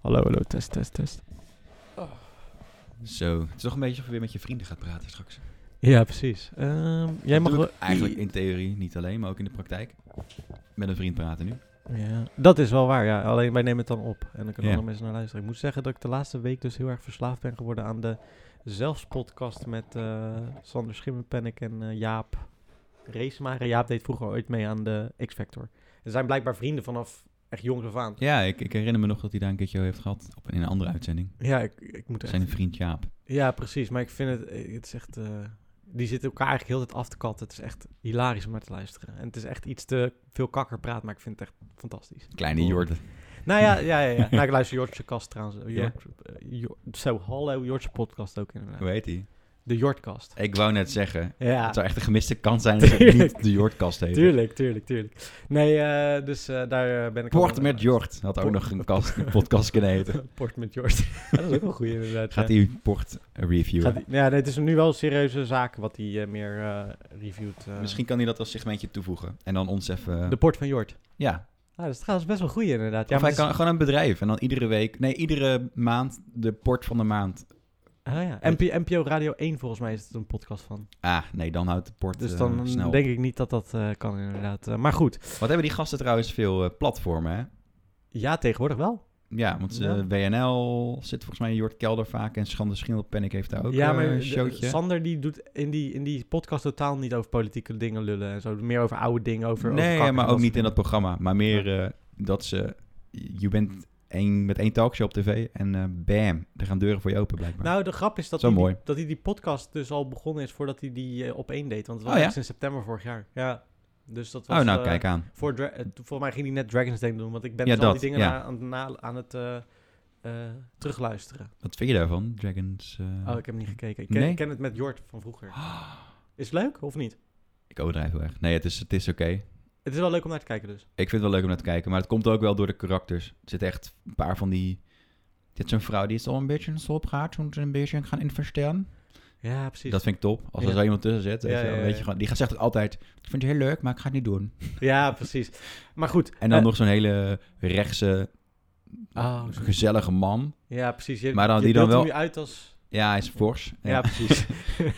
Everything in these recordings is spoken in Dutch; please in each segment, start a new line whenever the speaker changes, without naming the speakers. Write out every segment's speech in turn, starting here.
Hallo, hallo, test, test, test.
Zo, het is toch een beetje of je weer met je vrienden gaat praten straks.
Ja, precies. Ehm, jij
Dat
mag
doe
wel...
ik Eigenlijk in theorie, niet alleen, maar ook in de praktijk. Met een vriend praten nu.
Ja, dat is wel waar, ja. Alleen wij nemen het dan op en dan kunnen
Ja.
andere mensen naar luisteren. Ik moet zeggen dat ik de laatste week dus heel erg verslaafd ben geworden aan de zelfspodcast met eh, Sander Schimmelpennik en eh, Jaap Reesmaker. Jaap deed vroeger ooit mee aan de X-Factor. Ze zijn blijkbaar vrienden vanaf echt jongs af aan.
Ja, ik, ik herinner me nog dat hij daar een keertje heeft gehad op, in een andere uitzending.
Ja, ik, ik moet echt...
Zijn vriend Jaap.
Ja, precies. Maar ik vind het, eh, het is echt... eh, die zitten elkaar eigenlijk heel de tijd af te katten. Het is echt hilarisch om naar te luisteren. En het is echt iets te veel kakkerpraat, maar ik vind het echt fantastisch.
Kleine
Cool.
Jorden.
Nou ja, ja, ja. ja. nou, ik luister Jortse Kast trouwens. Eh,
Ja.
Jort, eh, Jor- zo, hallo Jortse podcast ook inderdaad.
Hoe heet hij?
De Jortkast.
Ik wou net zeggen,
Ja,
het zou echt een gemiste kans zijn dat hij
Tuurlijk.
niet de Jordkast heet.
tuurlijk, tuurlijk, tuurlijk. Nee, eh, dus eh, daar eh, ben ik...
Port
al-
met Jord. Had ook
Port-
nog een, kast, een podcast kunnen heten.
Port met Jort. dat is ook wel goed inderdaad.
Gaat
ja.
hij Port reviewen?
Gaat die- ja, nee, het is nu wel een serieuze zaak wat hij eh, meer eh, reviewt. eh.
Misschien kan hij dat als segmentje toevoegen. En dan ons even...
De Port van Jort.
Ja.
Ah, dat is trouwens best wel goed inderdaad. Ja,
of
maar dus-
hij
het
kan gewoon een bedrijf. En dan iedere week... Nee, iedere maand de Port van de maand.
is- ah, ja. NP NPO Radio 1 volgens mij is het een podcast van.
Ah, nee, dan houdt de Port
Dus
eh,
dan
snel op.
denk ik niet dat dat eh, kan inderdaad. Eh, maar goed,
Wat hebben die gasten trouwens veel eh, platformen, hè?
ja, tegenwoordig wel.
Ja, want eh, ze-
Ja.
WNL zit volgens mij in Jort Kelder vaak. En Schande Schimmelpennik heeft daar ook
ja,
eh,
maar
een
de-
showtje.
Sander die doet in die, in die podcast totaal niet over politieke dingen lullen en zo. Meer over oude dingen, over over
nee,
kakken,
maar ook
soort
niet in dat
dingen.
programma. Maar meer eh, dat ze... Je bent één, met één talkshow op tv en eh, bam, er gaan deuren voor je open blijkbaar.
Nou, de grap is dat
Zo
hij, die-
mooi.
dat hij die podcast dus al begonnen is voordat hij die eh, op één deed. Want het was
Oh, ja?
echt in september vorig jaar. Ja, dus dat was...
oh, nou,
eh,
kijk aan.
Voor Dra- eh, volgens mij ging hij net Dragon's Den doen, want ik ben
Ja,
dus al die
dat,
dingen
ja.
na- aan, het na- aan het eh, eh, terugluisteren.
Wat vind je daarvan, Dragons? eh,
Oh, ik heb niet gekeken. Ik ken,
Nee?
ik ken het met Jort van vroeger. Is het leuk of niet?
Ik overdrijf heel erg. Nee, het is, het is oké.
Het is wel leuk om naar te kijken dus.
Ik vind het wel leuk om naar te kijken, maar het komt ook wel door de karakters. Er zit echt een paar van die... Dit is zo'n vrouw die is al een beetje zo op gaat, zo'n een beetje gaan investeren.
Ja, precies.
Dat vind ik top. Als
Ja.
er zo iemand tussen zit, weet
Ja,
je wel,
ja, ja,
weet
ja.
je gewoon, die gaat zegt het altijd, ik vind het heel leuk, maar ik ga het niet doen.
Ja, precies. Maar goed.
En dan
eh,
nog zo'n hele rechtse,
Oh, zo.
gezellige man.
Ja, precies. Je,
Maar dan-
je
die dan
beeldt hem
wel-
nu uit als...
Ja, hij is fors.
Ja,
Ja.
precies.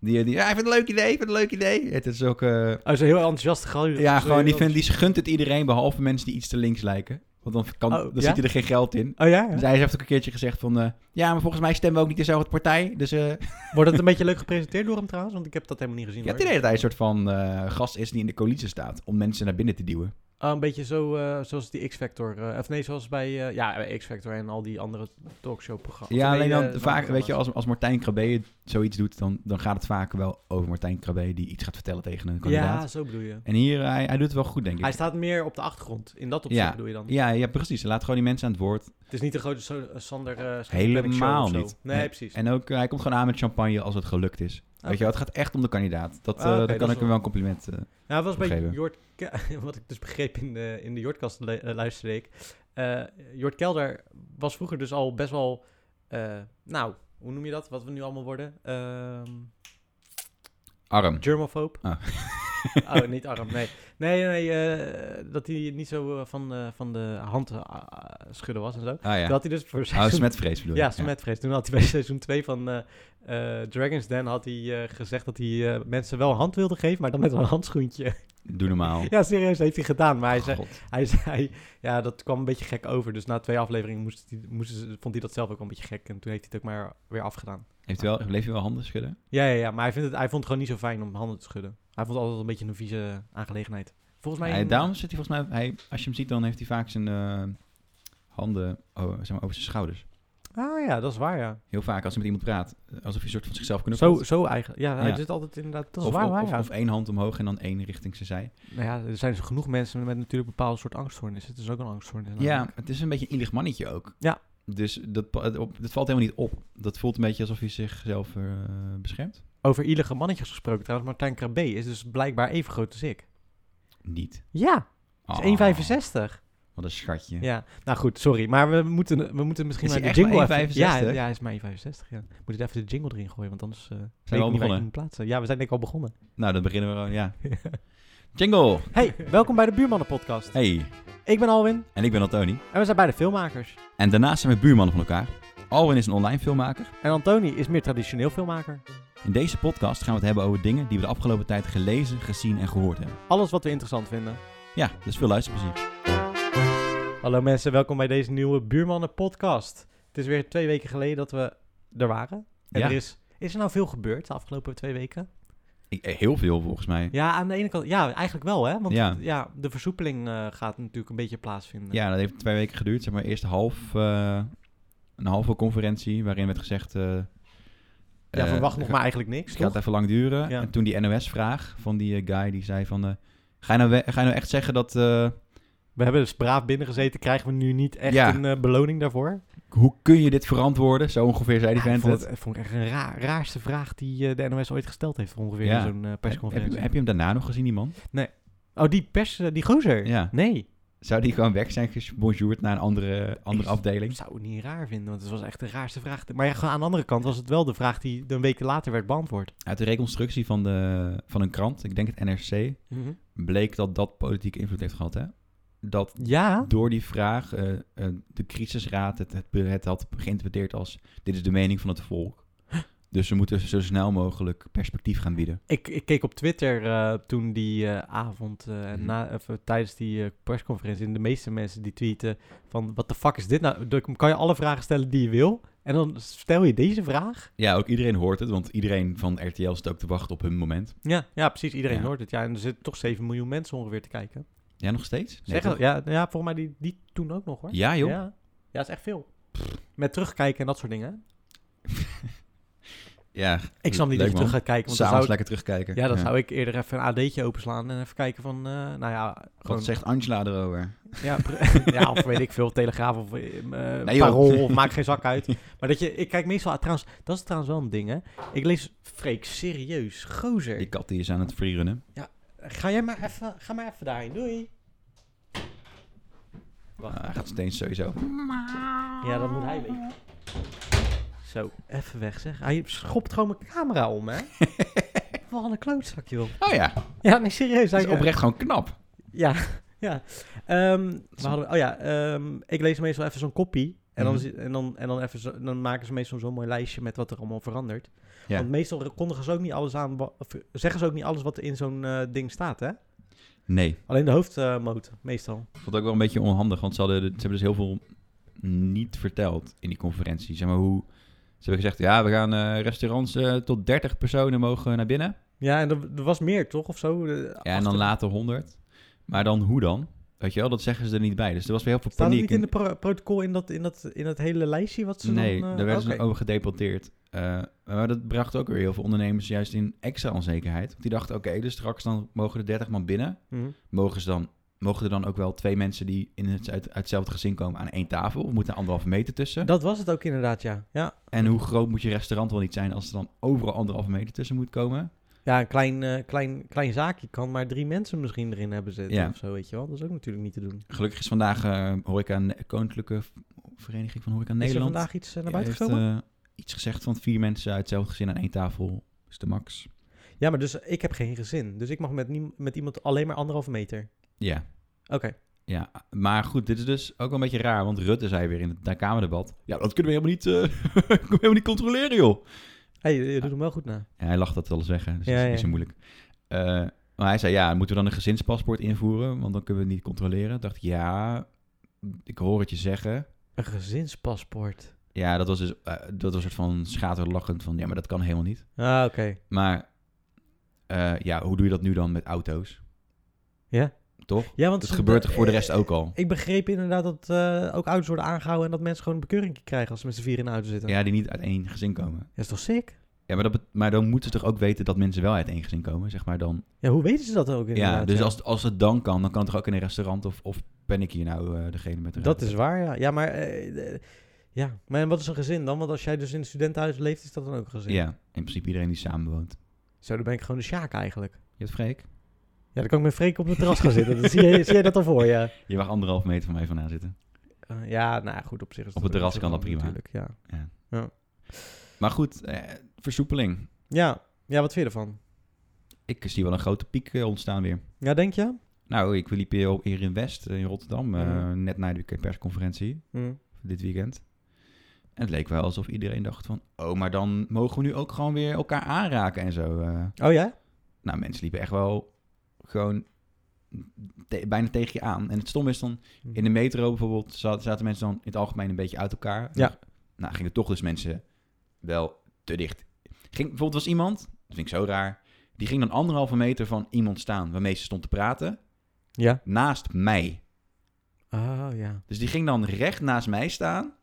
Die, die, ja, ik vind het een leuk idee, ik vind het een leuk idee. Het is ook... eh,
oh, zo heel enthousiast. Gewoon,
Ja,
zo
gewoon,
heel
die, vindt, die gunt het iedereen, behalve mensen die iets te links lijken. Want dan, kan,
Oh,
dan
ja?
ziet hij er geen geld in.
Oh ja?
Dus
ja.
hij heeft ook een keertje gezegd van... eh, ja, maar volgens mij stemmen we ook niet dezelfde partij. Dus eh
Wordt het een beetje leuk gepresenteerd door hem trouwens? Want ik heb dat helemaal niet gezien.
je hebt het
hoor.
idee dat hij een soort van eh, gast is die in de coalitie staat... om mensen naar binnen te duwen.
Oh, een beetje zo eh, zoals die X-Factor. eh, of nee, zoals bij eh, ja, bij X-Factor en al die andere talkshow-programma's.
ja, alleen dan
eh,
vaak, weet je,
programma's.
als, als Martijn Krabbe zoiets doet... Dan, dan gaat het vaak wel over Martijn Krabbe die iets gaat vertellen tegen een kandidaat.
Ja, zo bedoel je.
En hier, eh, hij, hij doet het wel goed, denk ik.
Hij staat meer op de achtergrond. In dat opzicht
Ja.
bedoel je dan?
Ja, ja, precies. Hij laat gewoon die mensen aan het woord.
Het is niet de grote so- eh, Sander eh
Helemaal
show of zo.
niet.
Nee,
Nee.
precies.
En ook, eh, hij komt gewoon aan met champagne als het gelukt is. Weet je, wel, het gaat echt om de kandidaat. Dat,
Ah,
eh,
oké,
daar
dat
kan
is
ik hem
wel-
wel een compliment. eh,
Nou, het was bij
Opgeven.
Jort... Ke- Wat ik dus begreep in de, in de Jortkast le- eh, luisterde ik. Eh, Jort Kelder was vroeger dus al best wel... eh, nou, hoe noem je dat? Wat we nu allemaal worden? Ehm
arm.
germophobe?
Ah.
oh, niet arm, nee. Nee, nee, eh, dat hij niet zo eh, van, eh, van de hand eh, schudden was en zo.
Ah ja.
Dat hij dus voor
Oh,
seizoen...
smetvrees bedoel je?
ja, smetvrees. Toen had hij bij seizoen 2 van eh, eh, Dragon's Den had hij, eh, gezegd dat hij eh, mensen wel een hand wilde geven, maar dan met een handschoentje.
Doe normaal.
ja, serieus, heeft hij gedaan. Maar hij zei,
God.
Hij zei, ja, dat kwam een beetje gek over. Dus na twee afleveringen moest hij, moest, vond hij dat zelf ook wel een beetje gek. En toen heeft hij het ook maar weer afgedaan.
Heeft u wel, bleef je wel handen schudden?
Ja, ja, ja maar hij, vindt het, hij vond het gewoon niet zo fijn om handen te schudden. Hij vond het altijd een beetje een vieze aangelegenheid. Volgens mij...
Hij,
een-
daarom zit hij volgens mij... Hij, als je hem ziet, dan heeft hij vaak zijn eh, handen oh, zeg maar, over zijn schouders.
Ah ja, dat is waar, ja.
Heel vaak als hij met iemand praat. eh, Alsof hij een soort van zichzelf knuffelt.
Zo, zo eigenlijk. Ja, hij
Ja.
zit altijd inderdaad... Dat is
of,
waar,
of,
waar,
of,
ja.
of één hand omhoog en dan één richting zijn zij.
Nou ja, er zijn genoeg mensen met natuurlijk bepaalde soort angststoornissen. Het is ook een angststoornis.
Ja,
namelijk.
het is een beetje een ielig mannetje ook.
Ja.
Dus dat, pa- het op- dat valt helemaal niet op. Dat voelt een beetje alsof hij zichzelf eh, beschermt.
Over ielige mannetjes gesproken trouwens. Martijn Krabbe is dus blijkbaar even groot als ik.
Niet.
Ja,
Oh,
is 1,65.
Wat een schatje.
Ja, nou goed, sorry. Maar we moeten, we moeten misschien
Is
maar
hij
de
echt
jingle
maar
even...
1,65?
Ja, ja, hij is maar 1,65, ja. Moet ik even de jingle erin gooien, want anders eh weet
al
ik niet waar ik
begonnen?
hem moet plaatsen. Ja, we zijn denk ik al begonnen.
Nou, dan beginnen we gewoon, ja. Jingle!
Hey, welkom bij de Buurmannen Podcast.
Hey,
Ik ben Alwin
en ik ben Antoni.
en we zijn beide filmmakers.
En daarnaast zijn we buurmannen van elkaar. Alwin is een online filmmaker.
En Antoni is meer traditioneel filmmaker.
In deze podcast gaan we het hebben over dingen die we de afgelopen tijd gelezen, gezien en gehoord hebben.
Alles wat we interessant vinden.
Ja, dus veel luisterplezier.
Hallo mensen, welkom bij deze nieuwe Buurmannen Podcast. Het is weer twee weken geleden dat we er waren. En
Ja.
er is, is er nou veel gebeurd de afgelopen twee weken?
Ik- eh, heel veel volgens mij.
Ja, aan de ene kant, ja, eigenlijk wel hè. Want ja,
Ja.
de versoepeling eh, gaat natuurlijk een beetje plaatsvinden.
Ja, dat heeft twee weken geduurd. Zeg maar eerst half, eh, een halve conferentie waarin werd gezegd... eh,
Ja,
eh,
verwacht nog
ga-
maar eigenlijk niks,
Het
toch?
gaat even lang duren.
Ja.
En toen die NOS-vraag van die eh, guy die zei van... eh, ga, je nou we- ga je nou echt zeggen dat... eh,
We hebben dus braaf binnengezeten, krijgen we nu niet echt
Ja.
een eh, beloning daarvoor?
hoe kun je dit verantwoorden? Zo ongeveer zei die
Ja,
vent
ik vond,
het.
het, ik vond ik echt een raar, raarste vraag die eh, de NOS ooit gesteld heeft ongeveer
Ja.
in zo'n eh,
Heb, heb,
persconferentie.
je- heb je hem daarna nog gezien, die man?
Oh, die pers, eh, die gozer?
Ja.
Nee,
Zou die gewoon weg zijn gebonjourd naar een andere, andere
Ik- ik
afdeling?
zou het niet raar vinden, want het was echt de raarste vraag. Maar ja, aan de andere kant was het wel de vraag die een week later werd beantwoord.
Uit de reconstructie van, de, van een krant, ik denk het NRC,
Mhm.
bleek dat dat politieke invloed heeft gehad. Hè? Dat
Ja,
door die vraag eh, eh, de crisisraad het, het, het had geïnterpreteerd als... dit is de mening van het volk. Dus we moeten zo snel mogelijk perspectief gaan bieden.
ik, ik keek op Twitter eh, toen die eh, avond, eh, en na, of, eh, tijdens die eh, persconferentie, en de meeste mensen die tweeten van, wat de fuck is dit nou? Dan kan je alle vragen stellen die je wil? En dan stel je deze vraag?
Ja, ook iedereen hoort het, want iedereen van RTL zit ook te wachten op hun moment.
Ja, ja precies. Iedereen
Ja.
hoort het. Ja, en er zitten toch 7 miljoen mensen ongeveer te kijken.
Ja, nog steeds? Nee,
Zeg dat-
toch?
ja, ja, volgens mij die, die toen ook nog hoor.
Ja, joh.
Ja, ja dat is echt veel. Met terugkijken en dat soort dingen. hè?
Ja,
Ik
Leuk,
snap niet dat je terug
man.
gaat kijken. Want dan
s'avonds
zou ik-
lekker terugkijken.
Ja, dan zou ik eerder even een AD'tje openslaan en even kijken van, eh, nou ja, gewoon,
Wat zegt Angela erover?
ja, pre- ja, of weet ik veel, Telegraaf of eh, eh,
Nee, joh.
Parool, of maakt geen zak uit. Maar dat je, ik kijk meestal, ah, trouwens, dat is trouwens wel een ding, hè. Ik lees Freek serieus, gozer.
Die kat die is aan het freerunnen.
Ga jij maar even, ga maar even daarheen, doei.
Ah, hij gaat steeds sowieso.
Ja, dat moet hij weten. Zo, even weg zeg. Hij schopt gewoon mijn camera om, hè. Wat een klootzak, joh.
Oh ja,
Ja, nee, serieus.
dat
hij
is oprecht gewoon knap.
Ja, ja. Ehm, we hadden, oh ja, ehm, ik lees meestal even zo'n kopie. En, dan,
Mhm.
zi- en, dan, en dan, even zo- dan maken ze meestal zo'n mooi lijstje met wat er allemaal verandert.
Ja.
Want meestal kondigen ze ook niet alles aan, wa- of zeggen ze ook niet alles wat in zo'n eh, ding staat, hè?
Nee,
Alleen de hoofdmoot, meestal.
ik vond het ook wel een beetje onhandig, want ze, hadden, ze hebben dus heel veel niet verteld in die conferentie. Zeg maar hoe... Ze hebben gezegd, ja, we gaan eh, restaurants eh, tot 30 personen mogen naar binnen.
Ja, en er, er was meer, toch? Of zo? De-
Ja,
achter-
en dan later 100. Maar dan hoe dan? Weet je wel, dat zeggen ze er niet bij. Dus er was weer heel veel
Staat het
paniek.
niet in het protocol in dat, in, dat, in dat hele lijstje wat ze
Nee,
dan... eh,
daar werden
oké.
ze over gedeporteerd. Eh, maar dat bracht ook weer heel veel ondernemers juist in extra onzekerheid. Want die dachten, oké, dus straks dan mogen er 30 man binnen.
Mhm.
Mogen, ze dan, mogen er dan ook wel twee mensen die in het, uit, uit hetzelfde gezin komen aan één tafel? Of moet er anderhalve meter tussen?
Dat was het ook inderdaad, ja. Ja,
En hoe groot moet je restaurant wel niet zijn als er dan overal anderhalve meter tussen moet komen?
Ja, een klein, eh, klein, klein zaakje kan maar drie mensen misschien erin hebben zitten
Ja.
of zo, weet je wel. Dat is ook natuurlijk niet te doen.
Gelukkig is vandaag eh Horeca Ne- Koninklijke V- Vereniging van Horeca
Is er
Nederland...
vandaag iets eh, naar buiten
heeft,
gekomen?
eh, iets gezegd van vier mensen uit hetzelfde gezin aan één tafel is de max.
Ja, maar dus eh, ik heb geen gezin. Dus ik mag met, niem- met iemand alleen maar anderhalve meter.
Ja.
Oké.
Ja, maar goed, dit is dus ook wel een beetje raar, want Rutte zei weer in het da- Kamerdebat... Ja, dat kunnen we helemaal niet, eh, kunnen we helemaal niet controleren, joh.
Hey, je,
Ah.
je doet hem wel goed na.
En hij lacht dat alles weg, hè, dus
Ja,
dat is
ja.
niet zo moeilijk. Eh, maar hij zei, ja, moeten we dan een gezinspaspoort invoeren? Want dan kunnen we het niet controleren. dacht ik, ja, ik hoor het je zeggen.
Een gezinspaspoort.
Ja, dat was dus eh, dat was een soort van schaterlachend van... Ja, maar dat kan helemaal niet.
Ah, oké.
Maar eh, ja, hoe doe je dat nu dan met auto's?
Ja.
Toch?
Ja, want
Dat
ze-
gebeurt toch voor de rest
eh,
ook al?
Ik begreep inderdaad dat eh, ook auto's worden aangehouden en dat mensen gewoon een bekeuring krijgen als ze met z'n vier in de auto zitten.
Ja, die niet uit één gezin komen.
Dat is toch sick?
Ja, maar, dat bet- maar dan moeten ze toch ook weten dat mensen wel uit één gezin komen, zeg maar dan.
Ja, hoe weten ze dat ook inderdaad?
ja, dus Als, als het dan kan, dan kan het toch ook in een restaurant of, of ben ik hier nou eh, degene met de
Dat is waar, ja. Ja, maar... eh, eh, ja, maar en wat is een gezin dan? Want als jij dus in een studentenhuis leeft, is dat dan ook een gezin?
Ja, in principe iedereen die samenwoont.
Zo, dan ben ik gewoon de Sjaak eigenlijk.
Je hebt Freek?
Ja, dan kan ik met Freek op het terras gaan zitten. Dan zie, je, zie jij dat al voor je.
Je mag anderhalf meter van mij vandaan zitten.
Eh, ja, nou ja, goed, op zich is
Op het
ook
terras
niet
kan
zo
dat
handig
prima.
Natuurlijk, ja.
Maar goed, eh, versoepeling.
Ja. ja, wat vind je ervan?
ik zie wel een grote piek eh, ontstaan weer.
Ja, denk je?
Nou, ik liep hier op- hier in West, eh, in Rotterdam, eh,
Mhm.
net na de persconferentie
Mm.
dit weekend. En het leek wel alsof iedereen dacht van, oh, maar dan mogen we nu ook gewoon weer elkaar aanraken en zo. eh.
Oh ja?
nou, mensen liepen echt wel gewoon te- bijna tegen je aan. En het stom is dan, in de metro bijvoorbeeld, za- zaten mensen dan in het algemeen een beetje uit elkaar.
Ja.
Nou, gingen toch dus mensen wel te dicht. Ging, bijvoorbeeld was iemand, dat vind ik zo raar, die ging dan anderhalve meter van iemand staan waarmee ze stond te praten,
Ja.
naast mij.
Oh ja.
Dus die ging dan recht naast mij staan,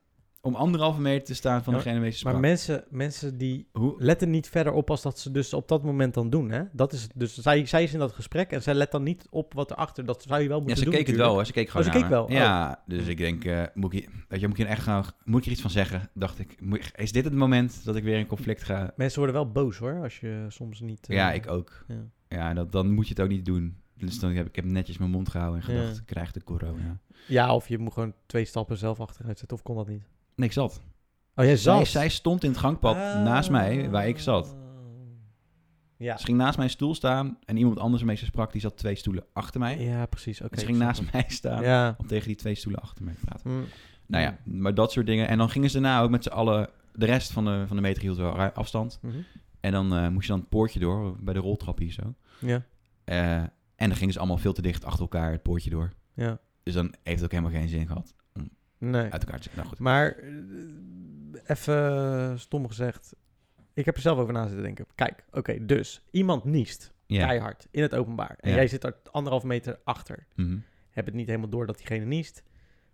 om anderhalve meter te staan van
Ja,
degene waarmee ze sprak.
Maar mensen, mensen die
Hoe,
letten niet verder op als dat ze dus op dat moment dan doen, hè? Dat is het. Dus zij, zij is in dat gesprek en zij let dan niet op wat erachter. Dat zou je wel
ja,
moeten
ze
doen
keek het wel,
natuurlijk. Oh,
hè. ze keek gewoon
ze keek
naar
wel,
me. Ja, dus ik denk, eh, moet, ik, hier- weet je, moet ik hier echt gaan, moet ik hier iets van zeggen? Dacht ik, moet ik- is dit het moment dat ik weer in conflict ga?
Mensen worden wel boos, hoor, als je soms niet... eh,
Ja, ik ook.
ja.
Ja, dat, dan moet je het ook niet doen. Dus dan heb ik heb netjes mijn mond gehouden en gedacht,
Ja.
krijg de corona.
Ja, of je moet gewoon twee stappen zelf achteruit zetten, of kon dat niet?
Nee, ik zat.
Oh, jij
Zij,
zat?
zij stond in het gangpad
Ah.
naast mij, waar ik zat.
Ja.
Ze ging naast mijn stoel staan en iemand anders waarmee ze sprak, die zat twee stoelen achter mij.
Ja, precies. Oké.
en ze ging
ik
naast
snap
mij staan
hem. Ja.
om tegen die twee stoelen achter mij te praten.
Mm.
Nou ja, maar dat soort dingen. En dan gingen ze daarna ook met z'n allen, de rest van de, van de meter hield wel ra- afstand.
Mhm.
En dan eh, moest je dan het poortje door, bij de roltrap hier zo.
Ja.
Eh, en dan gingen ze allemaal veel te dicht achter elkaar het poortje door.
Ja.
Dus dan heeft het ook helemaal geen zin gehad
Nee.
uit elkaar te zitten. Nou goed.
Maar eh, even stom gezegd. Ik heb er zelf over na zitten denken. Kijk, oké, dus iemand niest
Ja.
keihard in het openbaar. En
Ja.
jij zit er anderhalf meter achter.
Mhm.
Heb het niet helemaal door dat diegene niest.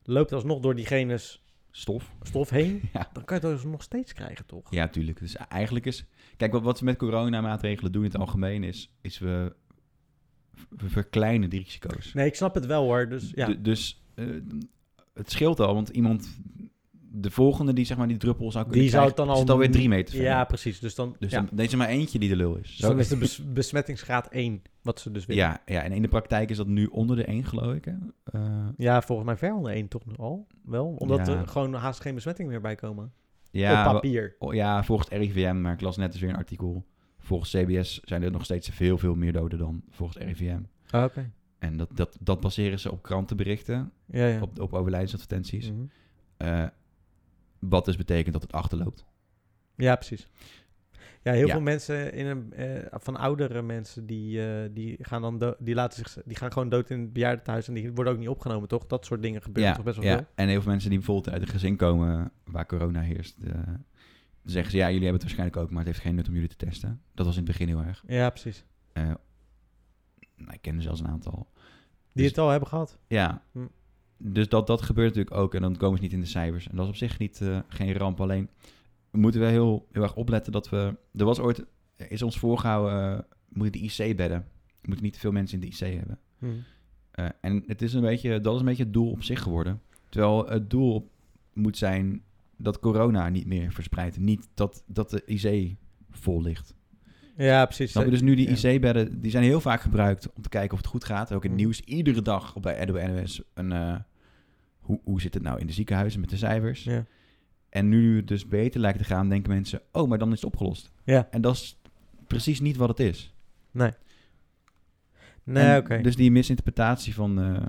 Loopt alsnog door diegene's
Stof.
stof heen.
Ja.
Dan kan je het nog steeds krijgen, toch?
Ja, tuurlijk. Dus eigenlijk is... Kijk, wat, wat ze met coronamaatregelen doen in het algemeen is... is we, we verkleinen die risico's.
Nee, ik snap het wel hoor. Dus ja.
Du- dus eh, het scheelt al, want iemand... De volgende die zeg maar die druppel zou kunnen
Die zou
krijgen,
het dan al
zit alweer drie meter verder.
ja, precies. Dus dan,
Dus
ja.
dan, deze maar eentje die de lul is.
Dus
Zo-
dan is de bes- besmettingsgraad 1, wat ze dus willen.
ja, ja, en in de praktijk is dat nu onder de 1, geloof ik. Hè? Eh,
Ja, volgens mij ver onder 1 toch nu al? Wel, omdat
Ja.
er gewoon haast geen besmetting meer bij komen.
ja,
Op
wa-
papier.
oh, ja, volgens het RIVM, maar ik las net eens weer een artikel. Volgens CBS zijn er nog steeds veel, veel meer doden dan volgens het RIVM.
Oké.
En dat, dat, dat baseren ze op krantenberichten,
Ja, ja.
op, op overlijdensadvertenties.
Mhm.
Eh, wat dus betekent dat het achterloopt.
Ja, precies. Ja, heel
Ja.
veel mensen in een, eh, van oudere mensen die, eh, die gaan dan do- die laten zich die gaan gewoon dood in het bejaardentehuis en die worden ook niet opgenomen, toch? Dat soort dingen gebeuren toch best wel
ja.
veel.
En heel veel mensen die bijvoorbeeld uit een gezin komen waar corona heerst, eh, dan zeggen ze ja, jullie hebben het waarschijnlijk ook, maar het heeft geen nut om jullie te testen. Dat was in het begin heel erg.
Ja, precies.
Eh, nou, ik ken er zelfs een aantal.
Die
Dus-
het al hebben gehad.
Ja.
Hm.
Dus dat, dat gebeurt natuurlijk ook en dan komen ze niet in de cijfers. En dat is op zich niet, eh, geen ramp. Alleen we moeten wel heel, heel erg opletten dat we... Er was ooit, is ons voorgehouden, eh, we moeten de IC bedden. We moeten niet te veel mensen in de IC hebben. Eh, en het is een beetje, dat is een beetje het doel op zich geworden. Terwijl het doel op- moet zijn dat corona niet meer verspreidt. Niet dat, dat de IC vol ligt.
Ja, precies.
Snap je? Dus nu die
Ja.
IC-bedden, die zijn heel vaak gebruikt om te kijken of het goed gaat. Ook in het
Mm.
nieuws, iedere dag op bij NOS een... eh, hoe, hoe zit het nou in de ziekenhuizen met de cijfers?
Ja.
En nu het dus beter lijkt te gaan, denken mensen... Oh, maar dan is het opgelost.
Ja.
En dat is precies niet wat het is.
Nee,
En
oké.
Dus die misinterpretatie van, eh,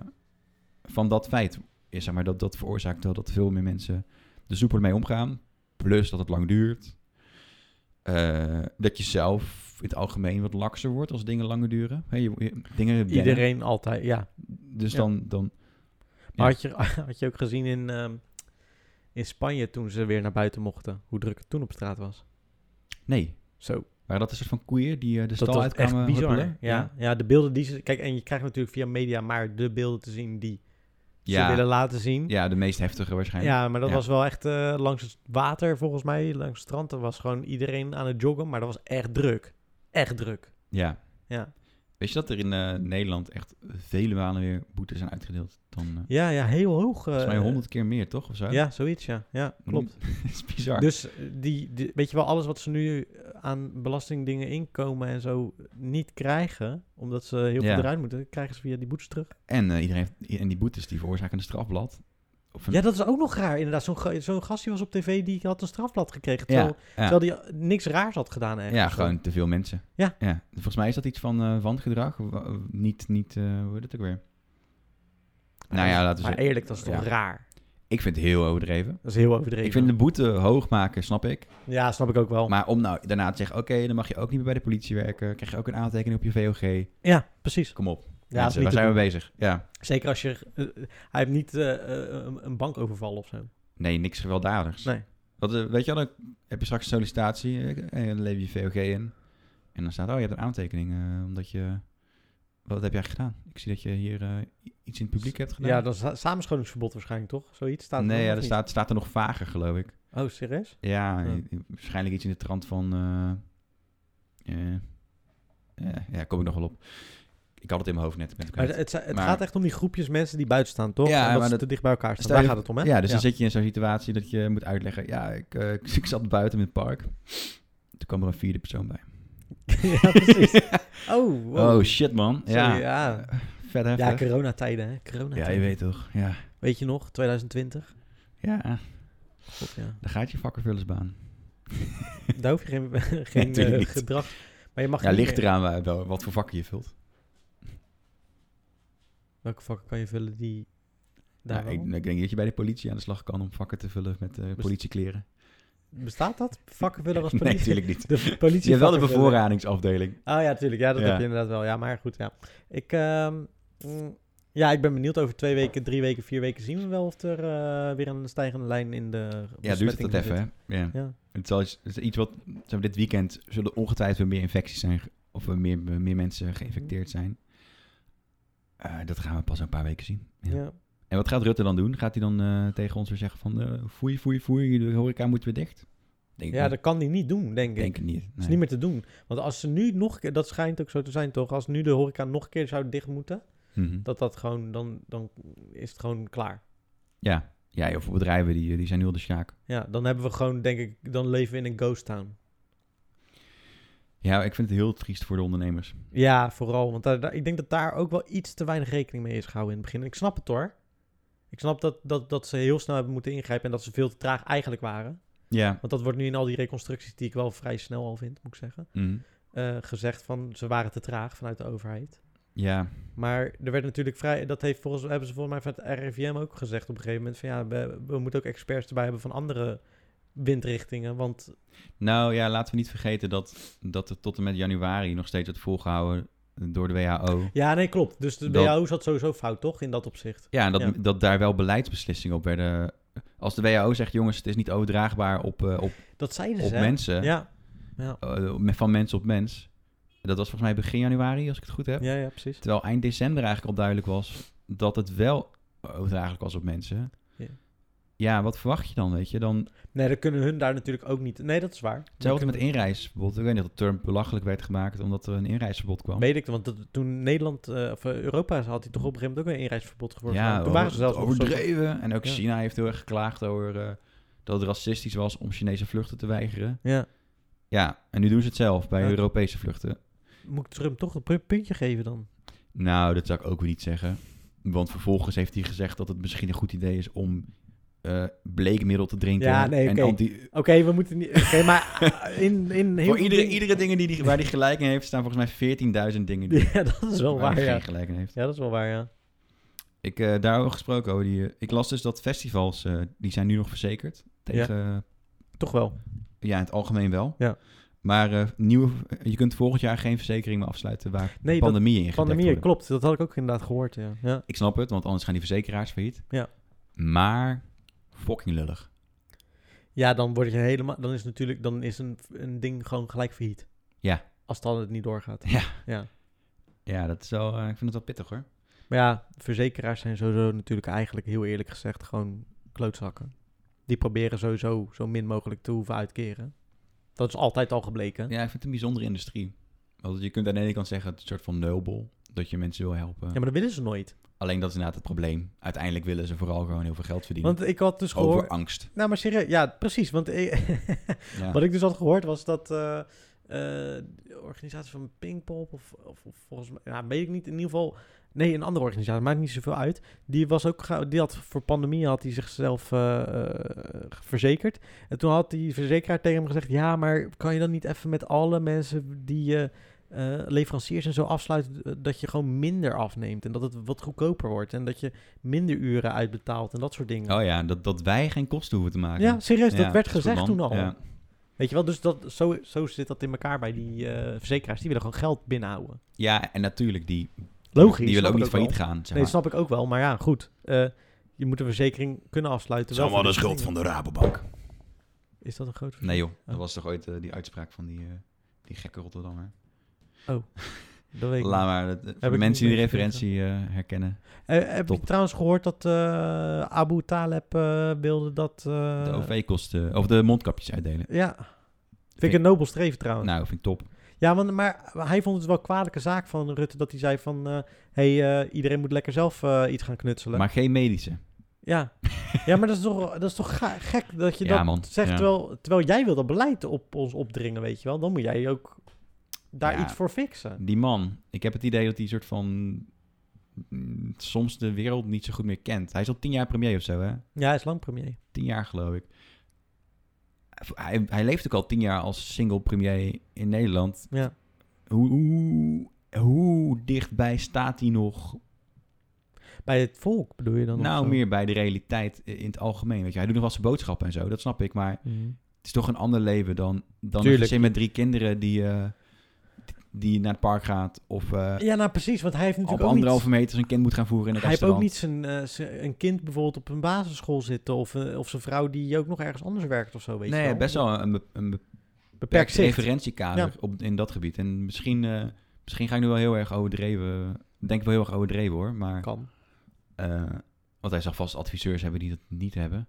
van dat feit is, zeg maar, dat, dat veroorzaakt wel dat veel meer mensen de soepel mee omgaan. Plus dat het lang duurt. Eh, dat je zelf in het algemeen wat lakser wordt als dingen langer duren. Hè, je, je- dingen wennen.
Iedereen altijd, ja.
Dus
Ja.
dan, dan
Maar
Ja.
had, je, had je ook gezien in, ehm, in Spanje toen ze weer naar buiten mochten, hoe druk het toen op straat was?
nee.
Zo.
Maar dat is een soort van koeien die eh, de
Dat
stal
was echt
uitkwamen.
bizar.
huppelen.
Ja. Ja. de beelden die ze... Kijk, en je krijgt natuurlijk via media maar de beelden te zien die ze
Ja.
willen
Ja.
laten zien. Ja,
ja, de meest heftige waarschijnlijk.
maar dat
Ja.
was wel echt eh, langs het water volgens mij, langs het strand. Er was gewoon iedereen aan het joggen, maar dat was echt druk. Echt druk.
Ja.
Ja,
Weet je dat er in eh, Nederland echt vele malen weer boetes zijn uitgedeeld? Dan, eh
ja, ja heel hoog. eh,
volgens mij honderd keer meer, toch? Of zo?
Ja, zoiets, ja. Ja, klopt.
dat is bizar.
Dus eh, die, die, weet je wel, alles wat ze nu eh, aan belastingdingen inkomen en zo niet krijgen, omdat ze heel
Ja.
veel eruit moeten, krijgen ze via die boetes terug.
En eh, iedereen heeft, en die boetes die veroorzaken een strafblad. Of een-
Ja, dat is ook nog raar. Inderdaad, zo'n ga- zo'n gast die was op tv, die had een strafblad gekregen. Terwijl,
ja.
terwijl die eh, niks raars had gedaan eigenlijk.
ja, gewoon te veel mensen.
Ja.
Volgens mij is dat iets van eh wangedrag. Wa- Niet, niet eh, hoe heet het ook weer? Nou ja, laten we
Maar
zeggen.
eerlijk, dat is toch
Ja.
raar?
Ik vind het heel overdreven.
Dat is heel overdreven.
Ik vind de boete hoog maken, snap ik.
Ja, snap ik ook wel.
Maar om nou daarna te zeggen, oké, dan mag je ook niet meer bij de politie werken. Krijg je ook een aantekening op je VOG.
Ja, precies.
Kom op.
Ja,
Ja,
dat is
waar
niet te
zijn we
doen.
bezig? Ja.
Zeker als je... eh, eh, hij heeft niet eh, eh, een, een bank overvallen of zo.
Nee, niks gewelddadigs.
Nee.
Wat, eh, weet je wel, dan heb je straks een sollicitatie eh, en dan lever je VOG in. En dan staat, oh, je hebt een aantekening, eh, omdat je... Wat heb jij gedaan? Ik zie dat je hier eh, iets in het publiek hebt gedaan.
Ja, dan is samenscholingsverbod waarschijnlijk toch? Zoiets staat er
nee,
nog
ja,
of
dat
niet?
staat, staat er nog vager, geloof ik.
Oh, serieus?
Ja,
Ja.
eh, waarschijnlijk iets in de trant van... eh, eh, eh, ja, kom ik nog wel op. Ik had het in mijn hoofd net. ik ben het
Maar
kwijt.
het, het
Maar-
gaat echt om die groepjes mensen die buiten staan, toch?
Ja,
Omdat
maar
ze
dat-
te dicht bij elkaar staan.
Stel
Daar
je-
gaat het om, hè?
Ja, dus dan zit je in zo'n situatie dat je moet uitleggen... Ja, ik, eh, ik, ik zat buiten in het park. Toen kwam er een vierde persoon bij.
Ja, precies. Oh, wow.
Oh, shit, man.
Sorry,
ja.
ja.
Vet heftig.
Ja, coronatijden, hè? Coronatijden.
Ja, je weet toch. Ja.
Weet je nog, 2020?
ja,
God, ja.
daar gaat je vakkenvullersbaan.
Daar hoef je geen, geen
Natuurlijk
eh,
niet.
gedrag... Maar je mag
Ja,
niet
ligt
meer-
eraan wa- wel wat voor vakken je vult.
Welke vakken kan je vullen die... Daar
Nou, ik,
wel?
ik denk dat je bij de politie aan de slag kan om vakken te vullen met eh, politiekleren.
Bestaat dat? Vakken vullen als
Nee,
politie?
natuurlijk niet.
De politie
Je hebt wel de
vakken vullen.
bevoorradingsafdeling.
Oh ja, natuurlijk. Ja, dat
Ja.
heb je inderdaad wel. Ja, maar goed, ja. Ik, ehm, mm, ja, ik ben benieuwd. Over twee weken, drie weken, vier weken zien we wel of er eh, weer een stijgende lijn in de
Ja, duurt het
besmetting
dat even,
zit.
hè? Ja.
Ja.
Het, zal, iets- het is iets wat... zeg maar, dit weekend zullen ongetwijfeld weer meer infecties zijn... ge- of er meer, meer mensen geïnfecteerd zijn. Eh, dat gaan we pas een paar weken zien. Ja.
Ja.
En wat gaat Rutte dan doen? Gaat hij dan eh, tegen ons weer zeggen van... eh foei, foei, foei, de horeca moet weer dicht? Denk ik
ja,
niet.
dat kan die niet doen, denk ik.
denk het niet. Nee.
Dat is niet meer te doen. Want als ze nu nog een keer, dat schijnt ook zo te zijn toch, als nu de horeca nog een keer zou dicht moeten,
Mhm.
dat dat gewoon, dan, dan is het gewoon klaar.
Ja. ja, of bedrijven die, die zijn nu al de schaak.
Ja, dan hebben we gewoon, denk ik, dan leven we in een ghost town.
Ja, ik vind het heel triest voor de ondernemers.
Ja, vooral. Want daar, daar- ik denk dat daar ook wel iets te weinig rekening mee is gehouden in het begin. En ik snap het hoor. Ik snap dat, dat, dat ze heel snel hebben moeten ingrijpen en dat ze veel te traag eigenlijk waren.
Ja.
Want dat wordt nu in al die reconstructies, die ik wel vrij snel al vind, moet ik zeggen,
Mhm.
eh, gezegd van ze waren te traag vanuit de overheid.
Ja,
Maar er werd natuurlijk vrij, dat heeft volgens, hebben ze volgens mij van het RIVM ook gezegd op een gegeven moment, van ja, we, we moeten ook experts erbij hebben van andere windrichtingen. Want
nou ja, laten we niet vergeten dat, dat er tot en met januari nog steeds wordt volgehouden door de WHO.
ja, nee, klopt. Dus de
Dat-
WHO zat sowieso fout, toch, in dat opzicht?
Ja, en dat,
Ja.
dat daar wel beleidsbeslissingen op werden. Als de WHO zegt, jongens, het is niet overdraagbaar op, eh, op,
Dat zeiden
op
ze. hè?
mensen,
Ja,
eh, met- van mens op mens. Dat was volgens mij begin januari, als ik het goed heb.
ja, ja, precies.
Terwijl eind december eigenlijk al duidelijk was dat het wel overdraaglijk was op mensen.
Ja.
Ja. wat verwacht je dan, weet je? Dan
Nee, dat kunnen hun daar natuurlijk ook niet. Nee, dat is waar. Dat
hetzelfde met
kunnen-
inreisverbod. Ik weet niet dat de term belachelijk werd gemaakt omdat er een inreisverbod kwam.
Weet ik, want dat, toen Nederland, eh, of eh, Europa, had hij toch op een gegeven moment ook een inreisverbod geworden.
ja, oh,
toen waren ze zelfs nog zo-
overdreven. En ook
Ja.
China heeft heel erg geklaagd over eh, dat het racistisch was om Chinese vluchten te weigeren.
Ja,
Ja, en nu doen ze het zelf bij
Ja.
Europese vluchten.
moet ik Trump toch een pu- puntje geven dan?
Nou, dat zou ik ook weer niet zeggen. Want vervolgens heeft hij gezegd dat het misschien een goed idee is om eh, bleekmiddel te drinken.
Ja, nee,
en
oké.
anti,
Oké, we moeten niet... Oké, maar ah, in, in heel
Voor
veel
iedere,
dingen-
iedere dingen die, die, waar hij gelijk in heeft, staan volgens mij 14.000 dingen die
Ja, dat is wel
waar
waar,
hij
ja.
geen gelijk in heeft.
Ja, dat is wel waar, ja.
Ik, eh daarover gesproken, over die, eh, ik las dus dat festivals, eh, die zijn nu nog verzekerd. Tegen, ja,
Toch wel.
in het algemeen wel.
Ja.
Maar eh, nieuwe, je kunt volgend jaar geen verzekering meer afsluiten waar
Nee, dat-
pandemie in gedekt
Pandemie,
worden.
klopt. Dat had ik ook inderdaad gehoord, ja. ja.
Ik snap het, want anders gaan die verzekeraars failliet.
Ja.
Maar fucking lullig.
Ja, dan word je helemaal... Dan is natuurlijk... Dan is een, een ding gewoon gelijk failliet.
Ja.
Als het dan niet doorgaat.
Ja.
Ja.
Ja, dat is wel, eh, ik vind het wel pittig hoor.
Maar ja, verzekeraars zijn sowieso natuurlijk eigenlijk heel eerlijk gezegd gewoon klootzakken. Die proberen sowieso zo min mogelijk te hoeven uitkeren. Dat is altijd al gebleken. Ja,
Ja, ik vind het een bijzondere industrie. Want je kunt aan de ene kant zeggen, het is een soort van nobel, dat je mensen wil helpen.
maar dat willen ze nooit.
Alleen dat is inderdaad het probleem. Uiteindelijk willen ze vooral gewoon heel veel geld verdienen.
Want ik had dus
over
gehoord...
angst.
Nou, maar serieus. Ja, precies. Want ik-
Ja.
wat ik dus had gehoord was dat eh, eh, de organisatie van Pinkpop of, of, of volgens mij, ja, weet ik niet. In ieder geval, nee, een andere organisatie, maakt niet zoveel uit. Die was ook, ga- die had voor pandemie had hij zichzelf eh, eh, verzekerd. En toen had die verzekeraar tegen hem gezegd, ja, maar kan je dan niet even met alle mensen die je eh, leveranciers en zo afsluit, eh, dat je gewoon minder afneemt en dat het wat goedkoper wordt en dat je minder uren uitbetaalt en dat soort dingen.
Oh ja, dat, dat wij geen kosten hoeven te maken.
Ja, serieus,
Ja,
dat werd
is goed,
gezegd
man.
toen al.
Ja.
Weet je wel, dus dat, zo, zo zit dat in elkaar bij die eh, verzekeraars. Die willen gewoon geld binnenhouden.
ja, en natuurlijk, die,
Logisch.
die willen
snap
ook
ik
niet failliet
wel.
gaan. Zeg
Nee,
maar.
snap ik ook wel. Maar ja, goed. Eh, je moet een verzekering kunnen afsluiten. wel voor dit soort dingen.
Rabobank.
Is dat een groot verschil?
Nee joh, dat
Oh.
was toch ooit eh, die uitspraak van die, eh, die gekke Rotterdammer.
Dat weet ik
Laat maar,
niet.
dat- voor
ik
de
niet
mensen die de
meegekregen.
referentie eh, herkennen.
Eh, heb je
Top.
trouwens gehoord dat eh, Abu Taleb eh, wilde dat... eh,
De OV-kosten, of de mondkapjes uitdelen.
Ja. Vind ik een nobel streven trouwens.
Nou, vind ik top.
Ja, want, maar hij vond het wel een kwalijke zaak van Rutte dat hij zei van... eh, hey, eh, iedereen moet lekker zelf eh, iets gaan knutselen.
Maar geen medische.
Ja. ja, maar dat is toch, dat is toch ga- gek dat je
Ja,
dat
man.
zegt.
Ja.
Terwijl, terwijl jij wil dat beleid op ons opdringen, weet je wel. Dan moet jij ook daar
Ja.
iets voor fixen.
Die man, ik heb het idee dat hij soort van mm, soms de wereld niet zo goed meer kent. Hij is al tien jaar premier of zo, hè?
Ja, hij is lang premier.
Tien jaar geloof ik. Hij, hij leeft ook al tien jaar als single premier in Nederland.
Ja.
Hoe, hoe, hoe dichtbij staat hij nog?
Bij het volk bedoel je dan? of
Nou,
zo?
meer bij de realiteit i- in het algemeen. Weet je, hij doet nog wel zijn boodschappen en zo, dat snap ik. Maar
Mhm.
het is toch een ander leven dan, dan een
Tuurlijk.
gezin met drie kinderen die, eh, die naar het park gaat. Of eh,
Ja, nou precies, want hij heeft
op
natuurlijk ook niet...
anderhalve meter zijn kind moet gaan voeren in een
Hij heeft ook
restaurant.
niet zijn, eh, zijn- een kind bijvoorbeeld op een basisschool zitten... Of, eh, of zijn vrouw die ook nog ergens anders werkt of zo, weet je
nee,
wel.
best wel een, be- een
beperkt
beperkt
zicht.
referentiekader op, in dat gebied. En misschien, eh, misschien ga ik nu wel heel erg overdreven. Ik Denk wel heel erg overdreven hoor. Maar,
Kan.
eh, want hij zal vast adviseurs hebben die dat niet hebben.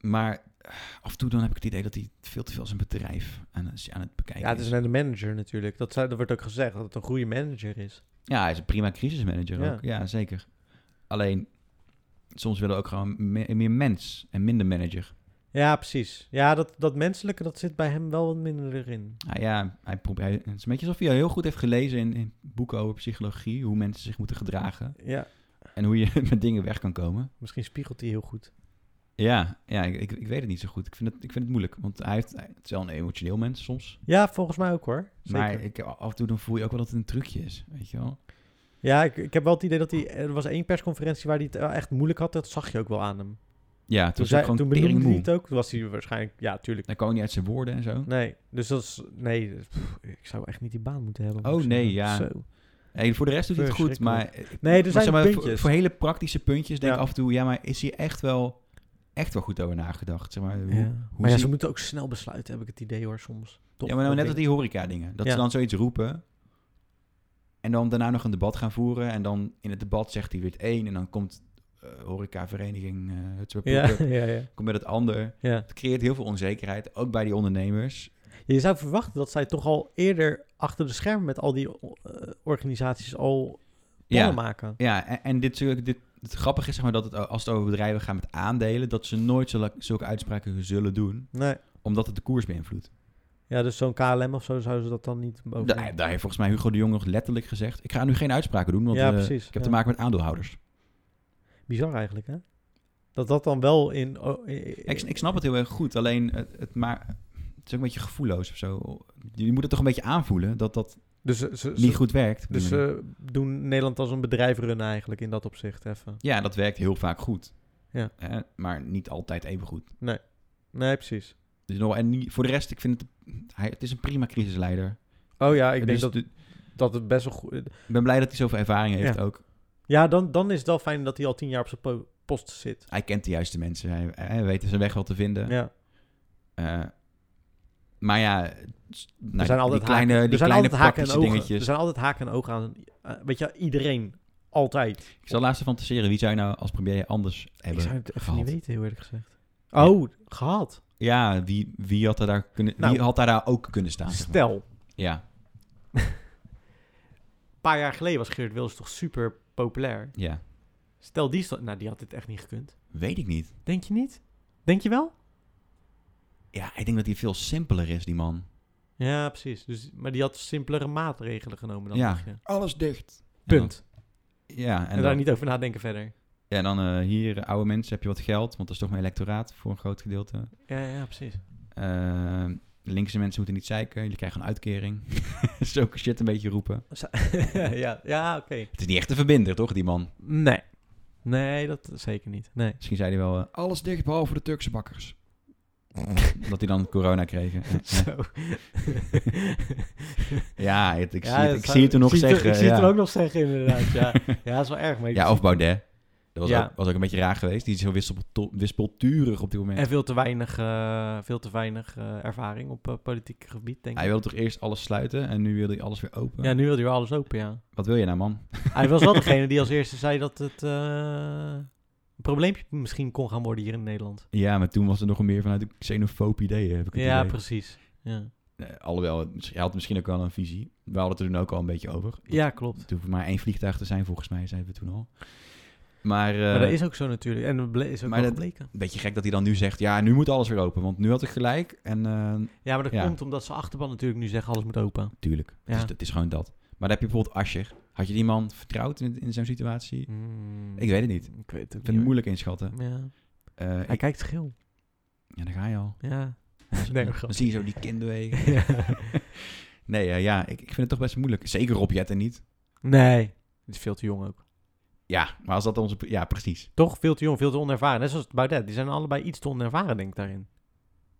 Maar eh, af en toe dan heb ik het idee dat hij veel te veel zijn bedrijf aan, aan het bekijken
Ja, het is
is.
net een manager natuurlijk. Dat, zei- dat wordt ook gezegd, dat het een goede manager is.
Ja, hij is een prima crisismanager
Ja.
ook. Ja, zeker. Alleen, soms willen we ook gewoon me- meer mens en minder manager.
Ja, precies. Ja, dat, dat menselijke, dat zit bij hem wel wat minder in.
Nou ja, hij probeert, hij- het is een beetje alsof hij heel goed heeft gelezen in, in boeken over psychologie, hoe mensen zich moeten gedragen
Ja,
en hoe je met dingen weg kan komen.
misschien spiegelt hij heel goed.
Ja, ja ik, ik, ik weet het niet zo goed. Ik vind het, ik vind het moeilijk, want hij heeft, hij- het is wel een emotioneel mens soms.
Ja, volgens mij ook hoor. Zeker.
Maar ik, af en toe dan voel je ook wel dat het een trucje is, weet je wel.
Ja, ik, ik heb wel het idee dat hij... Er was één persconferentie waar hij het wel echt moeilijk had. Dat zag je ook wel aan hem. Toen,
Ja, het was ook
zei,
gewoon
toen benoemde hij
teringmoe.
het ook. Toen was hij waarschijnlijk... Ja, tuurlijk.
Dan kwam hij niet uit zijn woorden en zo.
Nee, dus dat is... Nee, pff, ik zou echt niet die baan moeten hebben. moet
Oh,
ik
nee,
zeggen.
ja.
Zo.
Hey, voor de rest doet hij het goed, maar...
Verschrikkelijk. Nee, er
maar
zijn
zeg maar, voor-
puntjes.
Voor, hele praktische puntjes denk ik
Ja.
af en toe... Ja, maar is hier echt wel, echt wel goed over nagedacht? Zeg maar, hoe,
Ja.
hoe
Maar ja,
zie-
ze moeten ook snel besluiten, heb ik het idee hoor, soms. Toch?
ja, maar nou
Dat
net als
ding.
die horeca-dingen. Dat
Ja.
ze dan zoiets roepen... en dan daarna nog een debat gaan voeren... en dan in het debat zegt hij weer het een... en dan komt eh, horecavereniging... eh het soort poepen,
Ja, ja, ja.
komt met het ander.
ja.
Het creëert heel veel onzekerheid, ook bij die ondernemers.
Je zou verwachten dat zij toch al eerder achter de schermen met al die eh, organisaties al plannen
Ja,
maken.
ja en, en dit, zulke- dit, het grappige is zeg maar, dat het, eh, als het over bedrijven gaat met aandelen... dat ze nooit zulke, zulke uitspraken zullen doen...
Nee.
omdat het de koers beïnvloedt.
Ja, dus zo'n KLM of zo zouden ze dat dan niet boven.
Da- Daar, heeft volgens mij Hugo de Jong nog letterlijk gezegd... ik ga nu geen uitspraken doen, want
Ja,
eh,
precies,
ik heb
ja.
te maken met aandeelhouders.
Bizar eigenlijk, hè? Dat dat dan wel in... oh, eh, eh,
Ik, ik snap het heel erg goed, alleen het, het, maar, het is ook een beetje gevoelloos of zo. Je moet het toch een beetje aanvoelen dat dat
Dus ze, ze-
niet
ze-
goed werkt. op die
dus
manier.
ze doen Nederland als een bedrijf runnen eigenlijk in dat opzicht even.
ja, dat werkt heel vaak goed.
Ja.
Hè, maar niet altijd even goed.
Nee, precies.
Dus nog, en niet- voor de rest, ik vind het... Hij, het is een prima crisisleider.
Oh ja, ik
Dus
denk dat,
de-
dat het best wel goed...
ik ben blij dat hij zoveel ervaring heeft
Ja.
ook.
Ja, dan, dan is het wel fijn dat hij al tien jaar op zijn po- post zit.
Hij kent de juiste mensen. Hij, hij weet zijn weg wel te vinden.
Ja.
Eh, maar ja, s- nou,
er zijn
die
altijd
kleine,
haken,
die
er zijn
kleine
altijd haken en
praktische
ogen.
dingetjes.
Er zijn altijd haken en ogen aan. eh, weet je, iedereen. Altijd.
Ik zal laatst even fantaseren. Wie zou je nou als premier anders
Ik
hebben?
zou het even
gehad.
niet weten, heel eerlijk gezegd.
Ja.
Oh, gehad.
Ja, wie, wie, had, er daar kunnen,
Nou,
wie had daar daar ook kunnen staan? zeg maar.
Stel, een
Ja,
paar jaar geleden was Geert Wilders toch super populair.
ja.
Stel, die stond... Nou, die had dit echt niet gekund.
Weet ik niet.
Denk je niet? Denk je wel?
Ja, ik denk dat hij veel simpeler is, die man.
Ja, precies. Dus, maar die had simpelere maatregelen genomen dan
Ja.
dacht je.
Alles dicht.
Punt.
ja, en,
En,
dan,
daar niet over nadenken verder.
ja, en dan eh, hier, eh, oude mensen, heb je wat geld, want dat is toch mijn electoraat voor een groot gedeelte.
Ja, ja, precies.
Eh, linkse mensen moeten niet zeiken, jullie krijgen een uitkering. Zulke shit een beetje roepen.
ja, ja oké.
Het is niet echt te verbinder, toch, die man?
Nee. Nee, dat zeker niet. Nee.
Misschien zei hij wel, eh, alles dicht behalve de Turkse bakkers. dat die dan corona kregen.
Zo.
ja, het- ik,
Ja,
zie, het,
dat
ik
zou-
zie het er nog
ik zie het er-
zeggen.
Ik zie het er
ja.
ook nog zeggen, inderdaad. Ja, ja dat is wel erg. Maar ik
Ja,
zie-
of Baudet. Dat was,
Ja.
ook, was ook een beetje raar geweest. Die is heel wispelto- wispelturig op dit moment.
En veel te weinig, eh, veel te weinig eh, ervaring op eh, politiek gebied, denk ik.
Hij wilde toch eerst alles sluiten en nu wil hij alles weer open.
Ja, nu wil hij weer alles open, ja.
Wat wil je nou, man?
Hij was wel degene die als eerste zei dat het eh, een probleempje misschien kon gaan worden hier in Nederland.
Ja, maar toen was er nog een meer vanuit een xenofoob idee, heb ik het
Ja,
idee.
precies. Ja,
Nee, alhoewel, het- hij had misschien ook wel een visie. We hadden het er toen ook al een beetje over.
ja klopt.
Het hoeft maar één vliegtuig te zijn, volgens mij, zeiden we toen al. Maar, eh,
maar dat is ook zo natuurlijk. En dat ble- is ook
maar
wel
dat-
gebleken.
een beetje gek dat hij dan nu zegt, ja, nu moet alles weer open. Want nu had ik gelijk en eh,
Ja, maar dat
ja.
komt omdat zijn achterban natuurlijk nu zegt alles moet open.
tuurlijk,
Ja.
het, is, het is gewoon dat. Maar dan heb je bijvoorbeeld Ascher. Had je die man vertrouwd in, in zo'n situatie? Ik
Mm,
Ik weet het niet.
Ik weet het ook
vind het
niet,
moeilijk inschatten.
hoor. Ja.
Eh,
Hij
ik-
kijkt schil.
ja, daar ga je al.
Ja.
Dan-
hoor,
dan
grapje.
zie je zo die kindbeweging. nee, eh, ja, ik, ik vind het toch best moeilijk. Zeker Rob Jetten niet.
nee, het is veel te jong ook.
Ja, maar als dat onze... Ja, precies.
Toch veel te jong, veel te onervaren. Net zoals Baudet. Die zijn allebei iets te onervaren, denk ik, daarin.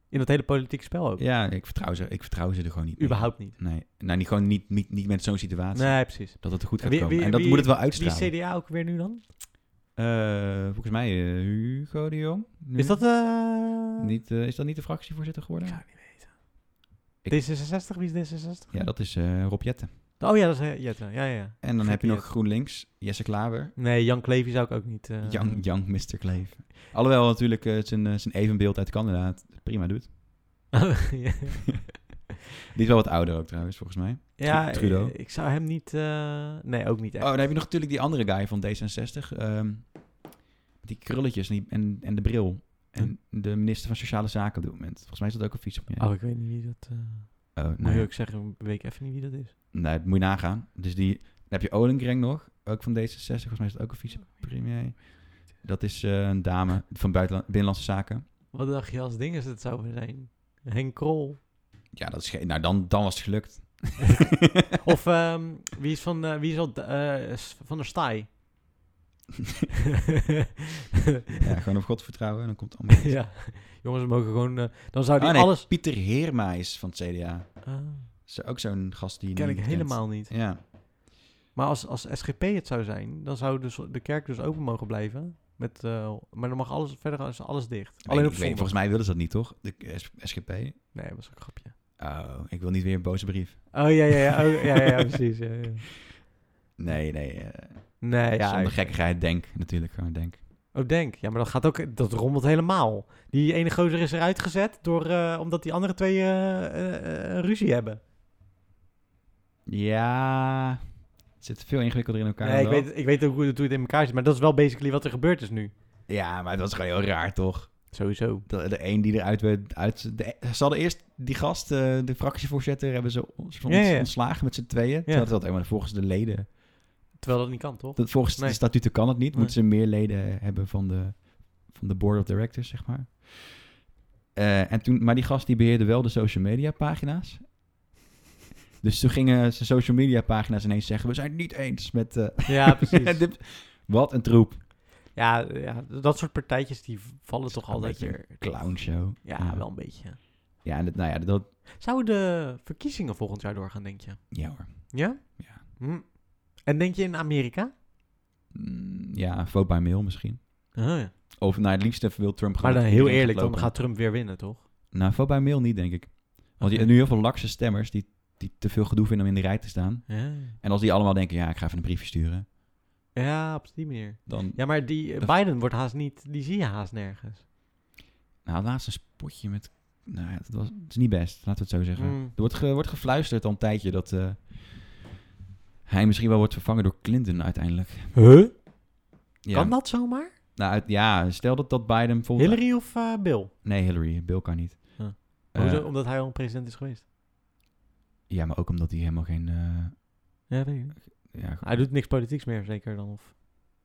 In dat hele politieke spel ook.
Ja, ik vertrouw ze, ik vertrouw ze er gewoon niet mee.
Überhaupt niet.
Nee, nou, niet, gewoon niet, niet, niet met zo'n situatie.
Nee, precies.
Dat het goed gaat
Wie-
komen.
wie-
en dat
wie-
moet het wel
Wie
uitstralen.
is CDA ook weer nu dan?
Eh, volgens mij eh, Hugo de Jong. nu.
Is dat... eh
Niet, eh, is dat niet de fractievoorzitter geworden?
Ja.
Ja, Ik-
D66? Wie is D66?
dat is eh Rob Jetten.
Oh ja, dat is eh, Jette. Ja, ja, ja.
En dan
Gekke
heb je nog
Jetten.
GroenLinks, Jesse Klaver,
Nee, Jan Klevi zou ik ook niet... eh,
Young, young Mr. Kleef. Alhoewel natuurlijk eh, zijn, eh, zijn evenbeeld uit Canada het prima doet.
ja.
Die is wel wat ouder ook trouwens, volgens mij.
ja,
Tru- Trudeau.
Ik, ik zou hem niet... eh, nee, ook niet echt.
Oh, dan heb je nog natuurlijk die andere guy van D66. ehm, met die krulletjes en, die- en, en de bril. En de minister van Sociale Zaken op dit moment. Volgens mij is dat ook een fiets op je.
Oh, ik weet niet wie dat... eh
Oh,
Moet
nee.
ik zeggen, weet ik even niet wie dat is.
nee, dat moet je nagaan. Dus die, dan heb je Olengreng nog, ook van D66. Volgens mij is dat ook een
Oh,
vicepremier. Dat is eh, een dame van buitenland, Binnenlandse Zaken.
Wat dacht je als ding is het zou zijn? Henk Krol.
Ja, dat is geen... Nou, dan, dan was het gelukt.
Of ehm, wie is van, eh, wie is al, eh, S- van der Staaij?
Ja, gewoon op God vertrouwen en dan komt het allemaal goed.
ja. Jongens, we mogen gewoon... eh, dan zou die
Ah, nee,
alles...
Pieter Heermaais van het CDA.
Ah,
Is ook zo'n gast die je
ken
niet
ik
kent.
helemaal niet.
Ja.
Maar als, als SGP het zou zijn, dan zou dus de kerk dus open mogen blijven. Met, eh, maar dan mag alles verder is alles dicht. Alleen
Ik
op
weet-
zondag.
Volgens mij willen ze dat niet, toch? De S- SGP.
Nee, dat was ook een grapje.
Oh, ik wil niet weer een boze brief.
Oh ja, ja, ja, oh, ja, ja, precies. Ja, ja.
Nee, nee. eh,
Nee, ja.
zonder
ik-
gekkigheid, denk. Natuurlijk, gewoon denk.
Oh, denk. Ja, maar dat gaat ook. Dat rommelt helemaal. Die ene gozer is eruit gezet door, eh, omdat die andere twee eh, eh, eh, een ruzie hebben.
Ja. Het zit veel ingewikkelder in elkaar.
Nee, ik
dan dat.
weet, ik weet ook hoe het, hoe het in elkaar zit, maar dat is wel basically wat er gebeurd is nu.
Ja, maar dat is gewoon heel raar, toch?
Sowieso.
De, de een die eruit werd... Uit, de, e- ze hadden eerst die gast, eh, de fractievoorzitter, hebben ze ons-
Ja, ja, ja.
ontslagen met z'n tweeën. Terwijl dat helemaal volgens de leden...
Terwijl dat niet kan, toch?
Dat, volgens
Nee.
de statuten kan het niet.
Nee.
Moeten ze meer leden hebben van de, van de board of directors, zeg maar. Eh, en toen, maar die gast die beheerde wel de social media pagina's. Dus toen gingen zijn social media pagina's ineens zeggen... we zijn het niet eens met... eh,
Ja, precies.
dit- wat een troep.
ja, ja, dat soort partijtjes die vallen toch
Een
altijd
beetje
weer.
Clownshow.
Ja, wel een beetje.
Ja, en dat, nou ja, dat...
Zouden de verkiezingen volgend jaar doorgaan, denk je?
Ja hoor.
Ja?
Ja.
Hm. En denk je in Amerika?
Mm, Ja, vote by mail misschien.
Ah, ja.
Of nou, het liefst wil Trump gewoon...
Maar dan
dat
heel
iedereen
eerlijk, dan
lopen.
gaat Trump weer winnen, toch?
Nou, vote by mail niet, denk ik. Want je hebt nu heel veel lakse stemmers... die, die te veel gedoe vinden om in de rij te staan.
Ja.
En als die allemaal denken, ja, ik ga even een briefje sturen,
ja, op die manier.
dan
Ja, maar die eh,
Dat-
Biden wordt haast niet, die zie je haast nergens.
nou, laatst een spotje met... Nou, ja, dat was, het is niet best, laten we het zo zeggen.
Mm.
Er wordt, ge- wordt gefluisterd al een tijdje dat eh, hij misschien wel wordt vervangen door Clinton uiteindelijk.
Huh?
Ja,
Kan dat zomaar?
Nou, uit- ja stel dat, dat Biden bijvoorbeeld...
Hillary of eh, Bill?
Nee, Hillary. Bill kan niet.
Ja.
Eh,
Hoezo? Omdat hij al een president is geweest.
Ja, maar ook omdat hij helemaal geen... eh,
Ja, weet ik niet.
ja,
Hij doet niks politieks meer, zeker dan. Of...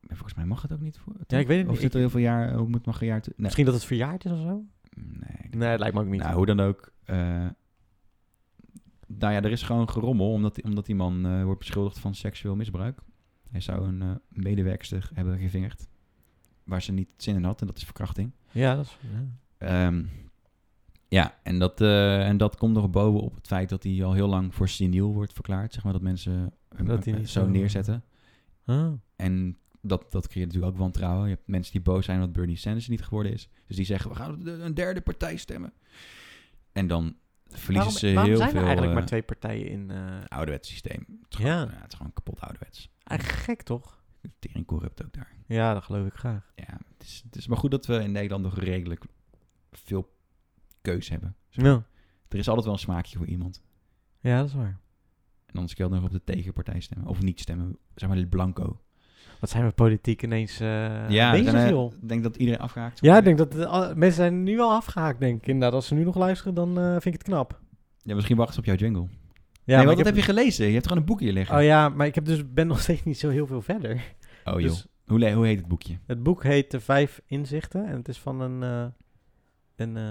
maar volgens mij mag het ook niet. Voor,
Ja, ik weet het
Of
niet.
zit er heel veel jaar... eh, Hoe moet mag een jaar... te- Nee.
Misschien dat het verjaard is of zo?
nee ik
Nee, dat lijkt me ook niet.
Nou, hoe dan ook. eh, nou ja, er is gewoon gerommel omdat, omdat die man eh, wordt beschuldigd van seksueel misbruik. Hij zou een eh medewerkster hebben gevingerd. Waar ze niet zin in had, en dat is verkrachting.
Ja, dat is... ja.
Ehm, ja, en dat, eh, en dat komt nog boven op het feit dat hij al heel lang voor seniel wordt verklaard. Zeg maar dat mensen hem
Dat hij
eh,
niet
zo
zo-
neerzetten.
Ah.
En dat, dat creëert natuurlijk ook wantrouwen. Je hebt mensen die boos zijn dat Bernie Sanders niet geworden is. Dus die zeggen, we gaan op de- een derde partij stemmen. En dan verliezen
Waarom,
ze
waarom
heel
zijn
veel...
er eigenlijk
eh,
maar twee partijen in... eh,
Ouderwets systeem. Het is,
Ja.
gewoon, ja, het is gewoon kapot ouderwets.
Eigenlijk gek, toch?
Tering corrupt ook daar.
Ja, dat geloof ik graag.
Ja, het is, het is maar goed dat we in Nederland nog redelijk veel keus hebben.
Ja,
Er is altijd wel een smaakje voor iemand.
ja dat is waar.
En anders kan je nog op de tegenpartij stemmen. Of niet stemmen. Zeg maar blanco.
Wat zijn we politiek ineens eh
ja,
bezig,
zijn, eh,
joh?
ik denk dat iedereen afgehaakt
Ja, ik denk dat eh, al- mensen zijn nu al afgehaakt, denk ik. Inderdaad, als ze nu nog luisteren, dan eh, vind ik het knap.
Ja, misschien wachten ze op jouw jingle.
Ja,
nee,
maar
maar
ik
wat heb... je gelezen? Je hebt gewoon een boekje hier liggen.
Oh ja, maar ik heb dus, ben nog steeds niet zo heel veel verder.
Oh joh.
Dus
Hoe, le- hoe heet het boekje?
het boek heet De Vijf Inzichten en het is van een... eh, een eh,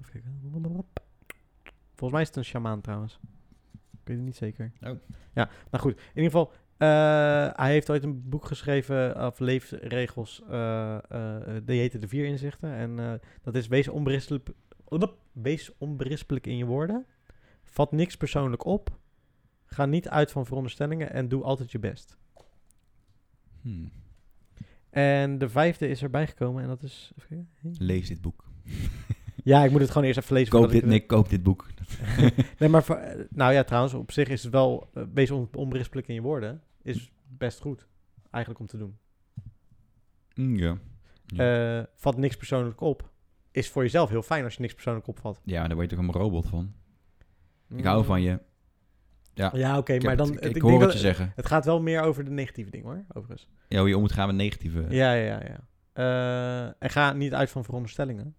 even kijken. Volgens mij is het een sjamaan trouwens. Ik weet het niet zeker.
Oh.
Ja, nou goed. In ieder geval, eh, hij heeft ooit een boek geschreven eh, of leefregels. eh, eh, eh, die heette De Vier Inzichten. En eh, dat is wees onberispelijk, wees onberispelijk in je woorden. Vat niks persoonlijk op. Ga niet uit van veronderstellingen en doe altijd je best.
Hmm.
En de vijfde is erbij gekomen en dat is... even kijken.
Lees dit boek.
Ja, ik moet het gewoon eerst even lezen.
Koop
voordat
dit,
Dus ik-
Nick, koop dit boek.
Nee, maar voor- eh, nou ja, trouwens, op zich is het wel... eh, wees on- onberispelijk in je woorden. Is best goed, eigenlijk, om te doen.
Mm, ja.
Eh, vat niks persoonlijk op. Is voor jezelf heel fijn als je niks persoonlijk opvat.
ja, maar daar word je toch een robot van? Ik hou van je. Ja,
Ja, oké,
ik
Hmm. maar
heb
dan...
het-
het-
ik,
ik
hoor
denk
wat
wel-
je zeggen.
Het gaat wel meer over de negatieve dingen, hoor, overigens.
Ja, hoe je om moet gaan met negatieve...
Ja, ja, ja. ja. Eh, en ga niet uit van veronderstellingen.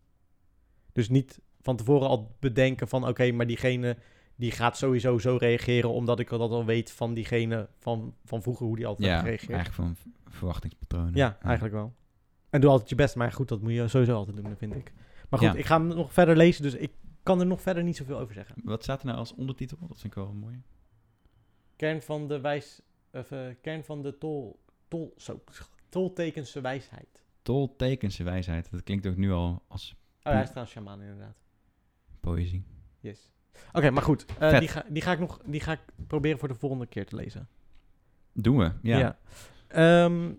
Dus niet van tevoren al bedenken van... oké, maar diegene die gaat sowieso zo reageren... omdat ik al dat al weet van diegene van, van vroeger... hoe die altijd
Ja,
heeft gereageerd.
eigenlijk van v- verwachtingspatronen.
Ja, eigenlijk wel. En doe altijd je best. Maar goed, dat moet je sowieso altijd doen, dat vind ik. Maar goed,
Ja.
ik ga hem nog verder lezen... dus ik kan er nog verder niet zoveel over zeggen.
Wat staat er nou als ondertitel? Dat vind ik wel mooi.
Kern van de wijs... Of, eh, kern van de tol... tol zo, toltekense wijsheid.
Toltekense wijsheid. Dat klinkt ook nu al als
Oh, hij is trouwens shaman, inderdaad.
poëzie.
Yes. Oké, maar goed. eh,
Vet.
die, ga, die ga ik nog die ga ik proberen voor de volgende keer te lezen.
Doen we, ja.
Ja, Ehm,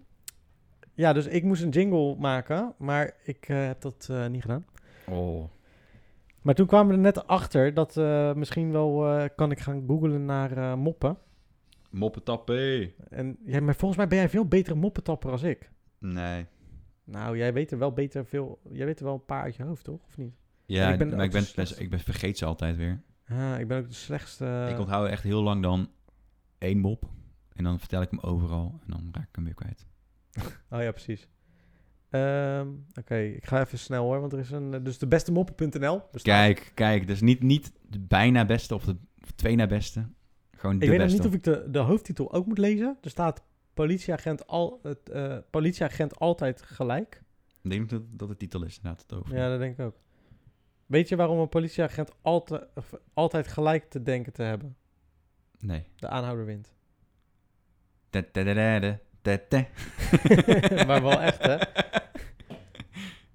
ja dus ik moest een jingle maken, maar ik eh, heb dat eh, niet gedaan.
Oh.
Maar toen kwamen we er net achter dat eh, misschien wel eh, kan ik gaan googlen naar eh, moppen.
Moppetappé.
En, ja, maar volgens mij ben jij veel betere moppetapper als ik.
Nee.
Nou, jij weet er wel beter veel. Jij weet er wel een paar uit je hoofd, toch? Of niet?
Ja,
Ik ben
maar ik ben,
ook slecht.
ik ben, vergeet ze altijd weer.
Ah, ik ben ook de slechtste.
ik onthoud echt heel lang dan één mop. En dan vertel ik hem overal. En dan raak ik hem weer kwijt.
Oh ja, precies. Ehm, Oké, ik ga even snel hoor, want er is een... Dus de beste moppen.nl
Kijk, kijk. Dus niet, niet de bijna beste of de of twee na beste. Gewoon de
Ik weet nog
beste.
niet of ik de, de hoofdtitel ook moet lezen. Er staat politieagent, al, het, eh, politieagent altijd gelijk.
Ik denk dat, dat de titel is inderdaad. Het over.
Ja, dat denk ik ook. Weet je waarom een politieagent altijd, altijd gelijk te denken te hebben?
Nee.
De aanhouder wint.
Da, da, da, da, da, da, da.
maar wel echt, hè?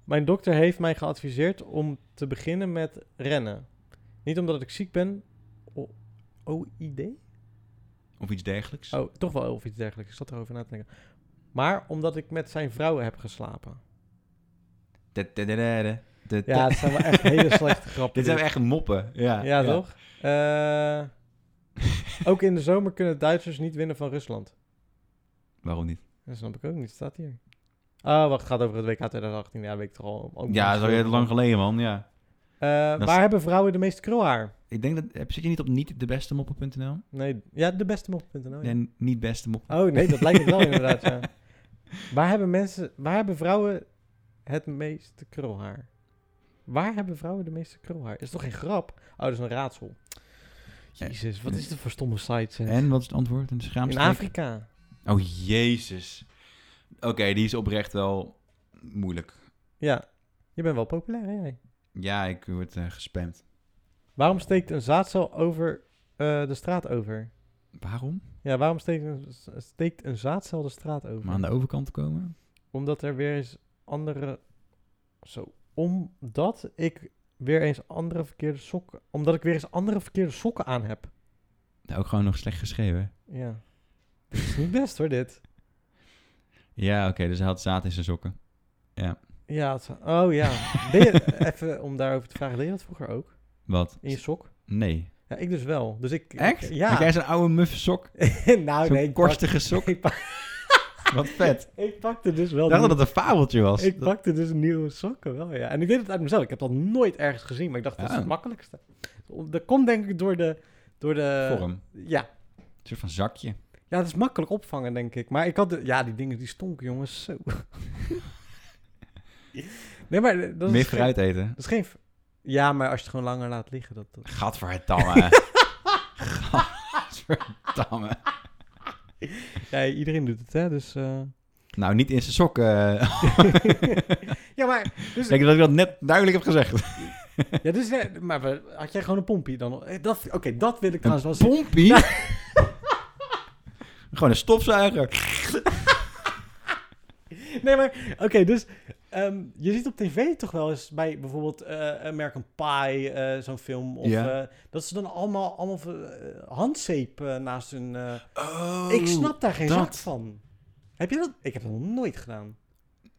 Mijn dokter heeft mij geadviseerd om te beginnen met rennen. Niet omdat ik ziek ben. O- OID?
Of iets dergelijks.
Oh, toch wel of iets dergelijks. Ik zat erover na te denken. Maar omdat ik met zijn vrouw heb geslapen.
Da, da, da, da, da, da,
Ja,
da.
het zijn wel echt hele slechte grappen.
Dit zijn echt moppen. Ja,
Ja, toch? Oh. Eh, ook in de zomer kunnen Duitsers niet winnen van Rusland.
Waarom niet?
Dat snap ik ook niet. Staat hier. Oh, wacht. Het gaat over het WK 2018. Ja, Oh, dat weet ik toch al. ook
Ja,
niet
dat is
veel
al lang
van.
geleden, man. Ja.
Eh,
Dat
waar
is-
hebben vrouwen de meeste krulhaar?
Ik denk dat... heb- Zit je niet op niet de beste moppen.nl?
Nee, ja, de beste mop.nl. Oh, ja.
Nee, niet beste moppen.
Oh, nee, dat lijkt het wel inderdaad, ja. Waar hebben mensen... Waar hebben vrouwen het meeste krulhaar? Waar hebben vrouwen de meeste krulhaar? Is toch geen grap? Oh, dat is een raadsel. Jezus, wat is dit voor stomme sites? hè?
Eh, En wat is het antwoord? Een
In
schaamstreek?
Afrika.
Oh, jezus. Oké, die is oprecht wel moeilijk.
Ja. Je bent wel populair, hè jij?
Ja, ik word eh, gespamd.
Waarom steekt een zaadcel over eh, de straat over?
Waarom?
Ja, waarom steekt een, s- steekt een zaadcel de straat over?
Om aan de overkant te komen?
Omdat er weer eens andere... Zo, omdat ik weer eens andere verkeerde sokken... Omdat ik weer eens andere verkeerde sokken aan heb.
Nou, ook gewoon nog slecht geschreven.
Ja. Dit is niet best hoor, dit.
Ja, oké, dus hij had zaad in zijn sokken.
Ja, het- oh ja. Deed je, even om daarover te vragen, deed je dat vroeger ook?
Wat?
In je sok?
Nee.
Ja, ik dus wel. Dus ik...
Echt? Had
Ja.
jij zo'n oude muffe sok?
nou,
zo'n
nee. ik
korstige sok?
pak- Ik, pak-
Wat vet.
ik pakte dus wel...
Ik dacht
nieuwe-
dat het een fabeltje was.
Ik
Dat-
pakte dus nieuwe sokken wel, ja. En ik deed het uit mezelf. Ik heb dat nooit ergens gezien, maar ik dacht, dat is
Ah.
het makkelijkste. Dat komt denk ik door de... Door de
Vorm. Een
Ja.
soort van zakje.
ja, dat is makkelijk opvangen, denk ik. Maar ik had... De, ja, die dingen die stonken, jongens. Zo. nee, maar... eh, Dat
Meer
is geen-
fruit eten.
Dat is geen... Ja, maar als je het gewoon langer laat liggen, dat... dat...
Gadverdamme. Gadverdamme.
Ja, iedereen doet het, hè, dus... eh.
Nou, niet in zijn sokken.
ja, maar...
Ik
Dus,
denk dat ik dat net duidelijk heb gezegd.
ja, dus, eh, maar we- had jij gewoon een pompie dan? Eh, dat- Oké, dat wil ik trouwens wel
Een
zien.
pompie? Gewoon een stofzuiger.
Nee, maar oké, dus ehm, je ziet op tv toch wel eens bij bijvoorbeeld eh, American Pie, eh, zo'n film. Of,
Ja.
eh, dat ze dan allemaal, allemaal eh, handzeep eh, naast hun... eh,
Oh,
ik snap daar geen
dat.
zak van. Heb je dat? Ik heb dat nog nooit gedaan.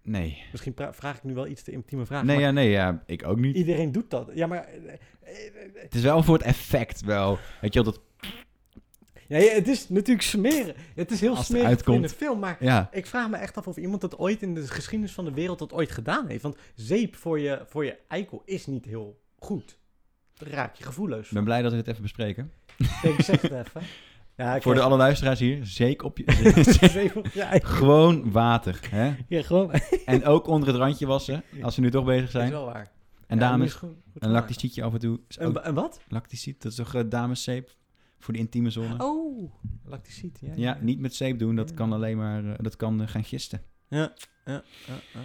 Nee.
Misschien pra- vraag ik nu wel iets te intieme vraag.
Nee,
maar
ja, nee, ja, ik ook niet.
Iedereen doet dat. Ja, maar eh, eh, eh,
Het is wel voor het effect wel. Weet je wel, dat...
ja, ja, het is natuurlijk smeren. Het is heel
Als het
smerig
uitkomt.
in de film, maar...
Ja.
Ik vraag me echt af of iemand dat ooit in de geschiedenis van de wereld dat ooit gedaan heeft. Want zeep voor je, voor je eikel is niet heel goed. Daar raak je gevoelloos.
Ik ben blij dat we dit even bespreken.
van. Ik zeg het even. Ja, ik
Voor de
krijg-
alle luisteraars hier, zeker op je...
zeep op je eikel.
Gewoon water, hè?
Ja, gewoon. Dat
En ook onder het randje wassen, als we nu toch bezig
is
zijn.
wel waar.
En
Ja, die
dames,
is goed- goed
een
gemaakt.
lacticietje af en toe. Is
Een,
ook
wa- een wat?
lacticid, dat is toch eh, dameszeep voor de intieme zone?
Oh, lacticid. Ja,
Ja, niet met zeep doen, dat
Ja.
kan alleen maar, eh, dat kan eh, gaan gisten.
Ja, ja, ja.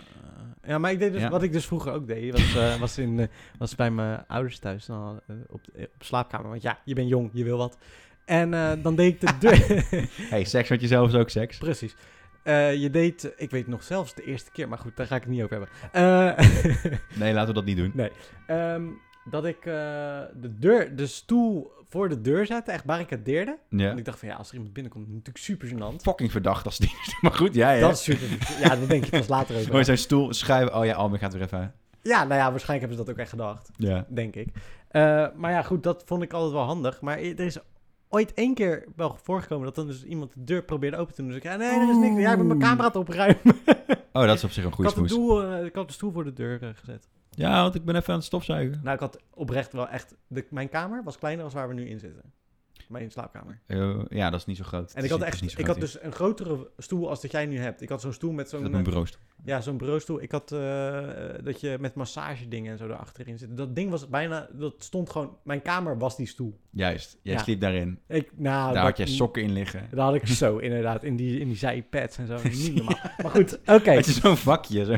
Eh, ja, maar ik deed dus,
Ja.
wat ik dus vroeger ook deed, was, eh, was, in, eh, was bij mijn ouders thuis dan, hadden, eh, op, eh, op slaapkamer. Want ja, je bent jong, je wil wat. En eh, dan deed ik de deur...
hey, seks met jezelf is ook seks.
Precies. Eh, je deed, ik weet nog zelfs de eerste keer, maar goed, daar ga ik het niet over hebben. Eh,
Nee, laten we dat niet doen.
ehm, dat ik eh, de deur, de stoel voor de deur zette, echt barricadeerde.
Ja.
Want ik dacht van ja, als er iemand binnenkomt, is het natuurlijk super gênant.
Fucking verdacht als die. Maar goed, jij hè?
Dat is super. Ja, dat denk je pas later over.
Mooi zijn stoel schuiven. Oh ja, Almer gaat weer even.
Ja, nou ja, waarschijnlijk hebben ze dat ook echt gedacht,
Ja.
denk ik. Eh, maar ja, goed, dat vond ik altijd wel handig. Maar er is ooit één keer wel voorgekomen dat dan dus iemand de deur probeerde open te doen. Dus ik, ja, nee, er is niks. Ja, ik ben mijn camera te opruimen.
Oh, dat is op zich een
Ik
goede
had, de
smoes.
doel, eh, ik had de stoel voor de deur eh, gezet.
Ja, want ik ben even aan het stofzuigen.
Nou, ik had oprecht wel echt... de- mijn kamer was kleiner dan waar we nu in zitten. Mijn slaapkamer.
Eh, ja, dat is niet zo groot.
En ik had,
Het is niet- het
echt,
is
ik had
niet zo groot
dus een grotere stoel als dat jij nu hebt. Ik had zo'n stoel met
hier. Dat
zo'n...
noemen we
eh,
roost.
ja, zo'n bureaustoel. Ik had eh, eh, dat je met massagedingen en zo erachterin zit. Dat ding was bijna... Dat stond gewoon... Mijn kamer was die stoel.
Juist. Jij
Ja.
sliep daarin.
Ik, nou,
Daar
dat-
had je sokken in liggen.
Daar had ik zo, inderdaad. In die, in die zijpads en zo. Niet normaal. Maar goed, oké.
Had je zo'n vakje zo,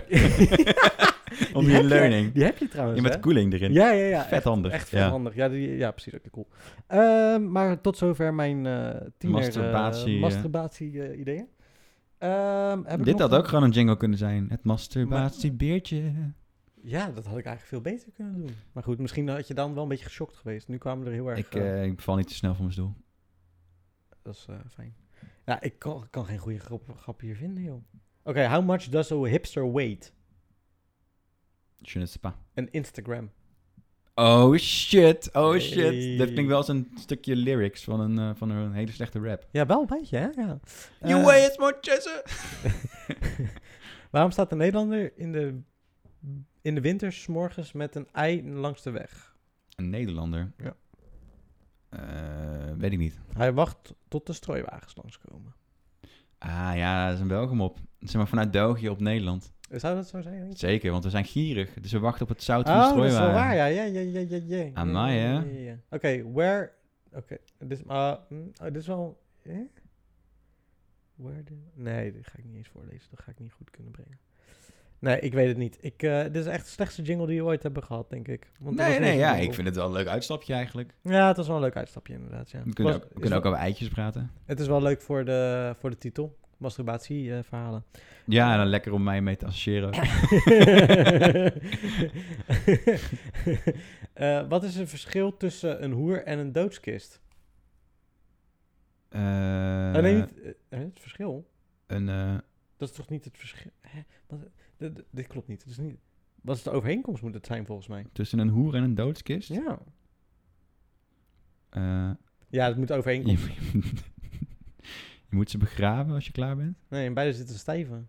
om
Die
je
heb
leuning.
Die heb je trouwens,
Je met
hè?
koeling erin.
Ja, ja, ja.
Vet handig.
Echt
Ja.
veel handig. Ja, die, ja precies. Oké, cool. Ehm, maar tot zover mijn eh tiener...
Masturbatie, eh.
Masturbatie-ideeën. Ehm, heb ik
Dit
nog
had
een-
ook gewoon een jingle kunnen zijn. Het masturbatiebeertje.
Ja, dat had ik eigenlijk veel beter kunnen doen. Maar goed, misschien had je dan wel een beetje geschokt geweest. Nu kwamen we er heel erg...
Ik,
eh,
eh, ik val niet te snel van mijn stoel.
dat is eh, fijn. Ja, ik kan, kan geen goede grap, grap hier vinden, joh. Oké, how much does a hipster weight?
Je ne sais pas.
Een Instagram.
Oh shit, oh shit.
Hey.
Dat klinkt wel als een stukje lyrics van een, eh, van een hele slechte rap.
Ja, wel een beetje, hè? Ja.
you
Eh,
weigh as much as a-
Waarom staat de Nederlander in de, in de winter 's morgens met een ei langs de weg?
Een Nederlander.
Ja.
Eh, weet ik niet.
Hij wacht tot de strooiwagens langskomen.
Ah ja, dat is een welkom op. Zeg maar vanuit België op Nederland.
Zou dat zo zijn?
Zeker, want we zijn gierig. Dus we wachten op het zout van de
Oh, dat is wel
strooiwagen.
waar. Ja, ja, ja, ja, ja. ja.
Amai, hè?
Ja, ja, ja, ja. Oké, where Oké, dit is- ah, mm, ah, dit is wel... Eh? Where the- Nee, dit ga ik niet eens voorlezen. Dat ga ik niet goed kunnen brengen. Nee, ik weet het niet. Ik, eh, dit is echt de slechtste jingle die we ooit hebben gehad, denk ik. Want er was
nee,
niet
nee,
eens
ja,
een jingle.
ik vind het wel een leuk uitstapje eigenlijk.
Ja, het was wel een leuk uitstapje inderdaad, ja.
We kunnen,
Was-
ook, we
is
kunnen ook
wel-
over eitjes praten.
Het is wel leuk voor de, voor de titel. eh, Masturbatieverhalen.
Ja, en dan lekker om mij mee te associëren.
Eh, wat is het verschil tussen een hoer en een doodskist?
Eh,
Alleen niet, eh, het verschil?
een, eh,
Dat is toch niet het verschil? Hè? Wat- dit- dit- dit klopt niet. Dat is niet. Wat is de overeenkomst moet het zijn volgens mij?
tussen een hoer en een doodskist.
Ja.
Eh,
Ja, het moet
je,
overeenkomst.
je moet ze begraven als je klaar bent.
Nee, en beide zitten stijven.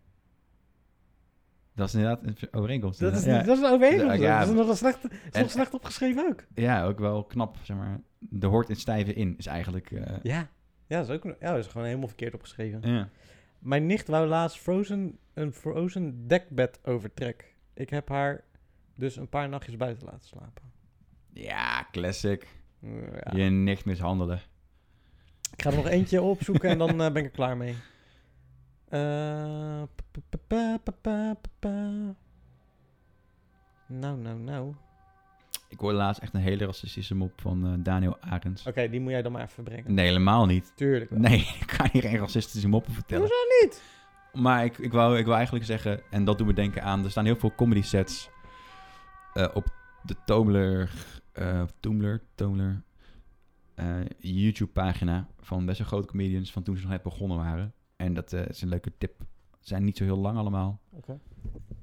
Dat is inderdaad een overeenkomst.
Dat is,
inderdaad.
dat is een overeenkomst.
Ja,
dat is nog wel slecht, dat is
en-
nog slecht opgeschreven ook.
ja. ja, ook wel knap, zeg maar. De hoort in stijve in is eigenlijk... eh,
Ja. Ja, dat is ook ja, dat is gewoon helemaal verkeerd opgeschreven.
ja.
Mijn nicht wou laatst Frozen, een Frozen dekbed overtrek. Ik heb haar dus een paar nachtjes buiten laten slapen.
Ja, classic.
Ja.
Je nicht mishandelen.
Ik ga er nog eentje opzoeken en dan eh, ben ik er klaar mee. Eh, pa- pa- pa- pa- pa- pa- pa. Nou, nou, nou.
Ik
Oké,
hoorde laatst echt een hele racistische mop van eh, Daniel Arends.
die moet jij dan maar even brengen.
Nee, helemaal niet.
Tuurlijk wel.
Nee, ik ga hier geen racistische moppen vertellen.
Hoezo niet?
Maar ik, ik, wou, ik wou eigenlijk zeggen, en dat doet me denken aan... Er staan heel veel comedy sets eh, op de Tumblr... eh Tumblr? Tumblr? eh, YouTube-pagina van best wel grote comedians van toen ze nog net begonnen waren. En dat eh, is een leuke tip. Zijn niet zo heel lang allemaal.
Oké.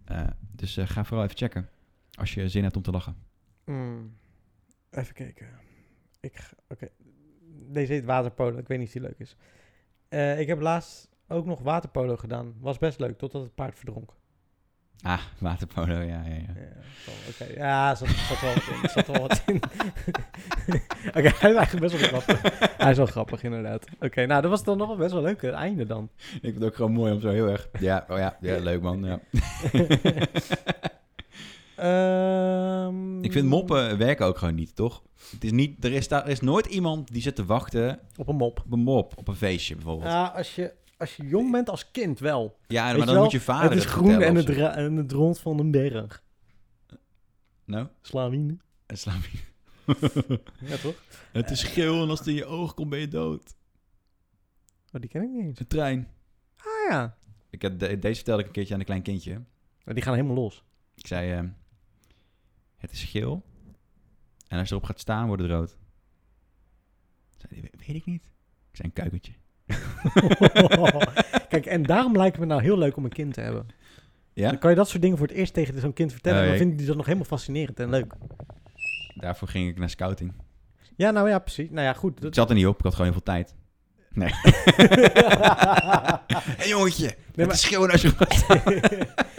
Eh, dus eh, ga vooral even checken. Als je zin hebt om te lachen.
Mm. Even kijken. Ik ga- Oké. Deze heet waterpolo. Ik weet niet of die leuk is. Eh, ik heb laatst ook nog waterpolo gedaan. Was best leuk, totdat het paard verdronk.
Ah, waterpolo, ja, ja, ja.
Ja, zal- Oké, ja, zat, zat wel wat in. Zat wel wat in. Oké, hij is eigenlijk best wel grappig. Hij is wel grappig, inderdaad. Oké, nou, dat was dan nog wel best wel leuk, het einde dan.
Ik vind het ook gewoon mooi om zo heel erg... Ja, oh ja, ja leuk man, ja.
Ehm,
Ik vind moppen werken ook gewoon niet, toch? Het is niet, er, is daar, er is nooit iemand die zit te wachten
Op een mop.
op een mop, op een feestje bijvoorbeeld.
Ja, als je, als je jong bent als kind wel.
ja,
weet
maar
je
dan
wel,
moet je vader
het is groen
vertellen
en
of
het,
zo.
ra- en het rond van een berg.
Nou,
Slavine.
het slaat me-
Ja, toch?
Het is geel en als het in je oog komt ben je dood.
Oh, die ken ik niet eens.
De trein.
Ah ja.
Ik heb de- deze vertelde ik een keertje aan een klein kindje.
Oh, Die gaan helemaal los.
Ik zei, eh, het is geel en als je erop gaat staan wordt het rood. Zei die, "We- weet ik niet. Ik zei, een kuikentje.
Kijk, en daarom lijkt het me nou heel leuk om een kind te hebben.
Ja?
Dan kan je dat soort dingen voor het eerst tegen zo'n kind vertellen.
Oh,
en dan
jee.
vinden die dat nog helemaal fascinerend en leuk.
Daarvoor ging ik naar scouting.
Ja, nou ja, precies. Nou ja, goed.
Ik
Dat...
zat er niet op, ik had gewoon heel veel tijd. Nee. Hé jongetje,
maar-
het is geel als je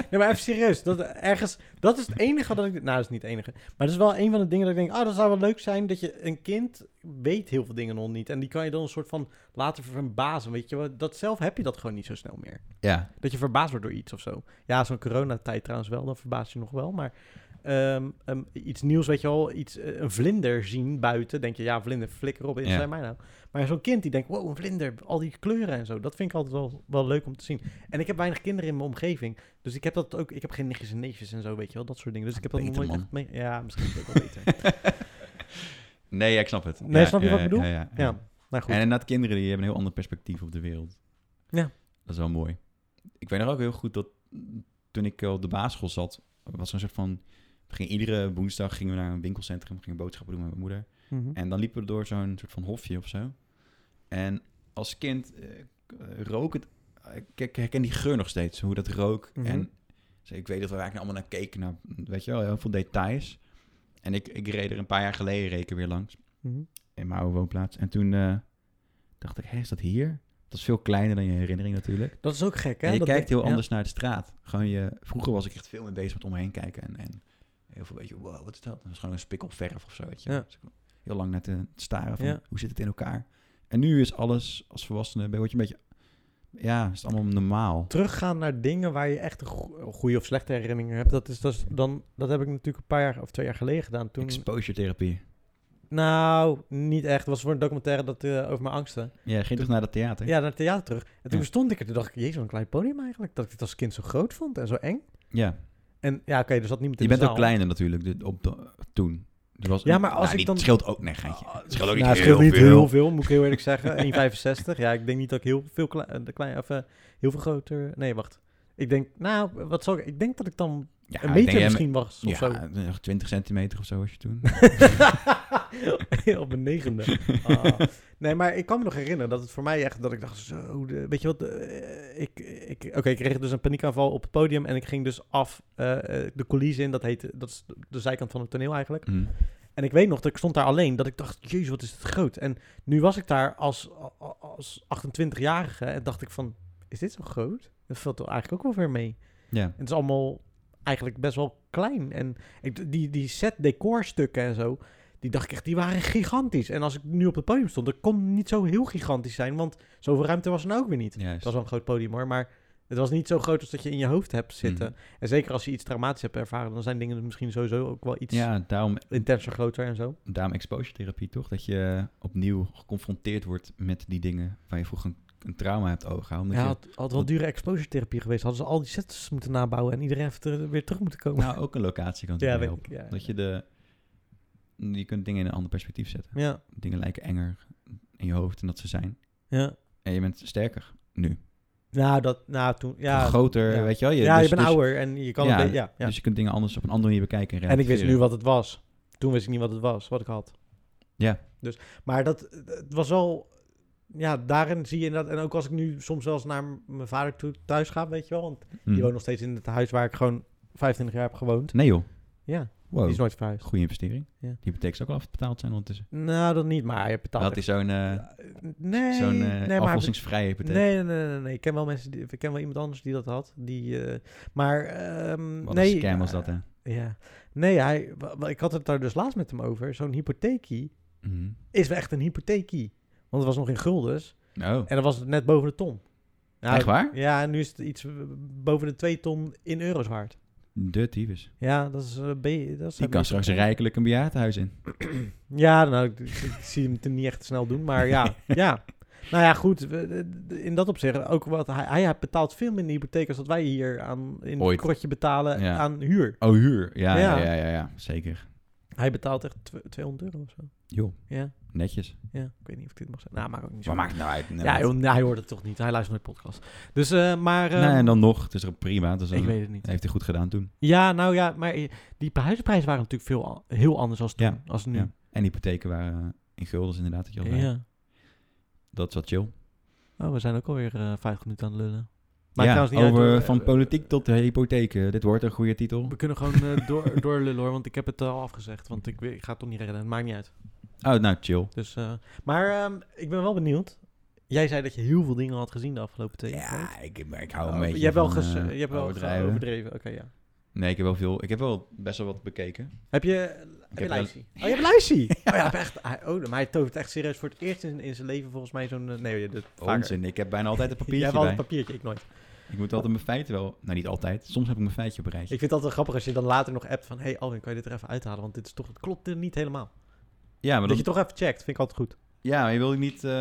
nee, maar even serieus. Dat, ergens, dat is het enige dat ik... Nou, dat is niet het enige. Maar dat is wel een van de dingen dat ik denk... Ah, dat zou wel leuk zijn dat je een kind weet heel veel dingen nog niet. En die kan je dan een soort van laten verbazen, weet je wel. Dat zelf heb je dat gewoon niet zo snel meer.
Ja,
Dat je verbaasd wordt door iets of zo. Ja, zo'n coronatijd trouwens wel, dan verbaas je nog wel. Maar ehm, ehm, iets nieuws, weet je wel, iets, eh, een vlinder zien buiten. Denk je, ja, vlinder, flikker op, in
Ja.
zijn mij nou. Maar zo'n kind die denkt, wow, een vlinder, al die kleuren en zo. Dat vind ik altijd wel, wel leuk om te zien. En ik heb weinig kinderen in mijn omgeving. Dus ik heb dat ook, ik heb geen nichtjes en neefjes en zo, weet je wel, dat soort dingen. Dus ik heb dat nog
Beter,
nooit echt mee. Ja, misschien is het ook wel beter.
nee, ik snap het.
Nee,
Ja,
snap je
ja,
wat ik bedoel?
Ja, ja, ja.
ja, nou goed.
En inderdaad, kinderen die hebben een heel ander perspectief op de wereld.
Ja.
Dat is wel mooi. Ik weet nog ook heel goed dat mm, toen ik eh, op de basisschool zat, was er een soort van... we gingen iedere woensdag gingen we naar een winkelcentrum, gingen boodschappen doen met mijn moeder.
Mhm.
En dan liepen we door zo'n soort van hofje of zo. En als kind eh, k- eh, rook het... Ik, ik herken die geur nog steeds, hoe dat rook.
Mhm.
En dus ik weet dat we eigenlijk allemaal naar keken, naar, weet je wel, heel veel details. En ik, ik reed er een paar jaar geleden reken weer langs,
Mhm.
in mijn oude woonplaats. En toen eh, dacht ik, hé, is dat hier? Dat is veel kleiner dan je herinnering natuurlijk.
Dat is ook gek, hè?
en je
Dat
kijkt
denk-
heel
ja.
anders naar de straat. Gewoon je, vroeger was ik echt veel meer bezig met omheen kijken. En, en heel veel, weet je, wow, wat is dat? Dat is gewoon een spikkel verf of zo, weet je.
Ja.
Dus ik heel lang naar te staren van,
Ja.
hoe zit het in elkaar? En nu is alles, als volwassene, ben- word je een beetje... Ja, is het allemaal normaal.
teruggaan naar dingen waar je echt een go- goede of slechte herinneringen hebt. Dat, is, dat, is dan, dat heb ik natuurlijk een paar jaar of twee jaar geleden gedaan. Toen,
Exposure therapie.
Nou, niet echt. Het was voor een documentaire dat, eh, over mijn angsten.
Ja, je ging toch naar dat theater?
Ja, naar het theater terug. En toen
Ja.
stond ik er. Toen dacht ik, jezus, wat een klein podium eigenlijk. Dat ik dit als kind zo groot vond en zo eng.
Ja.
En ja, oké, er zat niemand in
Je
de
bent ook
zaal.
kleiner natuurlijk dit- op de- toen. Er was
Ja, maar als
Nou,
ik
niet-
dan-
Het scheelt ook... Nee, geintje. Het scheelt ook niet,
Nou, het
heel,
scheelt niet
veel.
heel veel, moet ik heel eerlijk zeggen. 1,65. Ja, ik denk niet dat ik heel veel klei- eh, de klein, of, eh, heel veel groter... Nee, wacht. Ik denk, nou, wat zal ik... Ik denk dat ik dan
Ja,
een
ik
meter
denk,
misschien was, of
Ja,
zo.
nog 20 centimeter of zo was je toen.
Op mijn negende. Ah. Nee, maar ik kan me nog herinneren dat het voor mij echt... Dat ik dacht, zo... de- weet je wat? eh, ik, ik, Oké, ik kreeg dus een paniekaanval op het podium... en ik ging dus af eh, eh, de coulissen in. Dat, heet, dat is de zijkant van het toneel eigenlijk.
Mm.
En ik weet nog dat ik stond daar alleen, dat ik dacht, jezus, wat is het groot. En nu was ik daar als, als 28-jarige en dacht ik van, is dit zo groot? Dat valt toch eigenlijk ook wel weer mee.
Ja.
Het is allemaal eigenlijk best wel klein. En ik, die, die set decorstukken en zo, die dacht ik echt, die waren gigantisch. En als ik nu op het podium stond, dat kon niet zo heel gigantisch zijn, want zoveel ruimte was er nou ook weer niet.
Juist.
Het was wel een groot podium hoor, maar het was niet zo groot als dat je in je hoofd hebt zitten.
Mhm.
En zeker als je iets traumatisch hebt ervaren, dan zijn dingen misschien sowieso ook wel iets
Ja, daarom,
intenser, groter en zo.
daarom exposure therapie toch? Dat je opnieuw geconfronteerd wordt met die dingen waar je vroeger een, een trauma hebt overgehouden.
Ja,
Omdat
had, had wel dure exposure therapie geweest. Hadden ze al die sets moeten nabouwen en iedereen heeft er weer terug moeten
je,
komen.
nou, ook een locatie kan
ja,
natuurlijk
weet
helpen.
ik. Ja.
Dat je de... Je kunt dingen in een ander perspectief zetten.
ja,
Dingen lijken enger in je hoofd dan dat ze zijn.
ja.
En je bent sterker nu.
Nou, dat, nou, toen, ja.
Groter,
ja.
weet je wel.
ja, je
dus-
bent
dus-
ouder en je kan
ja,
een beetje- ja, ja.
Dus je kunt dingen anders op een andere manier bekijken.
En ik wist nu
wel.
wat het was. Toen wist ik niet wat het was, wat ik had.
Ja.
Dus, maar dat, het was wel... Ja, daarin zie je inderdaad... En ook als ik nu soms wel eens naar m- mijn vader toe, thuis ga, weet je wel. Want
Hmm.
die woont nog steeds in het huis waar ik gewoon 25 jaar heb gewoond.
Hm. Nee joh.
Ja, die
Wow.
is nooit verhuisd.
Goede investering.
Ja.
Die hypotheek zou ook al afbetaald zijn ondertussen.
Nou, dat niet, maar je betaalt...
Dat is zo'n eh
echt- nee,
zo'n eh,
nee, maar
aflossingsvrije hypotheek.
Nee, nee, nee, nee, nee. Ik ken wel mensen, die, ik ken wel iemand anders die dat had. Die, eh, maar, ehm,
Wat
nee.
een scam was dat hè.
Ja. Nee, hij, wa- wa- ik had het daar dus laatst met hem over. Zo'n hypotheekie
Mhm.
is wel echt een hypotheekie. Want het was nog in guldens
Oh,
en dan was het net boven de ton. Ja,
echt waar?
Ja, en nu is het iets eh, boven de 2 ton in euro's waard.
De tyfus.
Ja, dat is... eh, be- dat is
Die kan straks rijkelijk een bejaardenhuis in.
Ja, nou, ik, ik- ik zie hem te- niet echt snel doen, maar ja, ja. Nou ja, goed, we- de- in dat opzicht ook wat... Hij, hij betaalt veel minder hypotheek als dat wij hier aan, in het
Ooit.
krotje betalen
Ja.
aan huur.
Oh, huur. Ja,
Ja.
ja, ja, ja, ja. zeker.
Hij betaalt echt tw- 200 euro of zo.
Joh,
Ja,
netjes.
ja. Ik weet niet of ik dit mag zeggen. Nou, maakt ook niet zo
Maar maakt het nou uit. Nee,
ja,
maar-
joh, nee, hij hoort het toch niet. Hij luistert nooit podcast. Dus, eh, maar... eh,
Nee, en dan nog. Het is er prima. Dus
Ik
dan
weet het niet.
heeft hij goed gedaan toen.
Ja, nou ja, maar eh, die huizenprijzen waren natuurlijk veel, a- heel anders als toen,
Ja,
als nu.
Ja. En hypotheken waren eh, in guldens inderdaad. Dat, je al zei.
Ja.
dat is wat chill.
Oh, we zijn ook alweer eh 50 minuten aan het lullen.
ja,
trouwens niet uit,
over
hoor.
van
Eh,
politiek tot de hypotheken. Dit wordt een goede titel.
We kunnen gewoon eh, door, doorlullen hoor, want ik heb het eh, al afgezegd. Want ik, weet- ik ga het toch niet redden, het maakt niet uit.
Oh, nou, chill.
Dus, eh, maar ehm, ik ben wel benieuwd. Jij zei dat je heel veel dingen had gezien de afgelopen twee weken.
Ja, ik, ik hou een
Oh,
beetje
je hebt wel,
van,
ges-
eh,
je hebt wel overdreven.
overdrijven.
overdreven. Oké, ja.
Nee, ik heb wel veel. Ik heb wel best wel wat bekeken.
Heb je, heb je
heb
Lijsie? Oh, je hebt Lijsie! Oh, ja, echt, hij- oh, maar hij tovert echt serieus voor het eerst in, in zijn leven volgens mij zo'n... eh, Nee, dat vaker.
Onzin, ik heb bijna altijd een
Jij
papiertje
hebt altijd
bij.
een papiertje, ik nooit.
ik moet altijd mijn feiten wel... Nou, niet altijd. Soms heb ik mijn feitje op een rijtje.
Ik vind het altijd wel grappig als je dan later nog appt van... Hé hey Alwin, kan je dit er even uithalen? Want dit is toch, het klopt dit niet helemaal.
ja, maar
dat
dan,
je toch even checkt, vind ik altijd goed.
ja, maar je wil niet... eh,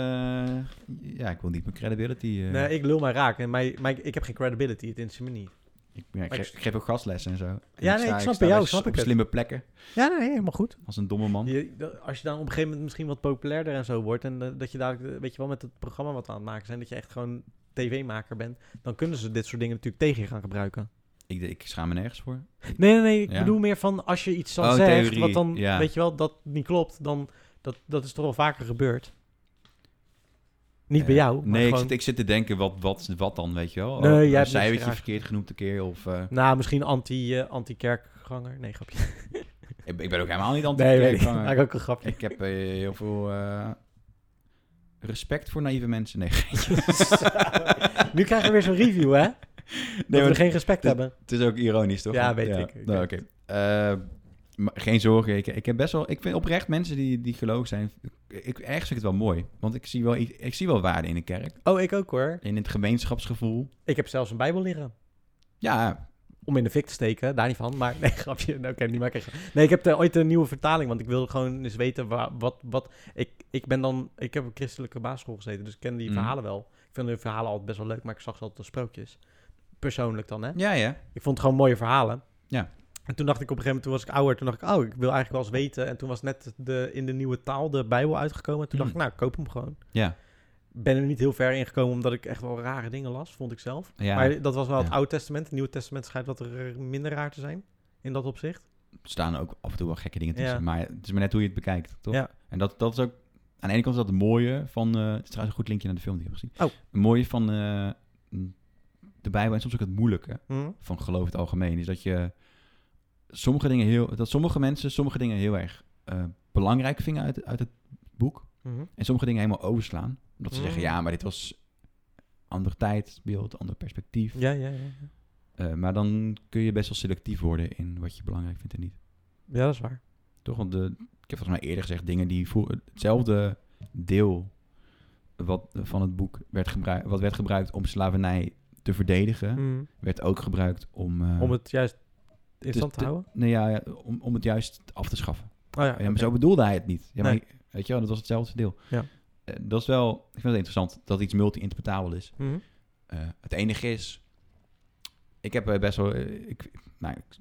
ja, ik wil niet mijn credibility... eh,
Nee,
ik,
ik lul mij raak. En mij, mij, ik heb geen credibility, het interesseert me niet.
ja, ik,
maar ik-
geef, ik geef ook gastlessen en zo. En
nee, ik snap
sta
jou,
bij s-
snap
op
ik het.
slimme plekken.
Ja, nee, helemaal goed.
Als een domme man.
Je- dat- als je dan op een gegeven moment misschien wat populairder en zo wordt... en eh, dat je dadelijk, eh, weet je wel, met het programma wat we aan het maken zijn... dat je echt gewoon tv-maker bent... dan kunnen ze dit soort dingen natuurlijk tegen je gaan gebruiken.
Ik, ik schaam me nergens voor.
Nee, nee, nee, ik
Ja.
bedoel meer van als je iets dan
Oh,
zegt...
theorie,
wat dan,
ja.
weet je wel, dat niet klopt... dan dat, dat is toch wel vaker gebeurd. Niet bij
Eh,
jou, maar
nee, ik,
gewoon...
zit, ik zit te denken, wat, wat, wat dan, weet je wel?
Nee, jij hebt niks
Zij weet je
geraakt.
verkeerd genoemd een keer, of... eh,
Nou, misschien anti, eh, anti-kerkganger. Nee, grapje.
ik, ik ben ook helemaal niet
Nee, weet ik.
anti-kerkganger.
Eigenlijk ook een grapje.
Ik heb eh, heel veel eh, respect voor naïeve mensen. Nee,
nu krijgen we weer zo'n review, hè? dat we
maar
geen respect
dat-
hebben.
het is ook ironisch, toch?
Ja, weet ik. Ik
nou,
weet
oké. Eh, maar geen zorgen. Ik, ik heb best wel. Ik vind oprecht mensen die, die gelovig zijn. Ik, ergens vind ik het wel mooi. Want ik zie wel, i- ik zie wel waarde in de kerk.
Oh, ik ook hoor.
In het gemeenschapsgevoel.
Ik heb zelfs een Bijbel liggen.
Ja,
om in de fik te steken, daar niet van. Maar nee, grapje. Nou, Oké, niet maar kregen. Nee, ik heb eh, ooit een nieuwe vertaling, want ik wilde gewoon eens weten wa- wat... wat ik, ik ben dan... Ik heb op een christelijke basisschool gezeten, dus ik ken die
Mhm.
verhalen wel. Ik vind de verhalen altijd best wel leuk, maar ik zag ze altijd als sprookjes. Persoonlijk dan, hè?
Ja, ja.
Ik vond het gewoon mooie verhalen.
Ja.
En toen dacht ik op een gegeven moment, toen was ik ouder, toen dacht ik, oh, ik wil eigenlijk wel eens weten. En toen was net de, in de nieuwe taal de Bijbel uitgekomen.
Hmm.
Toen dacht ik, nou, ik koop hem gewoon.
Ja.
Ben er niet heel ver in gekomen, omdat ik echt wel rare dingen las, vond ik zelf.
ja.
Maar dat was wel het
Ja.
Oude Testament. Het Nieuwe Testament schijnt wat er eh, minder raar te zijn in dat opzicht.
Er staan ook af en toe wel gekke dingen tussen.
Ja.
Maar het is maar net hoe je het bekijkt, toch?
Ja.
En dat, dat is ook... Aan de ene kant is dat het mooie van... eh, het is trouwens een goed linkje naar de film die ik heb gezien.
Oh.
Het mooie van eh, de Bijbel en soms ook het moeilijke
Hm?
van geloof in het algemeen... is dat je sommige dingen heel... dat sommige mensen sommige dingen heel erg eh, belangrijk vingen uit, uit het boek.
Mhm.
En sommige dingen helemaal overslaan. Omdat ze
Mm.
zeggen, ja, maar dit was ander tijdsbeeld, ander perspectief.
Ja, ja, ja.
Eh, maar dan kun je best wel selectief worden in wat je belangrijk vindt en niet.
Ja, dat is waar.
Toch? Want de, ik heb volgens mij eerder gezegd dingen die voor hetzelfde deel wat van het boek werd gebruikt, wat werd gebruikt om slavernij te verdedigen,
Hm.
werd ook gebruikt om, eh,
Om het juist in
dus
stand te
de-
houden.
nee, ja, ja, om, om het juist af te schaffen.
Oh ja,
Ja, maar
oké.
zo bedoelde hij het niet. Ja, maar,
Nee.
Weet je wel, dat was hetzelfde deel.
Ja.
Eh, dat is wel, ik vind het interessant dat iets multi-interpretabel is.
Hm?
Eh, het enige is, ik heb eh, best wel, eh, ik, nou, ik-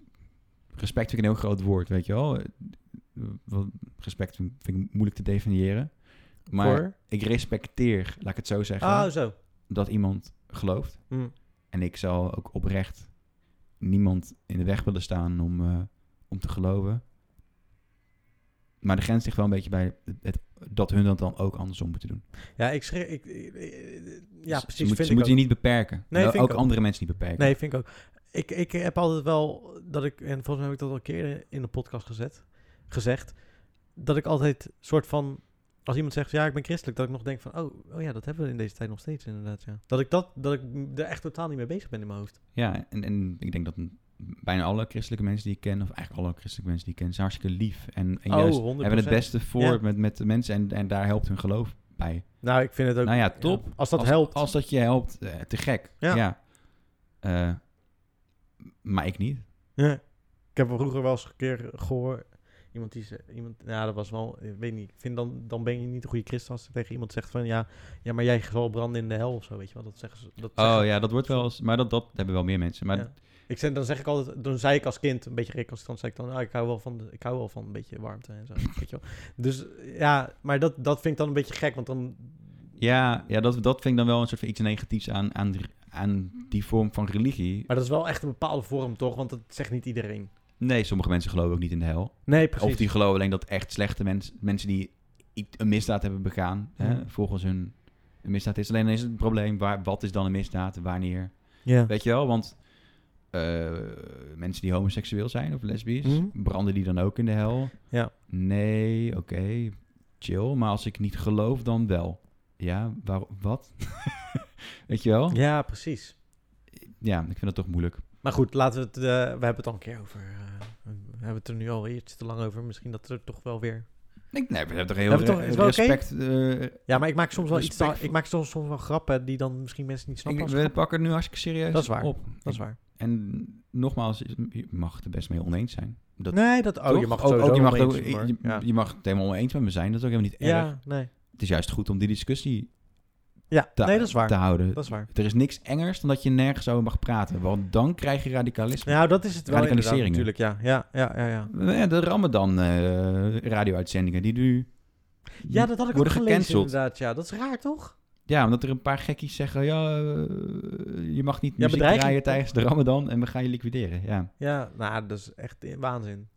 respect vind ik een heel groot woord, weet je wel. Eh, wat- Respect vind, vind ik moeilijk te definiëren. Maar
Voor?
ik respecteer, laat ik het zo zeggen,
Ah, zo.
dat iemand gelooft.
Hm.
En ik zal ook oprecht niemand in de weg willen staan om, eh, om te geloven. Maar de grens ligt wel een beetje bij het, het- dat hun dat dan ook andersom moeten doen.
Ja, ik schrik... Ik, ik- ik- ja,
Ze-
precies.
Ze, moet-
vind
ze
ik
moeten
ook.
je niet beperken.
Nee,
En
vind ik
ook
ook.
andere mensen niet beperken.
Nee, vind ik ook. Ik, ik heb altijd wel dat ik, en volgens mij heb ik dat al een keer in de podcast gezet, gezegd, dat ik altijd soort van, als iemand zegt, ja, ik ben christelijk, dat ik nog denk van, oh, oh ja, dat hebben we in deze tijd nog steeds inderdaad, ja. Dat ik, dat, dat ik er echt totaal niet mee bezig ben in mijn hoofd.
Ja, en, en ik denk dat m- bijna alle christelijke mensen die ik ken, of eigenlijk alle christelijke mensen die ik ken, zijn hartstikke lief. En, en
Oh,
juist
100%.
hebben het beste voor
Ja.
met, met de mensen en, en daar helpt hun geloof bij.
Nou, ik vind het ook...
Nou ja, top.
als dat
als,
helpt.
Als dat je helpt, eh, te gek.
Ja.
Ja. Eh, maar ik niet.
Ja. Ik heb vroeger wel eens een keer gehoord, iemand die ze, iemand, ja, dat was wel, ik weet niet, ik vind dan, dan ben je niet een goede christen als je tegen iemand zegt van, ja, ja, maar jij zal branden in de hel of zo, weet je wel, dat zeggen ze. Dat zeggen
Oh ja, dat wordt wel eens, maar dat, dat hebben wel meer mensen. Maar
Ja. Ik zei, dan zeg ik altijd, dan zei ik als kind, een beetje recalcitrant, zei ik dan, ah, ik hou wel van, de- ik hou wel van een beetje warmte en zo, weet je wel. Dus ja, maar dat, dat vind ik dan een beetje gek, want dan,
ja, ja dat, dat vind ik dan wel een soort van iets negatiefs aan, aan, aan die vorm van religie.
maar dat is wel echt een bepaalde vorm toch, want dat zegt niet iedereen.
Nee, sommige mensen geloven ook niet in de hel.
Nee, precies.
Of die geloven alleen dat echt slechte mensen, mensen die i- een misdaad hebben begaan,
Ja.
hè, volgens hun een misdaad is. Alleen dan is het een probleem, waar, wat is dan een misdaad, wanneer?
Ja.
Weet je wel, want eh, mensen die homoseksueel zijn of lesbisch,
Mhm.
branden die dan ook in de hel?
Ja.
Nee, oké, chill, maar als ik niet geloof, dan wel. Ja, waar, wat? Weet je wel? Ja.
ja, precies.
ik vind dat toch moeilijk.
Maar goed, laten we het, eh, we hebben het al een keer over, eh, we hebben het er nu al iets te lang over, misschien dat er toch wel weer...
Ik, nee, we hebben toch
Ja,
heel
maar toch, is wel oké?
respect. eh,
Ja, maar ik maak soms wel iets, te-
Respectvol.
ik maak soms, soms wel grappen die dan misschien mensen niet snappen.
ik-
als
we
grap.
pakken het nu hartstikke serieus
Dat is waar.
op.
Dat is waar.
En nogmaals, je mag het er best mee oneens zijn. Dat,
nee, dat, oh,
Toch?
je mag
ook,
sowieso
ook, je, mag
oneens,
ook- je,
maar- ja.
je- je mag het helemaal oneens met me zijn. Dat is ook helemaal niet erg.
ja, nee.
Het is juist goed om die discussie
Ja,
te,
nee, dat is waar.
te houden.
Dat is waar.
Er is niks engers dan dat je nergens over mag praten. Want dan krijg je radicalisme.
Nou, dat is het wel inderdaad
Radicaliseringen.
natuurlijk, ja. Ja, ja, ja, ja.
Ja, de Ramadan eh radio-uitzendingen die nu...
ja dat had ik ook
worden
gelezen
gecanceld.
inderdaad, ja. Dat is raar, toch?
Ja, omdat er een paar gekkies zeggen... Ja, eh, je mag niet
Ja,
muziek
bedreiging.
draaien tijdens de Ramadan en we gaan je liquideren. Ja,
Ja, nou, dat is echt i- waanzin.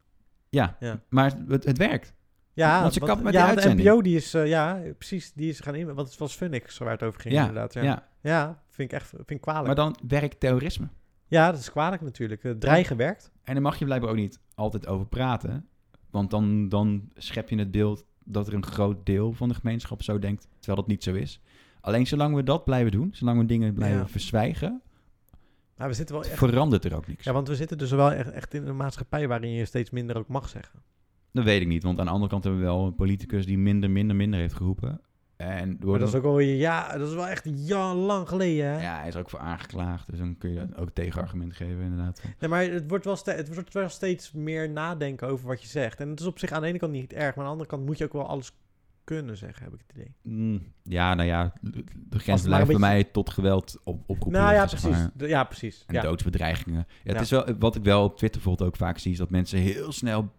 ja.
Ja.
maar het, het werkt.
Ja,
Want ze kappen met
ja,
die
want
uitzending.
NPO die is, eh, ja, precies, die is gaan in, want het was Funix waar het over ging
Ja,
inderdaad. Ja.
ja.
Ja. vind ik echt vind ik kwalijk.
Maar dan werkt terrorisme.
Ja, dat is kwalijk natuurlijk. Eh, Dreigen werkt.
En daar mag je blijkbaar ook niet altijd over praten. Want dan, dan schep je het beeld dat er een groot deel van de gemeenschap zo denkt, terwijl dat niet zo is. Alleen zolang we dat blijven doen, zolang we dingen blijven
Ja.
verzwijgen,
Maar we zitten wel echt...
verandert er ook niks.
Ja, want we zitten dus wel echt, echt in een maatschappij waarin je steeds minder ook mag zeggen.
Dat weet ik niet, want aan de andere kant hebben we wel een politicus die minder, minder, minder heeft geroepen. En er
Maar
worden
dat is ook alweer, ja, dat is wel echt ja, lang geleden, hè?
Ja, hij is ook voor aangeklaagd. Dus dan kun je ook tegenargument geven, inderdaad.
Nee, maar het wordt, wel ste- het wordt wel steeds meer nadenken over wat je zegt. En het is op zich aan de ene kant niet erg, maar aan de andere kant moet je ook wel alles kunnen zeggen, heb ik het idee.
Mm, Ja, nou ja, de
maar
grens
een
blijft bij
beetje-
mij tot geweld op, oproepen.
nou ja,
liggen, zeg
precies.
maar.
De- Ja, precies.
En
Ja.
doodsbedreigingen. Ja, het
Ja.
is wel, wat ik wel op Twitter bijvoorbeeld ook vaak zie, is dat mensen heel snel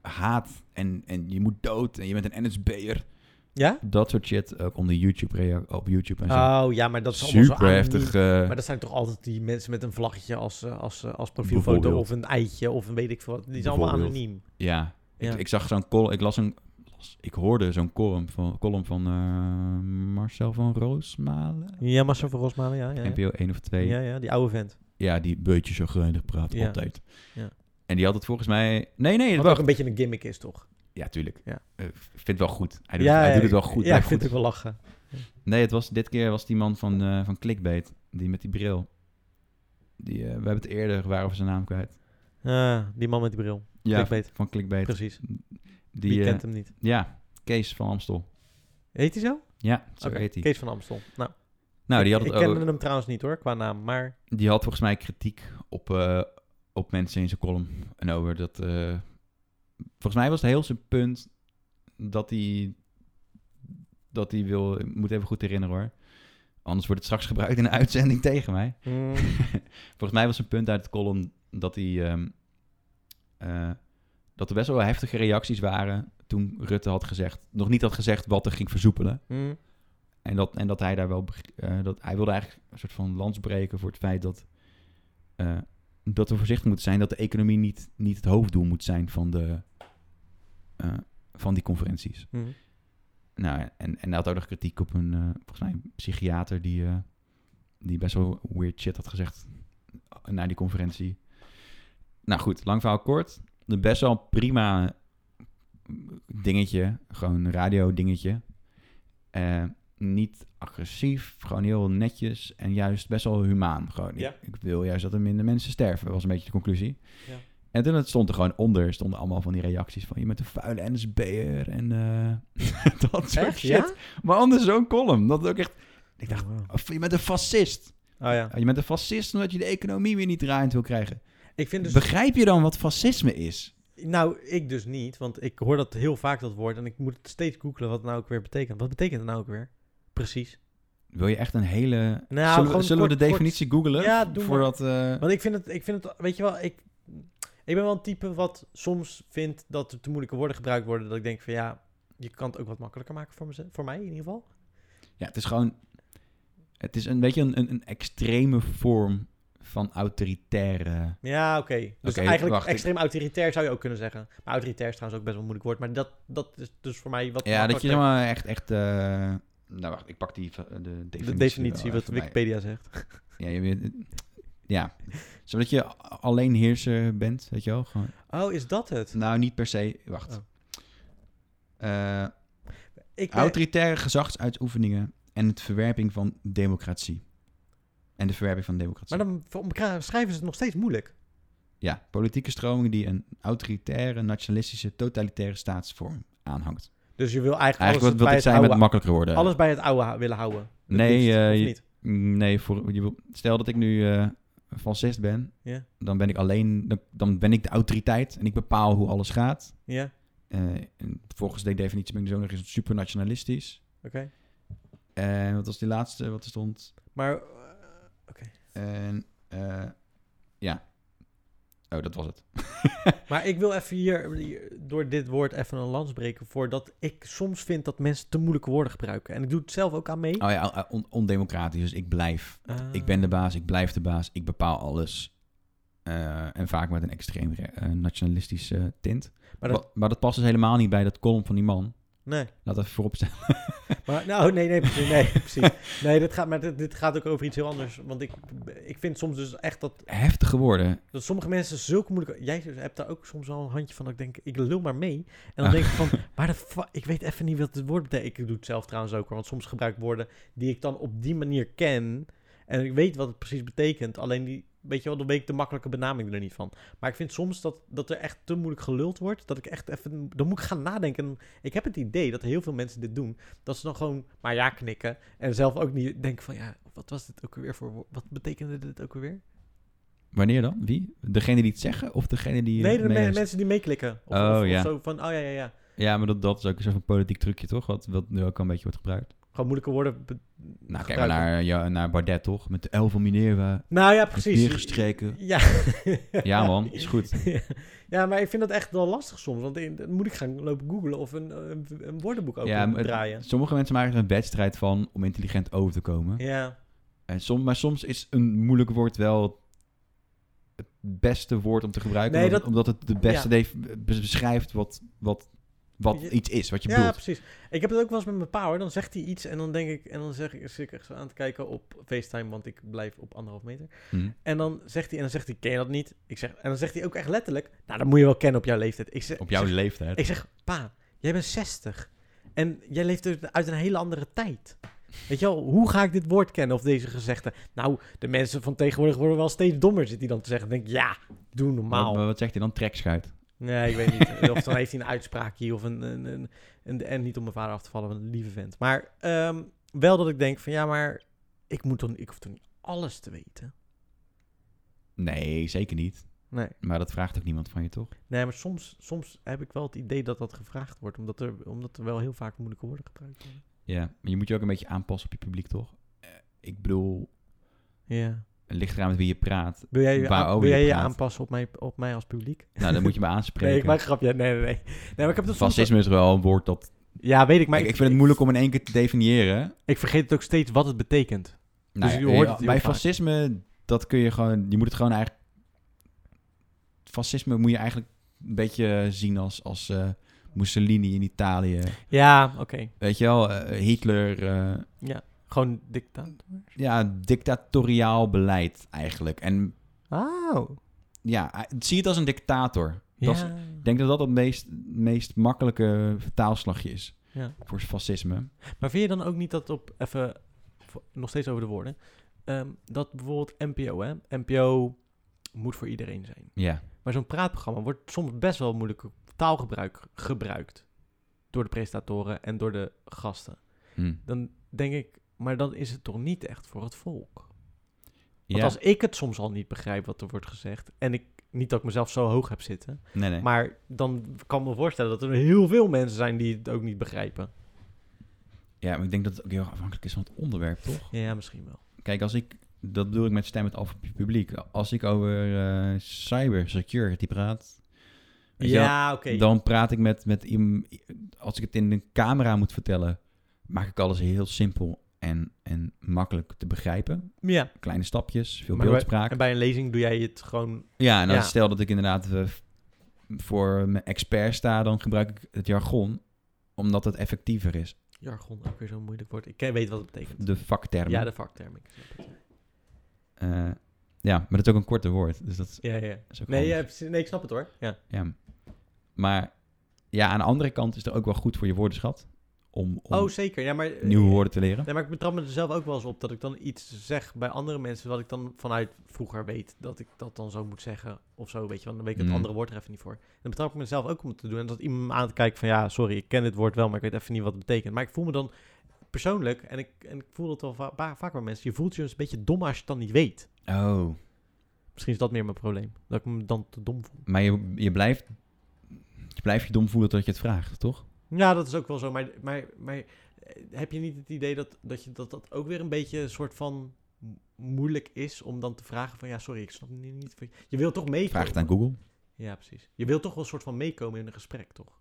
haat en, en je moet dood en je bent een NSB'er.
ja?
Dat soort shit ook onder YouTube, rea- op YouTube en zo.
Oh ja, maar dat is allemaal zo
Super heftig.
anoniem.
eh,
Maar dat zijn toch altijd die mensen met een vlaggetje als, eh, als, eh, als profielfoto
Bijvoorbeeld.
of een eitje of een weet ik veel wat. Die zijn allemaal
Bijvoorbeeld.
anoniem.
Ja,
Ja.
Ik, ik zag zo'n column, ik las een, las- ik hoorde zo'n column van, column van eh, Marcel van Roosmalen.
Ja, Marcel van Rosmalen, ja. Ja, ja.
NPO 1 of 2.
ja, ja die oude vent.
Ja, die beutje zo geinig praat
Ja.
altijd.
Ja.
En die had het volgens mij... Nee, nee,
Wat
wacht.
ook een beetje een gimmick is, toch?
Ja, tuurlijk.
Ja.
Eh, ik vind het wel goed. Hij doet, hij doet het wel goed.
Ja,
Hij
ik vind
goed.
het wel lachen.
Nee, het was, dit keer was die man van, eh, van Clickbait. Die met die bril. Die, eh, we hebben het eerder, waren we zijn naam kwijt.
Ah, die man met die bril.
Ja,
Clickbait.
van Clickbait.
Precies.
Die,
Wie
eh,
kent hem niet?
Ja, Kees van Amstel.
Heet hij zo?
Ja, zo
Oké,
heet hij.
Kees van Amstel. Nou,
Nou, die
ik,
had, het
ik
ook-
kende hem trouwens niet hoor, qua naam. Maar
die had volgens mij kritiek op, eh, op mensen in zijn column. En over dat... eh, volgens mij was het heel zijn punt dat hij... Dat hij wil... Ik moet even goed herinneren hoor. Anders wordt het straks gebruikt in een uitzending tegen mij.
mm,
Volgens mij was een punt uit het column dat hij... ehm, eh, dat er best wel heftige reacties waren toen Rutte had gezegd... Nog niet had gezegd wat er ging versoepelen.
mm,
En dat, en dat hij daar wel. beg- eh, dat, hij wilde eigenlijk een soort van lans breken voor het feit dat. eh, dat we voorzichtig moeten zijn. Dat de economie niet, niet het hoofddoel moet zijn van, de, eh, van die conferenties.
mm.
Nou, en, en hij had ook nog kritiek op een. eh, volgens mij een psychiater die. eh, die best wel weird shit had gezegd. na die conferentie. Nou goed, lang verhaal kort. Een Best wel prima dingetje. Gewoon een radio-dingetje. Eh, niet agressief, gewoon heel netjes en juist best wel humaan. Gewoon. Ik-
Ja.
Ik, wil juist dat er minder mensen sterven, was een beetje de conclusie.
Ja.
En toen het stond er gewoon onder, stonden allemaal van die reacties van... je bent een vuile NSB'er en eh, dat soort
Echt?
shit.
Ja?
Maar anders zo'n column, dat het ook echt... Ik dacht,
Oh, wow.
of je bent een fascist.
Oh ja.
Je bent een fascist omdat je de economie weer niet draaiend wil krijgen.
Ik vind dus...
Begrijp je dan wat fascisme is?
Nou, ik dus niet, want ik hoor dat heel vaak dat woord en ik moet het steeds googlen wat het nou ook weer betekent. Wat betekent het nou ook weer? Precies.
Wil je echt een hele...
Nou,
zullen
gewoon
we, zullen we
kort-
de
kort-
definitie googlen?
Ja, doe maar.
voordat, eh,
Want ik vind het, ik vind het, weet je wel, ik, ik ben wel een type wat soms vindt dat er te moeilijke woorden gebruikt worden. Dat ik denk van ja, je kan het ook wat makkelijker maken voor, meze- voor mij in ieder geval.
Ja, het is gewoon. Het is een beetje een, een, een extreme vorm van autoritaire.
Ja, oké. Dus
Oké,
eigenlijk
wacht, ik-
extreem autoritair zou je ook kunnen zeggen. Maar autoritair is trouwens ook best wel een moeilijk woord. Maar dat, dat is dus voor mij wat
Ja, dat je
makkelijker.
helemaal echt. echt eh, Nou, wacht, ik pak die, eh, de definitie.
de
wel
definitie wat
even bij.
Wikipedia zegt.
Ja, je weet- ja, zodat je alleen heerser bent, weet je wel? Gewoon.
Oh, is dat het?
Nou, niet per se. Wacht.
Oh.
Eh,
Ik ben-
autoritaire gezagsuitoefeningen en het verwerping van democratie. En de verwerping van democratie.
maar dan voor elkaar schrijven ze het nog steeds moeilijk.
Ja, politieke stromingen die een autoritaire, nationalistische, totalitaire staatsvorm aanhangt.
Dus je wil eigenlijk,
Eigenlijk wat, wat
alles, bij
ik
het
zei met
oude,
makkelijker worden.
alles bij het oude hou- willen houden. Het
Nee,
liefst,
eh,
of
je-
niet?
Nee, voor, je wil- stel dat ik nu eh fascist ben,
Ja.
dan ben ik alleen, dan, dan ben ik de autoriteit en ik bepaal hoe alles gaat.
Ja, oké.
Eh, en volgens die definitie ben ik dus ook nog eens supernationalistisch. En wat was die laatste wat er stond?
Maar, eh, oké.
En eh, ja. Oh, dat was het.
Maar ik wil even hier, hier door dit woord even een lans breken voordat ik soms vind dat mensen te moeilijke woorden gebruiken. En ik doe het zelf ook aan mee. Eh,
Oh ja, on- ondemocratisch, dus ik blijf. Ik ben de baas, ik blijf de baas, ik bepaal alles. Eh, en vaak met een extreem re- eh, nationalistische tint.
Maar
Maar
dat-
dat... maar dat past dus helemaal niet bij dat column van die man.
Nee.
Laat even voorop staan.
Maar, nou, nee, nee, precies. Nee, precies. nee dit, gaat, maar dit, dit gaat ook over iets heel anders. Want ik, ik vind soms dus echt dat,
Heftige woorden.
dat sommige mensen zulke moeilijke... Jij hebt daar ook soms wel een handje van dat ik denk, ik lul maar mee. En dan denk ik van, waar de fuck... Ik weet even niet wat het woord betekent. Ik doe het zelf trouwens ook hoor. Want soms gebruik ik woorden die ik dan op die manier ken. En ik weet wat het precies betekent. Alleen die Weet je wel, dan weet ik de makkelijke benaming er niet van. Maar ik vind soms dat, dat er echt te moeilijk geluld wordt. Dat ik echt even... Dan moet ik gaan nadenken. Ik heb het idee dat heel veel mensen dit doen. Dat ze dan gewoon maar ja knikken. En zelf ook niet denken van... Ja, wat was dit ook weer voor... wo- Wat betekende dit ook weer?
Wanneer dan? Wie? Degene die het zeggen of degene die...
Nee,
het
de me-
meeluistert?
mensen die meeklikken. Of,
Oh,
of- of
ja.
zo van... Oh ja, ja, ja.
Ja, maar dat, dat is ook een soort van politiek trucje, toch? Wat, wat nu ook al een beetje wordt gebruikt.
Gewoon moeilijke woorden. be-
Nou, kijk maar
gebruiken.
naar, ja, naar Bardet, toch? Met de elf van Minerva.
Nou ja,
Precies.
precies.
Neergestreken.
Ja.
Ja, man. Is goed.
ja, maar ik vind dat echt wel lastig soms. Want in- dan moet ik gaan lopen googlen of een, een, een woordenboek open
Ja, maar het-
draaien.
Sommige mensen maken er een wedstrijd van om intelligent over te komen.
Ja,
En som, maar soms is een moeilijk woord wel het beste woord om te gebruiken.
Nee,
omdat,
dat-
omdat het de beste def- beschrijft wat, wat, wat
Je-
iets is, wat je
ja
bedoelt.
precies. Ik heb het ook wel eens met mijn pa hoor. Dan zegt hij iets en dan denk ik... En dan zeg ik, zit ik echt zo aan te kijken op FaceTime, want ik blijf op anderhalf meter.
Hm.
En dan zegt hij, en dan zegt hij, ken je dat niet? Ik zeg, en dan zegt hij ook echt letterlijk... Nou, dat moet je wel kennen op jouw leeftijd. Ik zeg,
Op jouw
ik zeg,
leeftijd.
ik zeg, pa, jij bent 60. En jij leeft uit- uit een hele andere tijd. Weet je wel, hoe ga ik dit woord kennen of deze gezegde? Nou, de mensen van tegenwoordig worden wel steeds dommer, zit hij dan te zeggen. Dan denk ik, ja, doe normaal.
Wat, wat zegt hij dan? Trekschuit.
Nee, ik weet niet. Of dan heeft hij een uitspraakje of een, een, een, een- En niet om mijn vader af te vallen, want een lieve vent. Maar ehm, wel dat ik denk van ja, maar ik, moet toch, ik hoef toch niet alles te weten?
Nee, zeker niet.
Nee.
Maar dat vraagt ook niemand van je, toch?
Nee, maar soms, soms heb ik wel het idee dat dat gevraagd wordt, omdat er, omdat er wel heel vaak moeilijke woorden gebruikt worden.
Ja, maar je moet je ook een beetje aanpassen op je publiek, toch? Eh, Ik bedoel,
Ja.
het ligt eraan met wie je praat.
Wil jij je,
Waarover
aan- wil
je
jij je
praat.
aanpassen op mij, op mij als publiek?
Nou, dan moet je me
Nee, ik
aanspreken.
maak een grapje. Nee, nee, nee. nee maar ik heb dat soms...
Fascisme is wel een woord dat...
Ja, weet ik, maar
Maar ik, vind het moeilijk om in één keer te definiëren.
Ik vergeet het ook steeds wat het betekent.
Nou,
je
ja,
hoort
ja,
het heel
bij
vaak.
fascisme, dat kun je gewoon... Je moet het gewoon eigenlijk... Fascisme moet je eigenlijk een beetje zien als, als eh, Mussolini in Italië.
Ja, oké.
Weet je wel, eh, Hitler... eh,
Gewoon dictaat.
ja, dictatoriaal beleid eigenlijk. En
Oh.
ja, eh, zie het als een dictator. Dat is-
Ja.
Ik denk dat dat het meest, meest makkelijke vertaalslagje is
Ja.
voor fascisme.
Maar vind je dan ook niet dat op, even vo- nog steeds over de woorden, ehm, dat bijvoorbeeld NPO, hè? NPO moet voor iedereen zijn.
Ja.
Maar zo'n praatprogramma wordt soms best wel moeilijk taalgebruik gebruikt. Door de presentatoren en door de gasten.
Hm.
Dan denk ik, maar dan is het toch niet echt voor het volk? Want
ja.
als ik het soms al niet begrijp wat er wordt gezegd, en ik niet dat ik mezelf zo hoog heb zitten,
Nee, nee.
maar dan kan ik me voorstellen dat er heel veel mensen zijn die het ook niet begrijpen.
ja, maar ik denk dat het ook heel erg afhankelijk is van het onderwerp, toch?
Ja, misschien wel.
Kijk, als ik... Dat bedoel ik met stem het af op je publiek. Als ik over eh cybersecurity praat... weet je wel,
Ja, oké.
Dan praat ik met, met iem- Als ik het in een camera moet vertellen... maak ik alles heel simpel en, en makkelijk te begrijpen.
Ja.
Kleine stapjes, veel
Maar bij-
beeldspraak.
En bij een lezing doe jij het gewoon.
Ja, en dan
Ja.
stel dat ik inderdaad eh, f- voor mijn expert sta, dan gebruik ik het jargon omdat het effectiever is.
Jargon ook weer zo'n moeilijk woord. Ik ken- weet wat het betekent.
De vaktermen.
Ja, de vakterm. ik snap het.
Eh, ja, maar dat is ook een korte woord. Dus dat is,
Ja, ja.
is ook
Nee, ja,
handig.
precies. nee, ik snap het hoor. Ja.
Ja. Maar ja, aan de andere kant is het ook wel goed voor je woordenschat om, om
Oh, zeker. Ja, maar, eh,
nieuwe woorden te leren.
Nee, maar ik betrap me er zelf ook wel eens op dat ik dan iets zeg bij andere mensen. wat ik dan vanuit vroeger weet dat ik dat dan zo moet zeggen. of zo, weet je. Want dan weet ik het
Mm.
andere woord er even niet voor. Dan betrap ik mezelf ook om het te doen. En dat iemand me aan te kijken van ja, sorry, ik ken dit woord wel. maar ik weet even niet wat het betekent. Maar ik voel me dan persoonlijk. en ik, en ik voel dat wel va- va- vaak bij mensen. je voelt je dus een beetje dom als je het dan niet weet.
Oh,
Misschien is dat meer mijn probleem. Dat ik me dan te dom voel.
maar je, je blijft je blijft je dom voelen dat je het vraagt, toch?
Ja, dat is ook wel zo. Maar, maar, maar eh, heb je niet het idee dat dat, je, dat dat ook weer een beetje een soort van mo- moeilijk is om dan te vragen van ja, sorry, ik snap niet. niet wat je- je wil toch meekomen.
Vraag het aan Google.
Ja, precies. Je wil toch wel een soort van meekomen in een gesprek, toch?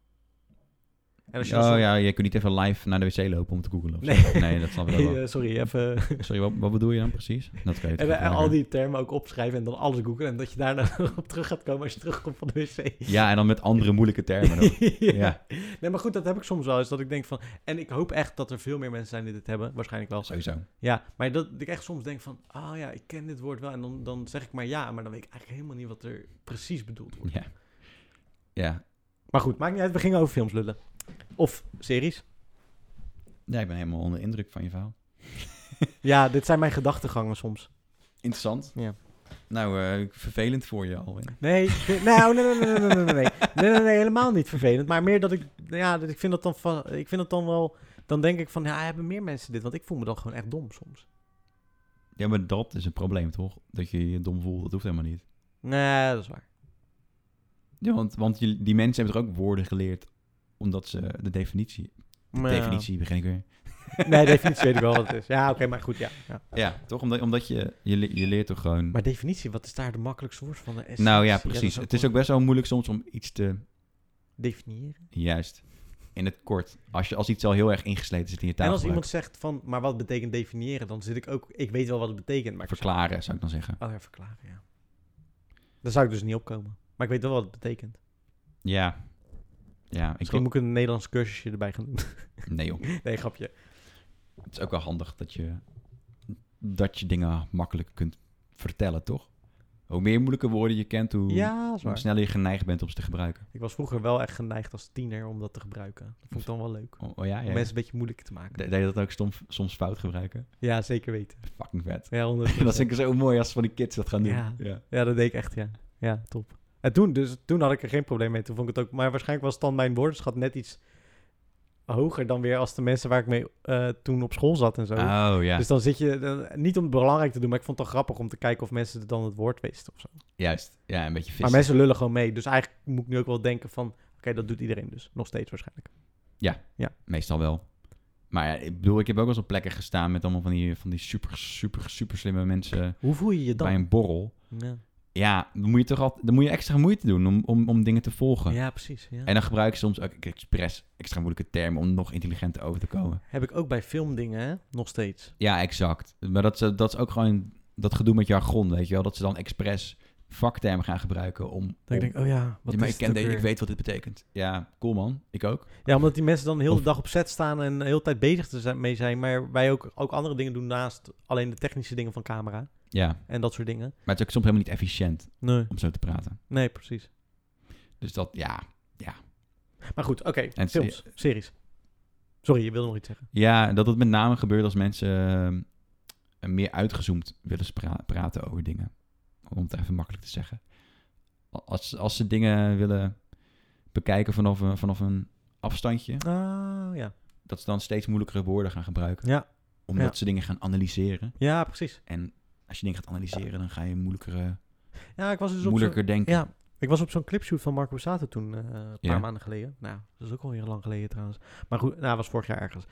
En als je dan
oh
zo-
ja, je kunt niet even live naar de wc lopen om te googlen. of zo.
Nee.
nee, dat snap ik ook wel.
Eh, sorry, even.
Sorry, wat, wat bedoel je dan precies? Dat kan je
En,
toch
eh,
vragen.
al die termen ook opschrijven en dan alles googlen. En dat je daarna op terug gaat komen als je terugkomt van de wc.
Ja, en dan met andere moeilijke termen. dan.
ja.
Ja.
Nee, maar goed, dat heb ik soms wel eens. Dat ik denk van. En ik hoop echt dat er veel meer mensen zijn die dit hebben. Waarschijnlijk wel.
Sowieso.
Ja, maar dat ik echt soms denk van, ah ja, ik ken dit woord wel. En dan, dan zeg ik maar ja, maar dan weet ik eigenlijk helemaal niet wat er precies bedoeld wordt.
Ja. Ja.
Maar goed, maakt niet uit, we gingen over films lullen. Of series.
ja, ik ben helemaal onder de indruk van je verhaal.
Ja, dit zijn mijn gedachtegangen soms.
Interessant.
Ja.
Nou, eh, vervelend voor je, Alwin.
Nee, ik vind- nou, nee, nee, nee, nee, nee, nee, nee. Nee, nee, nee, helemaal niet vervelend. Maar meer dat ik, nou ja, dat ik vind dat dan, va- ik vind dat dan wel, dan denk ik van, ja, hebben meer mensen dit? Want ik voel me dan gewoon echt dom soms.
Ja, maar dat is een probleem, toch? Dat je je dom voelt, dat hoeft helemaal niet.
Nee, dat is waar.
Ja, want, want je- die mensen hebben toch ook woorden geleerd omdat ze de definitie... De
Maar ja.
definitie begin ik weer.
Nee, definitie weet ik wel wat het is. Ja, oké, maar goed, ja. ja.
Ja, toch? Omdat, omdat je, je, le- je leert toch gewoon...
Maar definitie, wat is daar de makkelijkste woord van? De essentie?
nou ja,
dat
precies. het
wel-
is ook best wel moeilijk soms om iets te...
Definiëren.
Juist. In het kort. Als, je, als iets al heel erg ingesleten zit in je taal.
En als iemand zegt van, maar wat betekent definiëren? Dan zit ik ook, ik weet wel wat het betekent, maar ik
eh, Verklaren, zou ik dan zeggen.
Oh ja, verklaren, ja. Daar zou ik dus niet opkomen. Maar ik weet wel wat het betekent.
Ja. Ja, ik
Misschien
wil...
moet ik een Nederlands cursusje erbij gaan doen.
Nee joh.
Nee, grapje.
Het is ook wel handig dat je, dat je dingen makkelijk kunt vertellen, toch? Hoe meer moeilijke woorden je kent, hoe,
Ja, dat is
hoe
waar.
sneller je geneigd bent om ze te gebruiken.
Ik was vroeger wel echt geneigd als tiener om dat te gebruiken. Dat vond ik dan wel leuk. Om
Oh, oh ja, ja.
mensen een beetje moeilijk te maken.
De- Deed je dat ook stom- soms fout gebruiken?
Ja, zeker weten.
Fucking vet.
Ja, 100%.
dat vind ik zo mooi als van die kids dat gaan doen.
Ja. ja, dat deed ik echt, ja. Ja, top. En toen, dus, toen had ik er geen probleem mee. Toen vond ik het ook... Maar waarschijnlijk was dan mijn woordenschat net iets hoger dan weer als de mensen waar ik mee eh, toen op school zat en zo.
Oh ja,
Dus dan zit je... dan- niet om het belangrijk te doen, maar ik vond het dan grappig om te kijken of mensen dan het woord wisten of zo.
juist. Ja, een beetje
Maar
vissen.
mensen lullen gewoon mee. Dus eigenlijk moet ik nu ook wel denken van... Oké, dat doet iedereen dus. Nog steeds waarschijnlijk.
Meestal wel. Maar ja, ik bedoel, ik heb ook wel eens op plekken gestaan met allemaal van die, van die super, super, super slimme mensen
Hoe voel je je dan?
bij een borrel.
Ja.
Ja, dan moet je toch altijd, dan moet je extra moeite doen om, om, om dingen te volgen.
Ja, precies. Ja.
En dan gebruik ik soms ook expres extra moeilijke termen om nog intelligenter over te komen.
Heb ik ook bij filmdingen, hè? Nog steeds.
Ja, exact. Maar dat, ze- dat is ook gewoon dat gedoe met jargon, weet je wel. Dat ze dan expres vaktermen gaan gebruiken om...
Dat ik denk, oh ja, wat
ja, maar
is
ik, ken
het ook
deze, ik
weer?
weet wat dit betekent. Ja, cool man. Ik ook.
Ja, omdat die mensen dan heel
Of-
de dag op set staan en de hele tijd bezig te zijn, mee zijn. Maar wij ook, ook andere dingen doen naast alleen de technische dingen van camera.
Ja, maar
En dat soort dingen.
het is ook soms helemaal niet efficiënt
Nee,
om zo te praten.
nee precies.
Dus dat, ja.
Maar goed, oké.
En
films, series. Sorry, je wilde nog iets zeggen.
Ja, dat het met name gebeurt als mensen eh, meer uitgezoomd willen spra- praten over dingen. Om het even makkelijk te zeggen. Als, als ze dingen willen bekijken vanaf een, vanaf een afstandje,
Ah, ja.
dat ze dan steeds moeilijkere woorden gaan gebruiken.
Ja.
Omdat
Ja.
ze dingen gaan analyseren.
Ja, precies.
En als je dingen gaat analyseren, dan ga je moeilijkere,
Ja, ik was dus op zo'n-
moeilijker denken.
Ja, ik was op zo'n clipshoot van Marco Borsato toen, eh, een paar
Ja.
maanden geleden. Nou, dat is ook al heel lang geleden trouwens. Maar goed, nou, was vorig jaar ergens.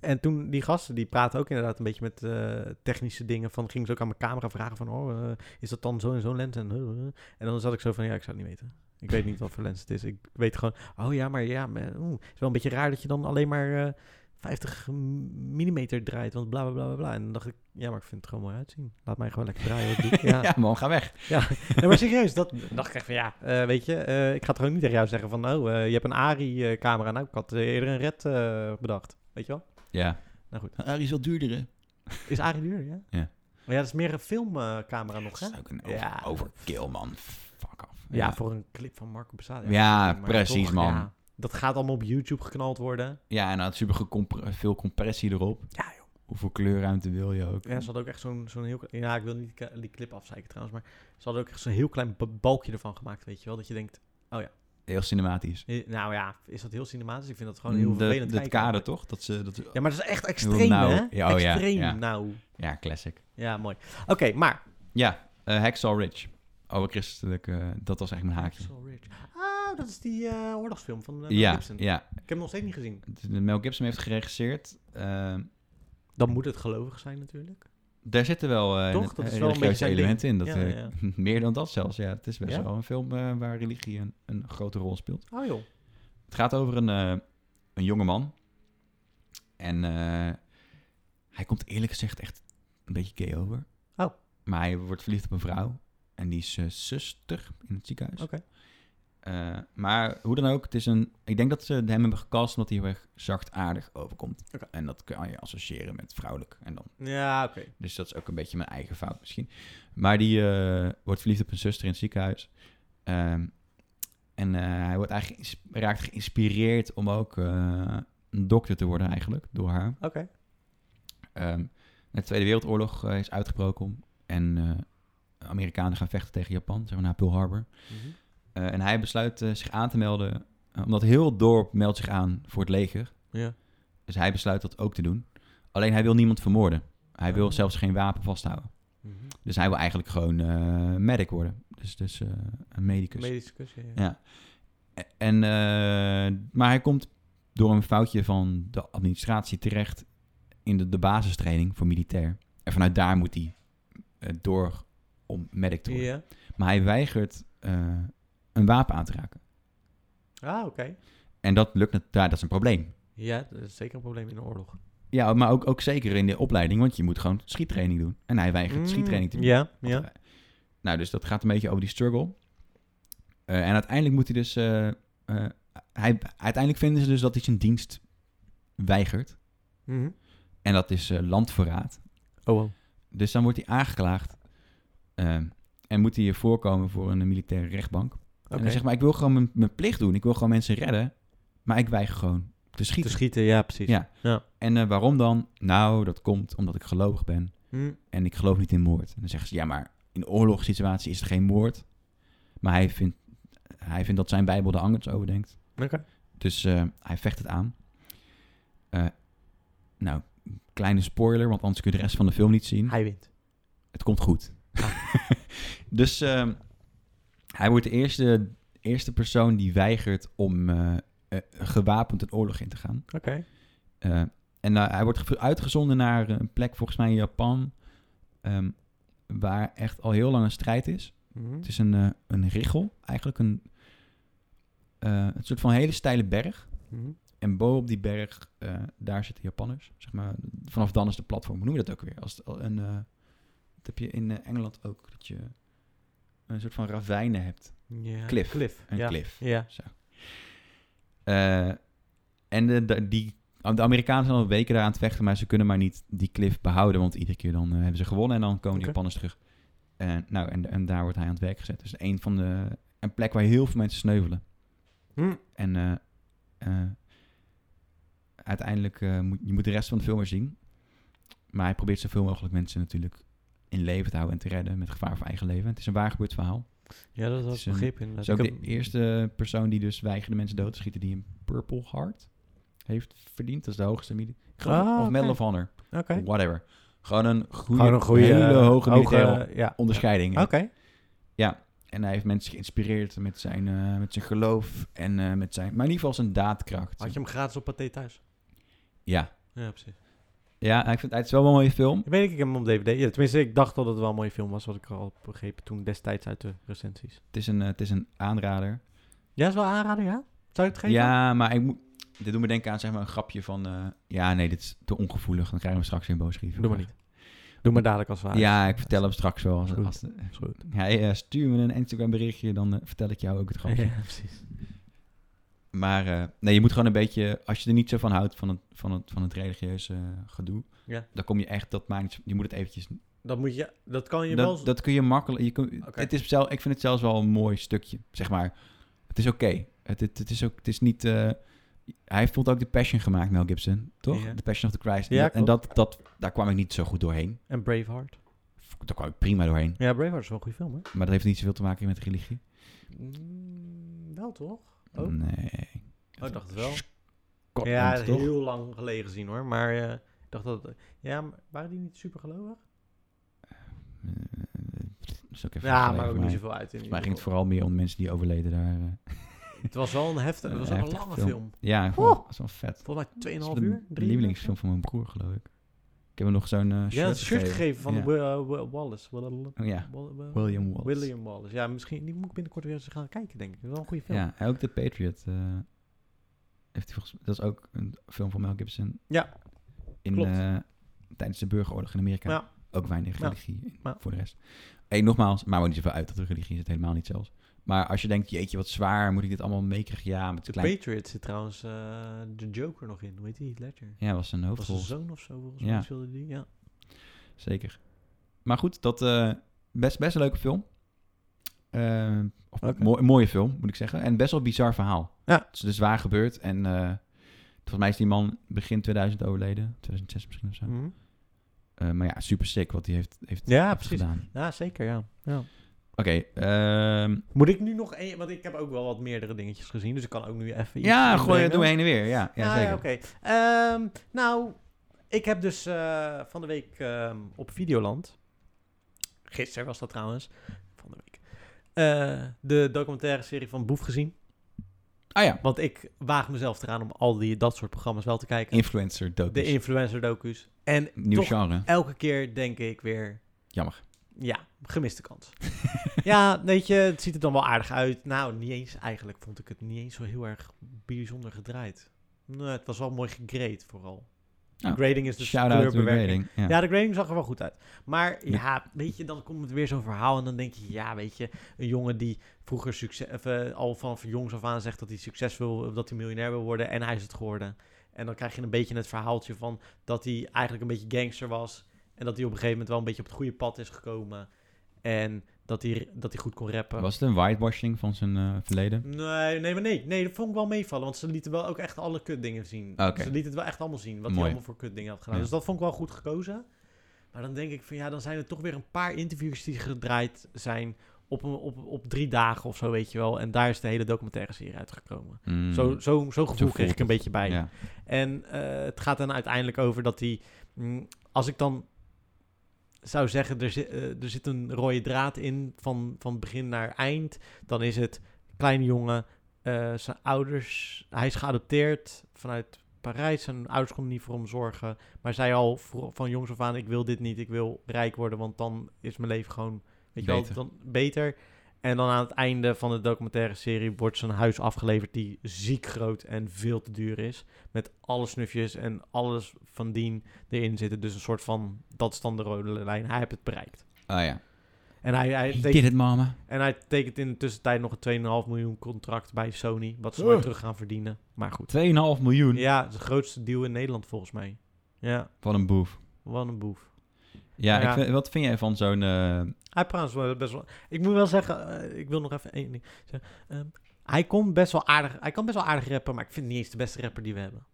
En toen, die gasten, die praten ook inderdaad een beetje met eh, technische dingen. Van, gingen ze ook aan mijn camera vragen van, oh, eh, is dat dan zo en zo'n lens? En, eh, eh. en dan zat ik zo van, ja, ik zou het niet weten. Ik weet niet wat voor lens het is. Ik weet gewoon, oh ja, maar ja, maar, oeh, het is wel een beetje raar dat je dan alleen maar eh, 50 mm draait. Want bla, bla, bla, bla, bla. En dan dacht ik, ja, maar ik vind het gewoon mooi uitzien. Laat mij gewoon lekker draaien. wat ik doe. Ja,
Ja, man, ga weg.
Nee, maar serieus, dat dacht ik echt van ja, eh, weet je, eh, ik ga toch ook niet tegen jou zeggen van nou, eh, je hebt een ARI-camera. Nou, ik had eh, eerder een RED eh, bedacht, weet je wel?
Ja.
Nou goed.
Arie is wel duurder, hè?
Is ARI duur, ja?
Ja.
Maar ja, dat is meer een filmcamera nog, hè?
Dat is ook een over-
Ja.
overkill, man. Fuck off.
Ja, voor een clip van Marco Besaad.
Ja,
maar
precies, man.
dat gaat allemaal op YouTube geknald worden.
Ja, en dan had super gecompre- veel compressie erop.
Ja, joh.
Hoeveel kleurruimte wil je ook?
Ja, ze hadden ook echt zo'n zo'n heel... Ja, ik wil niet die- die clip afzeiken trouwens, maar ze hadden ook echt zo'n heel klein ba- balkje ervan gemaakt, weet je wel? Dat je denkt,
Heel cinematisch.
eh, nou ja, is dat heel cinematisch? Ik vind dat gewoon heel
De-
vervelend
Het
kijken.
kader, toch? Mm, Dat ze, dat ze-
Ja, maar dat is echt extreem,
nauw.
hè?
Ja, oh ja,
extreem nou.
ja.
nauw.
ja, classic.
Ja, mooi. Oké, maar...
Ja, eh Hacksaw Ridge. Over christelijk, eh, dat was eigenlijk mijn haakje.
Axel Rich. Ah, dat is die eh, oorlogsfilm van eh, Mel
ja,
Gibson.
ja.
Ik heb hem nog steeds niet gezien.
De- Mel Gibson heeft geregisseerd. Eh,
Dan moet het gelovig zijn natuurlijk.
daar zitten wel eh
Toch? Dat is wel een
religieuze
beetje zijn
elementen in. Dat,
Ja,
eh,
ja.
meer dan dat zelfs, ja. Het is best
Ja?
wel een film eh, waar religie een, een grote rol speelt.
Oh joh.
Het gaat over een, eh een jongeman. En eh, hij komt eerlijk gezegd echt een beetje gay over.
Oh.
Maar hij wordt verliefd op een vrouw. En die is eh, zuster in het ziekenhuis.
Oké.
Eh, maar hoe dan ook, het is een, ik denk dat ze hem hebben gecast omdat hij heel erg zachtaardig overkomt.
Oké.
En dat kan je associëren met vrouwelijk. En dan,
Ja, oké.
dus dat is ook een beetje mijn eigen fout misschien. Maar die eh, wordt verliefd op een zuster in het ziekenhuis. Ehm, en eh, hij wordt eigenlijk geïns- raakt geïnspireerd om ook eh, een dokter te worden eigenlijk, door haar.
Oké.
Ehm, de Tweede Wereldoorlog eh, is uitgebroken en eh, Amerikanen gaan vechten tegen Japan, zeg maar na Pearl Harbor. Eh, en hij besluit eh, zich aan te melden, eh, omdat heel het dorp meldt zich aan voor het leger.
Ja.
Dus hij besluit dat ook te doen. Alleen hij wil niemand vermoorden. Hij wil
Oh.
zelfs geen wapen vasthouden. Dus hij wil eigenlijk gewoon eh, medic worden. Dus, dus eh, een medicus.
Medische kus, ja, ja.
Ja. En, eh, maar hij komt door een foutje van de administratie terecht in de, de basistraining voor militair. En vanuit daar moet hij eh, door om medic te worden.
Ja.
Maar hij weigert eh, een wapen aan te raken.
Ah, oké.
En dat lukt nat- ja, dat is een probleem.
Ja, dat is zeker een probleem in de oorlog.
Ja, maar ook, ook zeker in de opleiding, want je moet gewoon schiettraining doen. En hij weigert schiettraining te doen.
Mm, Ja,
Want,
ja.
eh, Nou, dus dat gaat een beetje over die struggle. Eh, en uiteindelijk moet hij dus... eh, eh, hij, uiteindelijk vinden ze dus dat hij zijn dienst weigert. eh,
Mhm.
En dat is eh, landverraad.
Oh, wow.
Dus dan wordt hij aangeklaagd. eh, en moet hij hier voorkomen voor een militaire rechtbank.
Oké.
En hij zegt, maar ik wil gewoon mijn, mijn plicht doen. Ik wil gewoon mensen redden. Maar ik weiger gewoon te
Te
schieten.
schieten, ja, precies.
Ja. En eh, waarom dan? Nou, dat komt omdat ik gelovig ben.
Hm.
en ik geloof niet in moord. En dan zeggen ze, ja, maar in oorlogssituatie is er geen moord. Maar hij vindt, hij vindt dat zijn Bijbel er anders over denkt.
Oké.
Dus eh, hij vecht het aan. Eh, nou, kleine spoiler, want anders kun je de rest van de film niet zien.
Hij wint.
Het komt goed. dus eh, hij wordt de eerste, eerste persoon die weigert om eh, eh, gewapend een oorlog in te gaan.
Oké.
Eh, en eh, hij wordt ge- uitgezonden naar een plek, volgens mij in Japan, ehm, waar echt al heel lang een strijd is.
Mhm.
Het is een, eh, een richel, eigenlijk een, eh, een soort van hele steile berg.
Mhm.
En bovenop die berg, eh, daar zitten Japanners. Zeg maar, vanaf dan is de platform. Hoe noem je dat ook weer? Als het al een, eh, dat heb je in eh, Engeland ook, dat je een soort van ravijnen hebt.
Ja.
Cliff.
Cliff.
Een
ja.
cliff.
Ja.
Eh, en de, de- die, de Amerikanen zijn al weken daar aan het vechten, maar ze kunnen maar niet die cliff behouden. Want iedere keer dan eh, hebben ze gewonnen en dan komen de
Oké.
Japanners terug. En nou, en, en daar wordt hij aan het werk gezet. Dus een van de een plek waar heel veel mensen sneuvelen.
Hm.
En eh, eh, uiteindelijk eh, moet je moet de rest van de film maar zien. Maar hij probeert zoveel mogelijk mensen natuurlijk in leven te houden en te redden met gevaar voor eigen leven. Het is een waar gebeurd verhaal.
Ja, dat
Het
was
is een-
begrip inderdaad.
Dat is ook
Ik heb-
de eerste persoon die dus weigerde mensen dood te schieten die een Purple Heart heeft verdiend. Dat is de hoogste mili- ik geloof-
Ah,
of
oké.
Medal of Honor,
Oké.
whatever. Gewoon een goede,
Gewoon een goede,
hele
eh,
hoge militaire
ja.
onderscheiding.
Oké.
En hij heeft mensen geïnspireerd met zijn, eh, met zijn geloof en eh, met zijn, maar in ieder geval zijn daadkracht.
Had je hem gratis op Pathé thuis?
Ja,
Ja, precies.
ja ik vind, het is wel een mooie film.
Ik weet ik, ik heb hem op DVD. Ja, tenminste, ik dacht al dat het wel een mooie film was, wat ik al begrepen toen destijds uit de recensies.
Het is een, eh, het is een aanrader.
Ja, is wel aanraden, ja? Zou je het geven?
Ja, maar ik moet, dit doet me denken aan zeg maar, een grapje van, eh, ja nee, dit is te ongevoelig, dan krijgen we straks weer een boosbrief.
Doe maar niet. Doe maar dadelijk als waar.
Ja, ik vertel hem straks wel. Als,
Goed.
als,
Is goed.
Hij eh, stuur me een Instagram berichtje, dan eh, vertel ik jou ook het grapje.
Ja, precies.
Maar eh, nee, je moet gewoon een beetje, als je er niet zo van houdt van het, van het, van het religieuze eh, gedoe,
Ja.
dan kom je echt, dat maakt, niet zo- je moet het eventjes,
Dat moet je, dat kan je wel...
dat, dat kun je makkelijk, je kun,
Oké.
het is zelf, ik vind het zelfs wel een mooi stukje, zeg maar. Het is oké, het, het, het is ook, het is niet, eh, hij heeft bijvoorbeeld ook de Passion gemaakt, Mel Gibson, toch?
Ja.
The Passion of the Christ.
Ja,
en dat, en dat, dat, daar kwam ik niet zo goed doorheen.
En Braveheart.
Daar kwam ik prima doorheen,
Ja, Braveheart is wel een goede film, hè?
maar dat heeft niet zoveel te maken met religie. Mm,
wel toch? Ook?
Nee.
Oh, ik dacht het wel.
Scotland,
ja,
toch?
heel lang geleden gezien, hoor. Maar eh, ik dacht dat... Ja, maar waren die niet super gelovig?
Eh, dat is ook even
Ja,
geleden
maar ook
voor
niet
mij.
zoveel uit. in
Volgens
ieder
mij ging het
geval.
vooral meer om mensen die overleden daar. eh.
Het was wel een heftige... Het
Een
was ook een
heftige
lange
film.
film.
Ja, gewoon, dat is wel vet.
Volgens mij 2,5
Dat is
uur.
de
drie uur
lievelingsfilm van mijn broer, geloof ik. Ik heb hem nog zo'n eh, shirt
Ja, dat shirt gegeven, van
Ja.
Wa- eh, Wa- Wallace. Wa- Wa-
Oh, ja,
Wa- Wa-
William Wallace.
William Wallace. Ja, misschien die moet ik binnenkort weer eens gaan kijken, denk ik. Dat is wel een goede film.
Ja, en ook The Patriot. eh, heeft hij volgens, dat is ook een film van Mel Gibson.
Ja.
In,
Klopt.
eh, tijdens de burgeroorlog in Amerika.
Ja.
Ook weinig
Ja.
religie in-
Ja.
voor de rest. Hey, nogmaals, maar niet zoveel uit dat er religie zit, helemaal niet zelfs. Maar als je denkt, jeetje, wat zwaar, moet ik dit allemaal meekrijgen? Ja, met
De
klein...
Patriot zit trouwens eh, de Joker nog in. Hoe heet die? Ledger.
Ja, was zijn
Was zijn
hoofdrol.
zoon of zo, volgens
Ja.
mij speelde die. Ja.
Zeker. Maar goed, dat eh, best, best een leuke film. Eh, of
Oké.
mooi- een mooie film, moet ik zeggen. En best wel een bizar verhaal.
Ja.
Het is dus waar gebeurd. En eh volgens mij is die man begin 2000 overleden. 2006 misschien of zo.
Mhm.
Eh, maar ja, super sick wat hij heeft, heeft
Ja,
heeft
precies.
gedaan.
Ja, zeker, ja. ja.
Oké, ehm,
Moet ik nu nog één, want ik heb ook wel wat meerdere dingetjes gezien, dus ik kan ook nu even iets
ja,
inbrengen.
gooi het doe heen en weer. Ja, ja
Ah,
zeker.
ja, oké. Ehm, nou, ik heb dus eh, van de week ehm, op Videoland, gisteren was dat trouwens, van de week, eh, de documentaire serie van Boef gezien.
Ah ja,
Want ik waag mezelf eraan om al die, dat soort programma's wel te kijken.
influencer docu.
de influencer docus. En
Nieuw
toch
genre.
elke keer denk ik weer,
Jammer.
ja, gemiste kans. ja, weet je, het ziet er dan wel aardig uit. Nou, niet eens eigenlijk vond ik het niet eens zo heel erg bijzonder gedraaid. Nee, het was wel mooi gegrade vooral.
Nou,
grading is dus
Shout-out to
kleurbewerking.
rating. Ja.
Ja, de grading zag er wel goed uit. Maar
Ja.
ja, weet je, dan komt het weer zo'n verhaal en dan denk je, ja, weet je, een jongen die vroeger succes, of, eh, al van jongs af aan zegt dat hij succes wil, dat hij miljonair wil worden en hij is het geworden. En dan krijg je een beetje het verhaaltje van dat hij eigenlijk een beetje gangster was en dat hij op een gegeven moment wel een beetje op het goede pad is gekomen en dat hij, dat hij goed kon rappen.
Was het een whitewashing van zijn eh, verleden?
Nee, nee, maar nee, nee, dat vond ik wel meevallen, want ze lieten wel ook echt alle kutdingen zien.
Oké.
Ze lieten het wel echt allemaal zien, wat hij
Mooi.
allemaal voor kutdingen had gedaan.
Ja.
Dus dat vond ik wel goed gekozen. Maar dan denk ik van ja, dan zijn er toch weer een paar interviews die gedraaid zijn op, een, op, op drie dagen of zo, weet je wel. En daar is de hele documentaire serie uitgekomen.
Mm,
Zo, zo, zo gevoel
voelt
kreeg ik een beetje bij.
Ja.
En eh, het gaat dan uiteindelijk over dat hij. mm, als ik dan zou zeggen, er, zi- eh, er zit een rode draad in van, van begin naar eind. Dan is het kleine jongen, eh, zijn ouders. Hij is geadopteerd vanuit Parijs. Zijn ouders konden niet voor hem zorgen. Maar zij al vro- van jongs af aan: ik wil dit niet, ik wil rijk worden, want dan is mijn leven gewoon weet je wel,
Beter.
dan beter. En dan aan het einde van de documentaire serie wordt zijn huis afgeleverd die ziek groot en veel te duur is. Met alle snufjes en alles van dien erin zitten. Dus een soort van, dat is dan de rode lijn. Hij heeft het bereikt.
Ah ja.
En hij, hij,
He
tekent-
did it, mama.
en hij tekent in de tussentijd nog een 2,5 miljoen contract bij Sony. Wat ze nooit
Ugh.
terug gaan verdienen. Maar goed.
2,5 miljoen
Ja, het is het grootste deal in Nederland volgens mij. Ja,
van een boef.
wat een boef.
Ja,
Ja.
Ik vind- wat vind jij van zo'n... eh,
Hij praat wel best wel. Ik moet wel zeggen, eh, ik wil nog even één ding zeggen. Ehm, hij, kon best wel aardig, hij kan best wel aardig rappen, maar ik vind het niet eens de beste rapper die we hebben.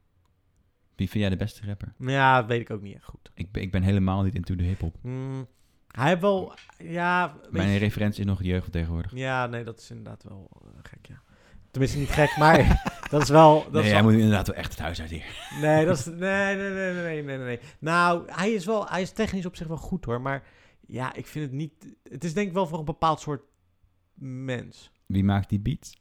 wie vind jij de beste rapper?
Ja, dat weet ik ook niet echt goed.
Ik, ben- ik ben helemaal niet into de hiphop.
Mm, hij heeft wel. Ja, weet
Mijn
je-
referentie is nog de jeugd van tegenwoordig.
ja, nee, dat is inderdaad wel eh, gek, ja. Tenminste, niet gek, maar dat is wel. Dat
nee,
is
jij
wel-
moet inderdaad wel echt het huis uit hier.
Nee, dat is, nee, nee, nee, nee, nee, nee, nee. Nou, hij is wel, hij is technisch op zich wel goed hoor, maar ja, ik vind het niet. Het is denk ik wel voor een bepaald soort mens.
Wie maakt die beats?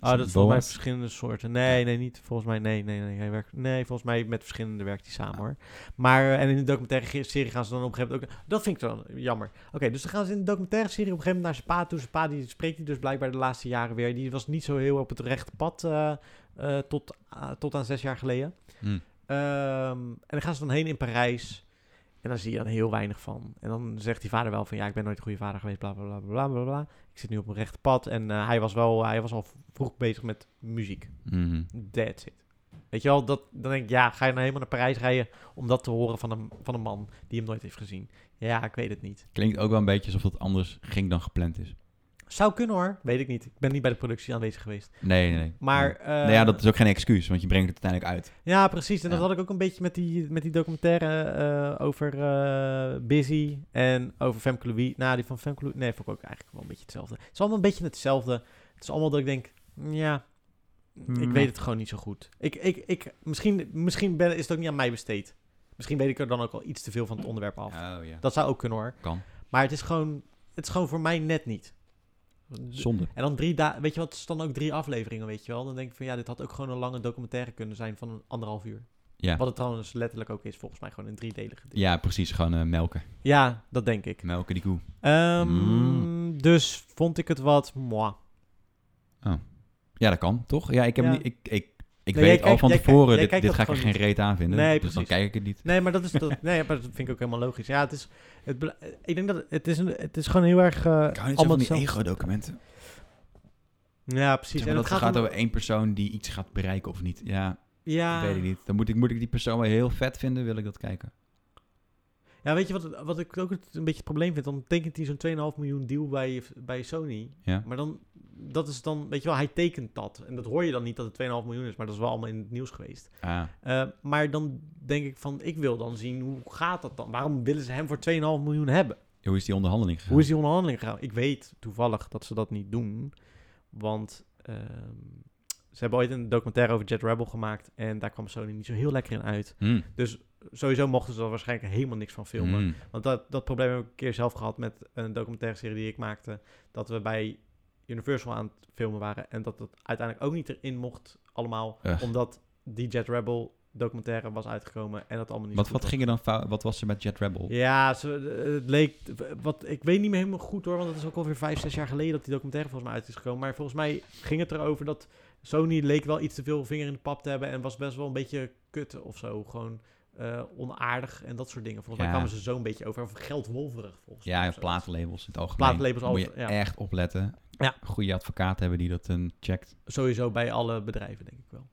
Oh,
Is
dat
het
is volgens mij
Boas?
verschillende soorten. Nee, nee, niet. Volgens mij, nee, nee, nee. Hij werkt, nee, volgens mij met verschillende werkt hij samen
Ah.
hoor. Maar, eh, en in de documentaire ge- serie gaan ze dan op een gegeven moment ook... Dat vind ik dan jammer. Oké, dus dan gaan ze in de documentaire serie op een gegeven moment naar zijn pa toe. Zijn pa, die spreekt hij dus blijkbaar de laatste jaren weer. Die was niet zo heel op het rechte pad eh, eh, tot, ah, tot aan zes jaar geleden.
Hm.
Ehm, en dan gaan ze dan heen in Parijs. En dan zie je dan heel weinig van. En dan zegt die vader wel van... Ja, ik ben nooit een goede vader geweest, bla, bla, bla, bla, bla, bla. Ik zit nu op een rechte pad. En eh, hij, was wel, hij was al v- vroeg bezig met muziek.
Mhm.
That's it. Weet je wel, dat, dan denk ik... Ja, ga je nou helemaal naar Parijs rijden... om dat te horen van een, van een man die hem nooit heeft gezien? Ja, ik weet het niet.
Klinkt ook wel een beetje alsof dat anders ging dan gepland is.
Zou kunnen hoor. Weet ik niet. Ik ben niet bij de productie aanwezig geweest.
Nee, nee, nee.
Maar...
Nee.
eh,
Nou ja, dat is ook geen excuus, want je brengt het uiteindelijk uit.
Ja, precies. En dat
Ja.
had ik ook een beetje met die, met die documentaire eh, over eh, Busy en over Femke Louis. Nou, die van Femke Louis, nee, vond ik ook eigenlijk wel een beetje hetzelfde. Het is allemaal een beetje hetzelfde. Het is allemaal dat ik denk, mm, ja, ik
Mm.
weet het gewoon niet zo goed. Ik, ik, ik, misschien misschien ben, is het ook niet aan mij besteed. Misschien weet ik er dan ook al iets te veel van het onderwerp af.
Oh ja,
Dat zou ook kunnen hoor.
kan.
Maar het is gewoon, het is gewoon voor mij net niet.
Zonde.
En dan drie dagen, weet je wat, het is dan ook drie afleveringen, weet je wel. Dan denk ik van ja, dit had ook gewoon een lange documentaire kunnen zijn van een anderhalf uur.
Ja,
Wat het trouwens letterlijk ook is, volgens mij gewoon een driedelige deel.
ja precies. Gewoon eh, melken.
Ja, dat denk ik.
Melken die koe.
Ehm,
Mm.
Dus vond ik het wat moi.
Ja, dat kan, toch? Ja, ik, heb
Ja.
Niet, ik, ik, ik
Nee, jij
weet al
kijkt-
van
jij kijkt-
tevoren,
jij
dit,
kijkt
dit
dat
ga ik er
gewoon
geen reet aan vinden.
Nee,
dus dan
precies.
kijk ik het niet.
Nee, maar dat, is, dat, nee, maar dat vind ik ook helemaal logisch. Ja, het is, het, bela- eh, ik denk dat het is, een, het is gewoon heel erg
Ik
eh,
hou niet zo
allemaal
van die
hetzelfde.
ego-documenten.
Ja, precies.
Zeg maar
en
dat
het
het gaat,
om-
over één persoon die iets gaat bereiken of niet. Ja,
ja,
ik weet het niet. Dan moet ik, moet ik die persoon wel heel vet vinden, wil ik dat kijken.
Ja, weet je wat, wat ik ook het- een beetje het probleem vind? Dan tekent hij zo'n 2,5 miljoen deal bij, bij Sony.
Ja.
Maar dan, dat is dan, weet je wel, hij tekent dat. En dat hoor je dan niet dat het 2,5 miljoen is, maar dat is wel allemaal in het nieuws geweest.
Ah,
Eh, maar dan denk ik van, ik wil dan zien, hoe gaat dat dan? Waarom willen ze hem voor 2,5 miljoen hebben?
hoe is die onderhandeling gegaan?
Hoe is die onderhandeling gegaan? Ik weet toevallig dat ze dat niet doen. Want ehm, ze hebben ooit een documentaire over Jet Rebel gemaakt. En daar kwam Sony niet zo heel lekker in uit. Dus
Hmm.
Sowieso mochten ze er waarschijnlijk helemaal niks van filmen.
Hmm.
Want dat, dat probleem heb ik een keer zelf gehad met een documentaire serie die ik maakte. Dat we bij Universal aan het filmen waren. En dat dat uiteindelijk ook niet erin mocht allemaal.
Ugh.
Omdat die Jet Rebel documentaire was uitgekomen. En dat allemaal niet
Wat,
goed
wat
was.
ging er dan fout? Wat was er met Jet Rebel?
Ja, ze, eh, het leek... Wat, ik weet niet meer helemaal goed hoor, want het is ook alweer vijf, zes jaar geleden dat die documentaire volgens mij uit is gekomen. Maar volgens mij ging het erover dat Sony leek wel iets te veel vinger in de pap te hebben en was best wel een beetje kut of zo. Gewoon eh, onaardig en dat soort dingen. Volgens
Ja.
mij kwamen ze zo een beetje over. Of geldwolverig volgens mij.
Ja,
of zo.
plaatlabels in het algemeen.
Plaatlabels
Moet je
over- ja.
echt opletten.
Ja.
Goede advocaat hebben die dat dan checkt.
Sowieso bij alle bedrijven denk ik wel.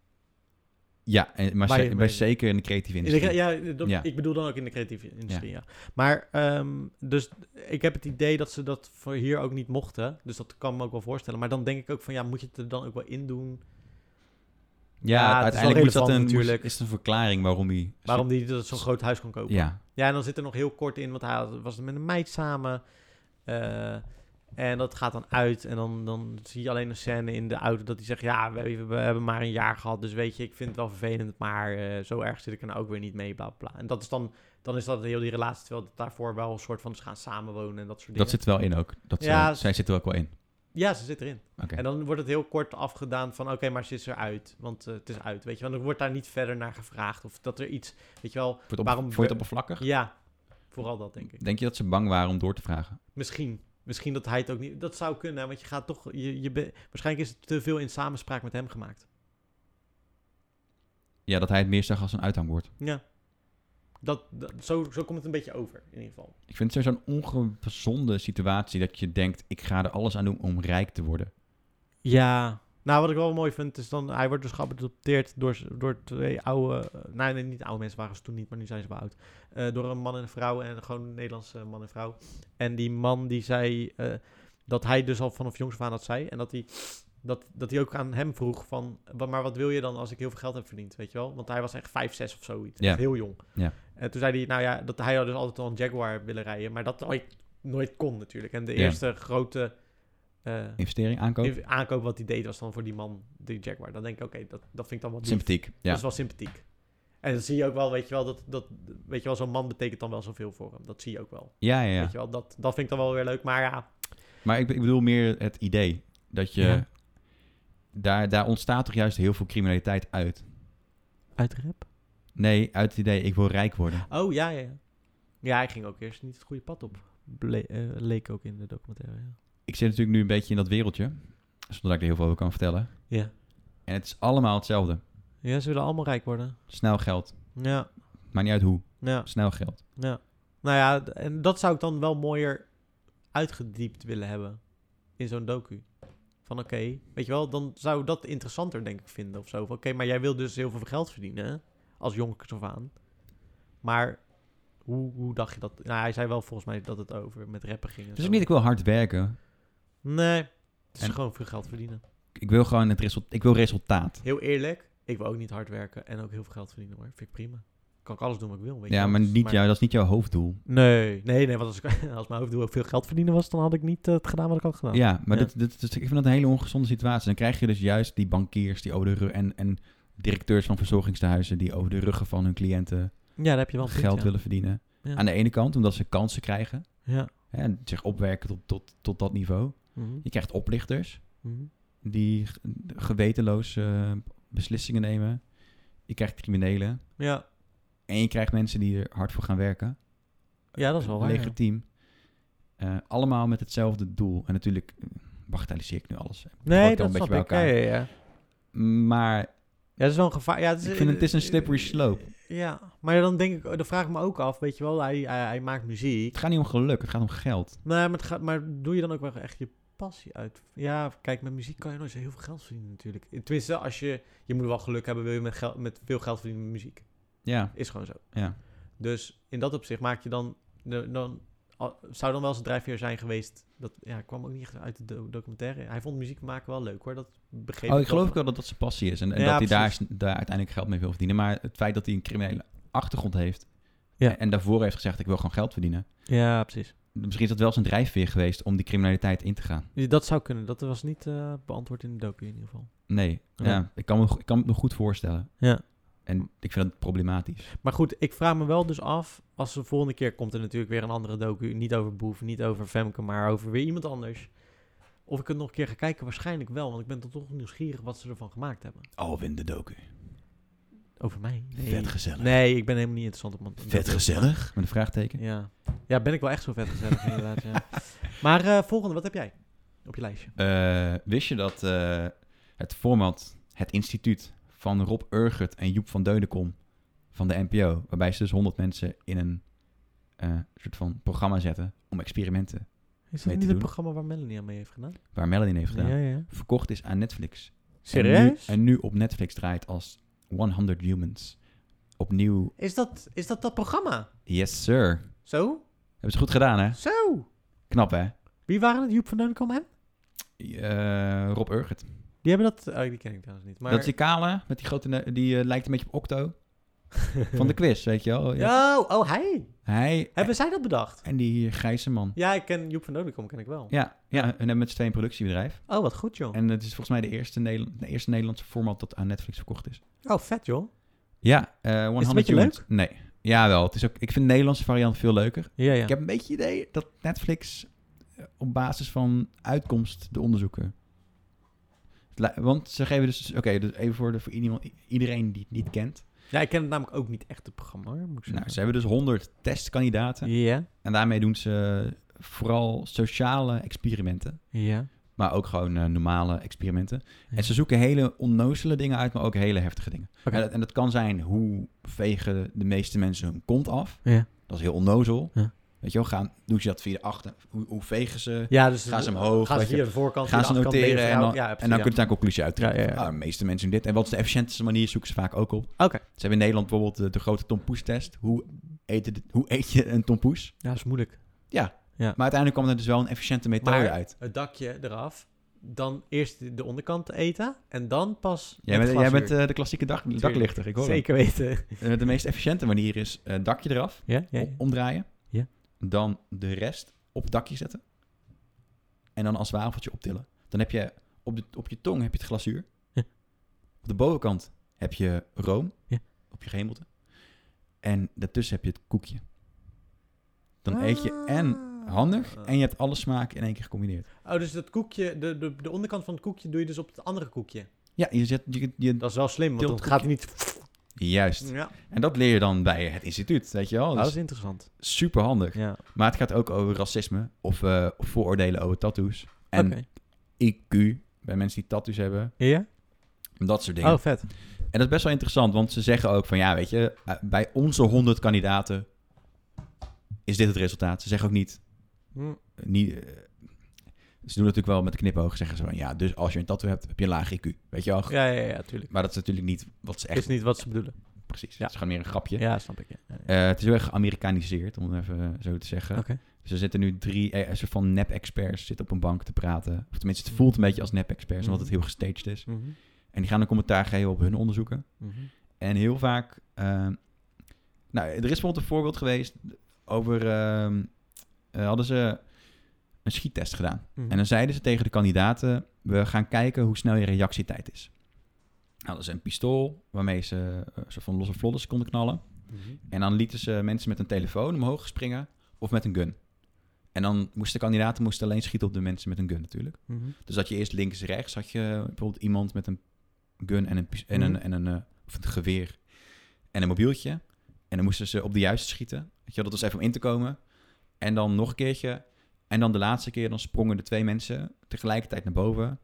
Ja, en, maar,
Waar
ze-
je mee-
maar zeker in de creatieve
In de
industrie.
cre- ja, dat-
Ja.
ik bedoel dan ook in de creatieve industrie, ja. Maar, ehm, dus ik heb het idee dat ze dat voor hier ook niet mochten. Dus dat kan me ook wel voorstellen. Maar dan denk ik ook van, ja, moet je het er dan ook wel in doen?
Ja,
Ja, het is
uiteindelijk
wel
moet dat
relevant
een, natuurlijk.
natuurlijk.
dus is het een verklaring waarom hij...
Waarom die dat zo'n groot huis kan kopen. Ja.
Ja,
en dan zit er nog heel kort in, want hij had- was met een meid samen. Eh, en dat gaat dan uit. En dan, dan zie je alleen een scène in de auto dat hij zegt... Ja, we, we hebben maar een jaar gehad, dus weet je, ik vind het wel vervelend. Maar eh, zo erg zit ik er nou ook weer niet mee, bla bla. bla. En dat is dan, dan is dat heel die relatie. Terwijl het daarvoor wel een soort van ze gaan samenwonen en dat soort dingen.
dat zit er wel in ook. Dat
Ja,
ze- zij zit er ook wel in.
Ja, ze zit erin.
Oké.
En dan wordt het heel kort afgedaan van... oké, maar ze is eruit. Want eh, het is uit, weet je. Want er wordt daar niet verder naar gevraagd. Of dat er iets, weet je wel...
Wordt op,
waarom
Vond je
we-
het oppervlakkig?
Ja, vooral dat, denk ik.
Denk je dat ze bang waren om door te vragen?
Misschien. Misschien dat hij het ook niet... Dat zou kunnen, hè, want je gaat toch... Je, je be- waarschijnlijk is het te veel in samenspraak met hem gemaakt.
Ja, dat hij het meer zag als een uithangbord.
Ja. Dat, dat- zo, zo komt het een beetje over, in ieder geval.
Ik vind het zo'n ongezonde situatie dat je denkt... ik ga er alles aan doen om rijk te worden.
Ja. Nou, wat ik wel mooi vind, is dan... Hij wordt dus geadopteerd door, z- door twee oude... eh, Nee, nee, niet oude mensen waren ze toen niet, maar nu zijn ze wel oud. Eh, door een man en een vrouw, en gewoon een Nederlandse man en vrouw. En die man die zei... eh, dat hij dus al vanaf jongs af aan dat zei. En dat hij, dat, dat hij ook aan hem vroeg van... "Wa- Maar wat wil je dan als ik heel veel geld heb verdiend, weet je wel? Want hij was echt 5, 6 of zoiets.
Ja.
Echt heel jong.
Ja.
En toen zei hij, nou ja, dat hij had dus altijd al een Jaguar willen rijden. Maar dat nooit, nooit kon natuurlijk. En de
Ja.
eerste grote... eh,
Investering, aankoop,
Inv- aankoop wat hij deed was dan voor die man, die Jaguar. Dan denk ik, oké, dat, dat vind ik dan wel lief.
sympathiek.
Dat
Ja.
is wel sympathiek. En dan zie je ook wel, weet je wel, dat, dat weet je wel, zo'n man betekent dan wel zoveel voor hem. Dat zie je ook wel.
Ja, ja, ja.
Weet je wel, dat, dat vind ik dan wel weer leuk. Maar ja,
Maar ik, be- ik bedoel meer het idee dat je...
Ja.
Daar, daar ontstaat toch juist heel veel criminaliteit uit?
uit rap.
Nee, uit het idee ik wil rijk worden.
Oh ja, ja, ja. Ja, hij ging ook eerst niet het goede pad op. Ble- eh, leek ook in de documentaire. Ja.
Ik zit natuurlijk nu een beetje in dat wereldje. Zonder dat ik er heel veel over kan vertellen.
Ja.
En het is allemaal hetzelfde.
ja, ze willen allemaal rijk worden.
Snel geld.
Ja,
Maakt niet uit hoe.
ja,
Snel geld.
ja. Nou ja, d- en dat zou ik dan wel mooier uitgediept willen hebben in zo'n docu. Van oké, weet je wel, dan zou ik dat interessanter denk ik vinden of zo. Van, Oké, maar jij wil dus heel veel geld verdienen hè? als jonkers of aan. Maar hoe, hoe dacht je dat? Nou, hij zei wel volgens mij dat het over met rappen ging. en
Dus
zo.
ook niet, ik wil hard werken.
Nee, het is
En-
gewoon veel geld verdienen.
Ik wil gewoon het resultaat. Ik wil resultaat.
Heel eerlijk, ik wil ook niet hard werken en ook heel veel geld verdienen hoor. Vind ik prima. Kan ik alles doen wat ik wil. Weet je
Ja,
wel.
maar,
Dus-
niet jou, dat is niet jouw hoofddoel.
Nee, nee, nee. Want als, ik, als mijn hoofddoel ook veel geld verdienen was, dan had ik niet eh, het gedaan wat ik had gedaan.
Ja, maar
Ja.
Dit, dit, dit- ik vind dat een hele ongezonde situatie. Dan krijg je dus juist die bankiers die over de rug en, en directeurs van verzorgingstehuizen die over de ruggen van hun cliënten
Ja, daar heb je wel een punt,
geld
ja.
willen verdienen.
Ja.
Aan de ene kant omdat ze kansen krijgen
Ja.
hè, en zich opwerken tot, tot, tot dat niveau.
Mhm,
Je krijgt oplichters
mhm.
die g- gewetenloos eh, beslissingen nemen. Je krijgt criminelen.
Ja.
En je krijgt mensen die er hard voor gaan werken.
ja, dat is wel waar. ja.
Legitiem. Eh, allemaal met hetzelfde doel. En natuurlijk eh, bagatelliseer ik nu alles.
Nee,
Valt wel
dat
een beetje
snap
bij
ik. Ja,
elkaar.
ja, ja.
Maar
Ja, dat is wel een gevaar. Ja, het is, eh,
ik vind het is een slippery slope.
Ja, maar dan denk ik, oh, dan vraag ik me ook af, weet je wel, hij, hij, hij maakt muziek.
Het gaat niet om geluk, het gaat om geld.
Nee, maar, het gaat, maar doe je dan ook wel echt je passie uit? Ja, kijk, met muziek kan je nooit zo heel veel geld verdienen natuurlijk. Tenminste, als je, je moet wel geluk hebben, wil je met, geld, met veel geld verdienen met muziek.
Ja,
Is gewoon zo.
ja.
Dus in dat opzicht maak je dan... de- dan al- zou dan wel eens een drijfveer zijn geweest... Dat ja, kwam ook niet echt uit de do- documentaire. Hij vond muziek maken wel leuk hoor. Dat begreep
Oh, ik
wel.
geloof ook wel dat dat zijn passie is. En, en
Ja,
dat hij daar, daar uiteindelijk geld mee wil verdienen. Maar het feit dat hij een criminele achtergrond heeft.
Ja.
En, en daarvoor heeft gezegd: ik wil gewoon geld verdienen.
Ja, precies.
Misschien is dat wel zijn drijfveer geweest om die criminaliteit in te gaan.
Dus Dat zou kunnen. Dat was niet eh, beantwoord in de docu in ieder geval.
Nee, ja.
Ja.
ik, kan me, go- ik kan me het me goed voorstellen.
Ja.
En ik vind dat problematisch.
Maar goed, ik vraag me wel dus af, als de volgende keer komt er natuurlijk weer een andere docu, niet over Boef, niet over Femke, maar over weer iemand anders. Of ik het nog een keer ga kijken, waarschijnlijk wel, want ik ben dan toch nieuwsgierig wat ze ervan gemaakt hebben.
Oh, win de docu.
Over mij? Nee,
gezellig.
nee ik ben helemaal niet interessant op mijn...
gezellig. Met een vraagteken.
Ja. ja, ben ik wel echt zo vet gezellig inderdaad, ja. Maar eh, volgende, wat heb jij op je lijstje?
Eh, wist je dat eh, het format, het instituut van Rob Urgert en Joep van Deudekom van de NPO, waarbij ze dus 100 mensen in een eh, soort van programma zetten om experimenten,
Is dat
mee te
niet het
doen.
programma waar Melanie aan mee heeft gedaan?
waar Melanie heeft gedaan,
ja.
verkocht is aan Netflix. En
Serieus?
nu, en nu op Netflix draait als 100 Humans. Opnieuw,
Is, dat, is dat dat programma?
yes sir.
Zo?
Hebben ze goed gedaan hè?
Zo!
Knap hè?
Wie waren het? Joep van Deunenkom en?
Eh, Rob Urgert.
Die hebben dat... Oh, die ken ik trouwens niet, maar...
Dat is die kale met die grote, ne- die eh, lijkt een beetje op Octo van de quiz, weet je wel?
Ja. Oh, oh, hij.
Hij
Hebben zij dat bedacht?
En die grijze man.
Ja, ik ken Joep van Dodekom, ken ik wel.
Ja, ja en hebben met z'n tweeën een productiebedrijf.
Oh, wat goed, joh.
En het is volgens mij de eerste, Nederland, de eerste Nederlandse format dat aan Netflix verkocht is.
Oh, vet, joh.
Ja, eh 100
een beetje
Humans. Nee. Ja, wel. Het is ook, ik vind de Nederlandse variant veel leuker.
Ja, ja.
Ik heb een beetje het idee dat Netflix eh, op basis van uitkomst de onderzoeken... Het li- Want ze geven dus... Oké, dus even voor, de, voor iemand, iedereen die het niet kent.
Ja, ik ken het namelijk ook niet echt, het programma, hoor, moet ik
Nou,
zeggen.
ze hebben dus 100 testkandidaten.
Ja,
En daarmee doen ze vooral sociale experimenten.
ja.
Maar ook gewoon eh, normale experimenten.
Ja.
En ze zoeken hele onnozele dingen uit, maar ook hele heftige dingen.
Oké.
En, dat, en dat kan zijn hoe vegen de meeste mensen hun kont af.
Ja.
Dat is heel onnozel.
Ja.
Weet je wel, gaan, doen ze dat via de achter? Hoe, hoe vegen ze?
Ja, dus...
Gaan ze omhoog,
Gaan ze
weet je.
via de voorkant,
Gaan ze
via de achterkant,
noteren
tegen
en
jou.
dan,
ja,
en dan kun je daar een conclusie uit trekken.
Ja, ja, ja.
Ah, de meeste mensen doen dit. En wat is de efficiëntste manier? Zoeken ze vaak ook op.
Oké.
Ze hebben in Nederland bijvoorbeeld de, de grote tompoes-test. Hoe, eten de- hoe eet je een tompoes?
Ja, dat is moeilijk.
Maar uiteindelijk kwam er dus wel een efficiënte methode
Maar-
uit.
Het dakje eraf, dan eerst de onderkant eten en dan pas
Jij
het
bent, jij
glasuur.
bent eh, de klassieke dag, daklichter, ik hoor het.
Zeker weten.
Eh, de meest efficiënte manier is eh dakje eraf,
Ja, ja, ja.
o- omdraaien.
Ja.
Dan de rest op het dakje zetten. En dan als wafeltje optillen. Dan heb je op, de, op je tong heb je het glazuur.
Ja.
Op de bovenkant heb je room
Ja.
op je gehemelte. En daartussen heb je het koekje. Dan eet je
Ah.
en handig en je hebt alle smaken in één keer gecombineerd.
Oh, dus dat koekje, de, de, de onderkant van het koekje doe je dus op het andere koekje.
Ja, je zet je, je-
Dat Mm. is wel slim, want
Tilt
dan gaat het niet...
juist.
Ja,
En dat leer je dan bij het instituut, weet je wel.
Ah, dat
Dat
is
is
interessant.
super handig.
Ja,
Maar het gaat ook over racisme of eh, of vooroordelen over tattoos. En
oké.
IQ bij mensen die tattoos hebben.
Ja?
en Dat soort dingen.
Oh, vet.
En dat is best wel interessant, want ze zeggen ook van ja, weet je, eh, bij onze 100 kandidaten is dit het resultaat. Ze zeggen ook niet.
Hm.
eh, niet eh, ze doen natuurlijk wel met de knipoog. Zeggen ze van ja, dus als je een tattoo hebt, heb je een laag IQ. Weet je wel.
Ja, ja, ja, tuurlijk.
Maar dat is natuurlijk niet wat ze echt
Is niet wat ze bedoelen.
precies.
Ja.
Het is gewoon meer een grapje.
Ja, snap ik. Ja. Ja, ja.
Eh, het is heel erg geamerikaniseerd, om het even zo te zeggen.
Oké.
Dus er zitten nu drie eh, een soort van nep-experts zitten op een bank te praten. Of tenminste, het voelt een beetje als nep-experts, omdat het heel gestaged is.
Mhm.
En die gaan een commentaar geven op hun onderzoeken.
Mhm.
En heel vaak... ehm, nou, er is bijvoorbeeld een voorbeeld geweest over... ehm, eh, hadden ze een schiettest gedaan.
Mhm.
En dan zeiden ze tegen de kandidaten... we gaan kijken hoe snel je reactietijd is. Hadden ze een pistool waarmee ze eh, een soort van losse vlodders konden knallen.
Mhm.
En dan lieten ze mensen met een telefoon omhoog springen of met een gun. En dan moesten de kandidaten moesten alleen schieten op de mensen met een gun natuurlijk.
Mhm.
Dus dat je eerst links rechts had je bijvoorbeeld iemand met een gun en een, pis- en een,
Mhm.
en een, eh, of een geweer en een mobieltje. En dan moesten ze op de juiste schieten. Weet je, wel, dat was even om in te komen. En dan nog een keertje. En dan de laatste keer dan sprongen de twee mensen tegelijkertijd naar boven.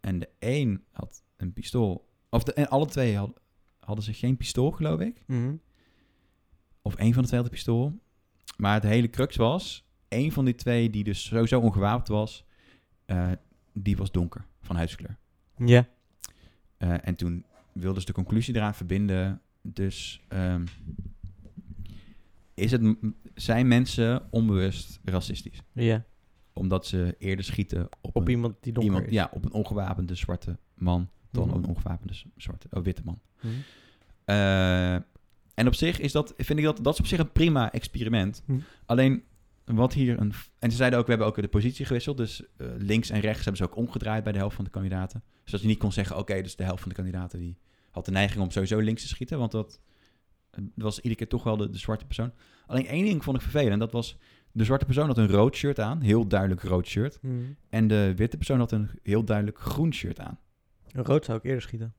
En de een had een pistool. Of de, en alle twee hadden, hadden ze geen pistool geloof ik.
Mhm.
Of één van de twee had een pistool. Maar het hele crux was... één van die twee die dus sowieso ongewapend was... eh, die was donker, van huidskleur.
Ja.
Eh, en toen wilden ze de conclusie eraan verbinden. Dus ehm, is het, m- zijn mensen onbewust racistisch?
Ja,
Omdat ze eerder schieten op,
op
een,
iemand die donker
iemand,
is.
ja, op een ongewapende zwarte man dan
Mhm.
op een ongewapende z- zwarte, oh, witte man.
Mhm.
Eh, en op zich is dat, vind ik dat, dat is op zich een prima experiment.
Hm.
Alleen wat hier een. En ze zeiden ook, we hebben ook de positie gewisseld. Dus eh, links en rechts hebben ze ook omgedraaid bij de helft van de kandidaten. Zodat je niet kon zeggen, oké, dus de helft van de kandidaten die had de neiging om sowieso links te schieten. Want dat eh, was iedere keer toch wel de, de zwarte persoon. Alleen één ding vond ik vervelend. en Dat was, de zwarte persoon had een rood shirt aan. Heel duidelijk rood shirt.
Mhm.
En de witte persoon had een heel duidelijk groen shirt aan.
Een Rood zou ik eerder schieten.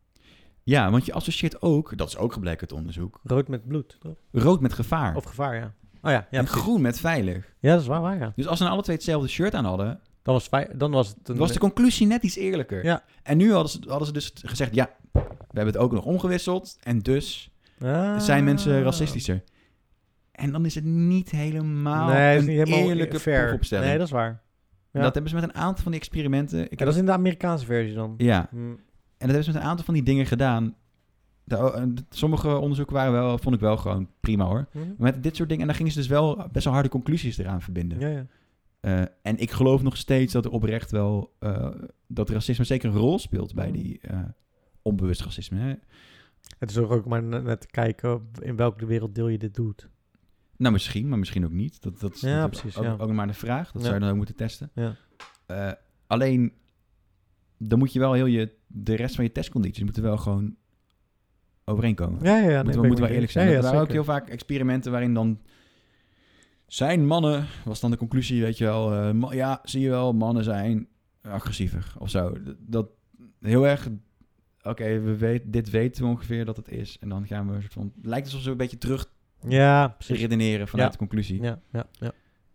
Ja, want je associeert ook, dat is ook gebleken uit onderzoek,
Rood met bloed. toch?
rood met gevaar.
Of gevaar, ja. Oh ja, ja,
en
precies.
groen met veilig.
ja dat is waar, waar ja.
Dus als ze nou alle twee hetzelfde shirt aan hadden,
Dan was, vij- dan was het een...
was de conclusie net iets eerlijker.
Ja.
En nu hadden ze, hadden ze dus gezegd, ja, we hebben het ook nog omgewisseld. En dus
Ah.
zijn mensen racistischer. En dan is het niet helemaal
Nee,
Nou, een
dat is niet helemaal
eerlijke
fair.
proefopstelling.
Nee,
dat,
dat is waar. ja.
hebben ze met een aantal van die experimenten... Ik
Ja,
heb,
dat is in de Amerikaanse versie dan.
ja,
Hm.
en dat hebben ze met een aantal van die dingen gedaan. De- en sommige onderzoeken waren wel, vond ik wel gewoon prima hoor.
Hm?
Maar Met dit soort dingen. En dan gingen ze dus wel best wel harde conclusies eraan verbinden.
Ja, ja.
Eh, en ik geloof nog steeds dat er oprecht wel. eh, dat racisme zeker een rol speelt bij die. eh, onbewust racisme. Hè?
Het is ook ook maar net net te kijken in welke werelddeel je dit doet.
Nou, misschien, maar misschien ook niet. Dat, dat is
Ja,
natuurlijk
precies,
Ook,
ja.
ook nog maar een vraag. Dat
Ja.
zou je dan ook moeten testen.
Ja.
Eh, alleen. dan moet je wel heel je. de rest van je testcondities moeten wel gewoon. overeenkomen.
Ja, ja, ja. nee, ben ik
moeten we,
met
moeten
je
wel eerlijk
eens.
zijn.
Ja,
er
ja,
waren ook
zeker.
heel vaak experimenten waarin dan... Zijn mannen, was dan de conclusie, weet je wel. eh, ma- ja, zie je wel, mannen zijn agressiever of zo. D- Dat heel erg... Oké, we weet, dit weten we ongeveer dat het is. En dan gaan we een soort van... Het lijkt alsof ze een beetje terug
Ja, precies.
redeneren vanuit
Ja.
de conclusie.
Ja, ja, ja.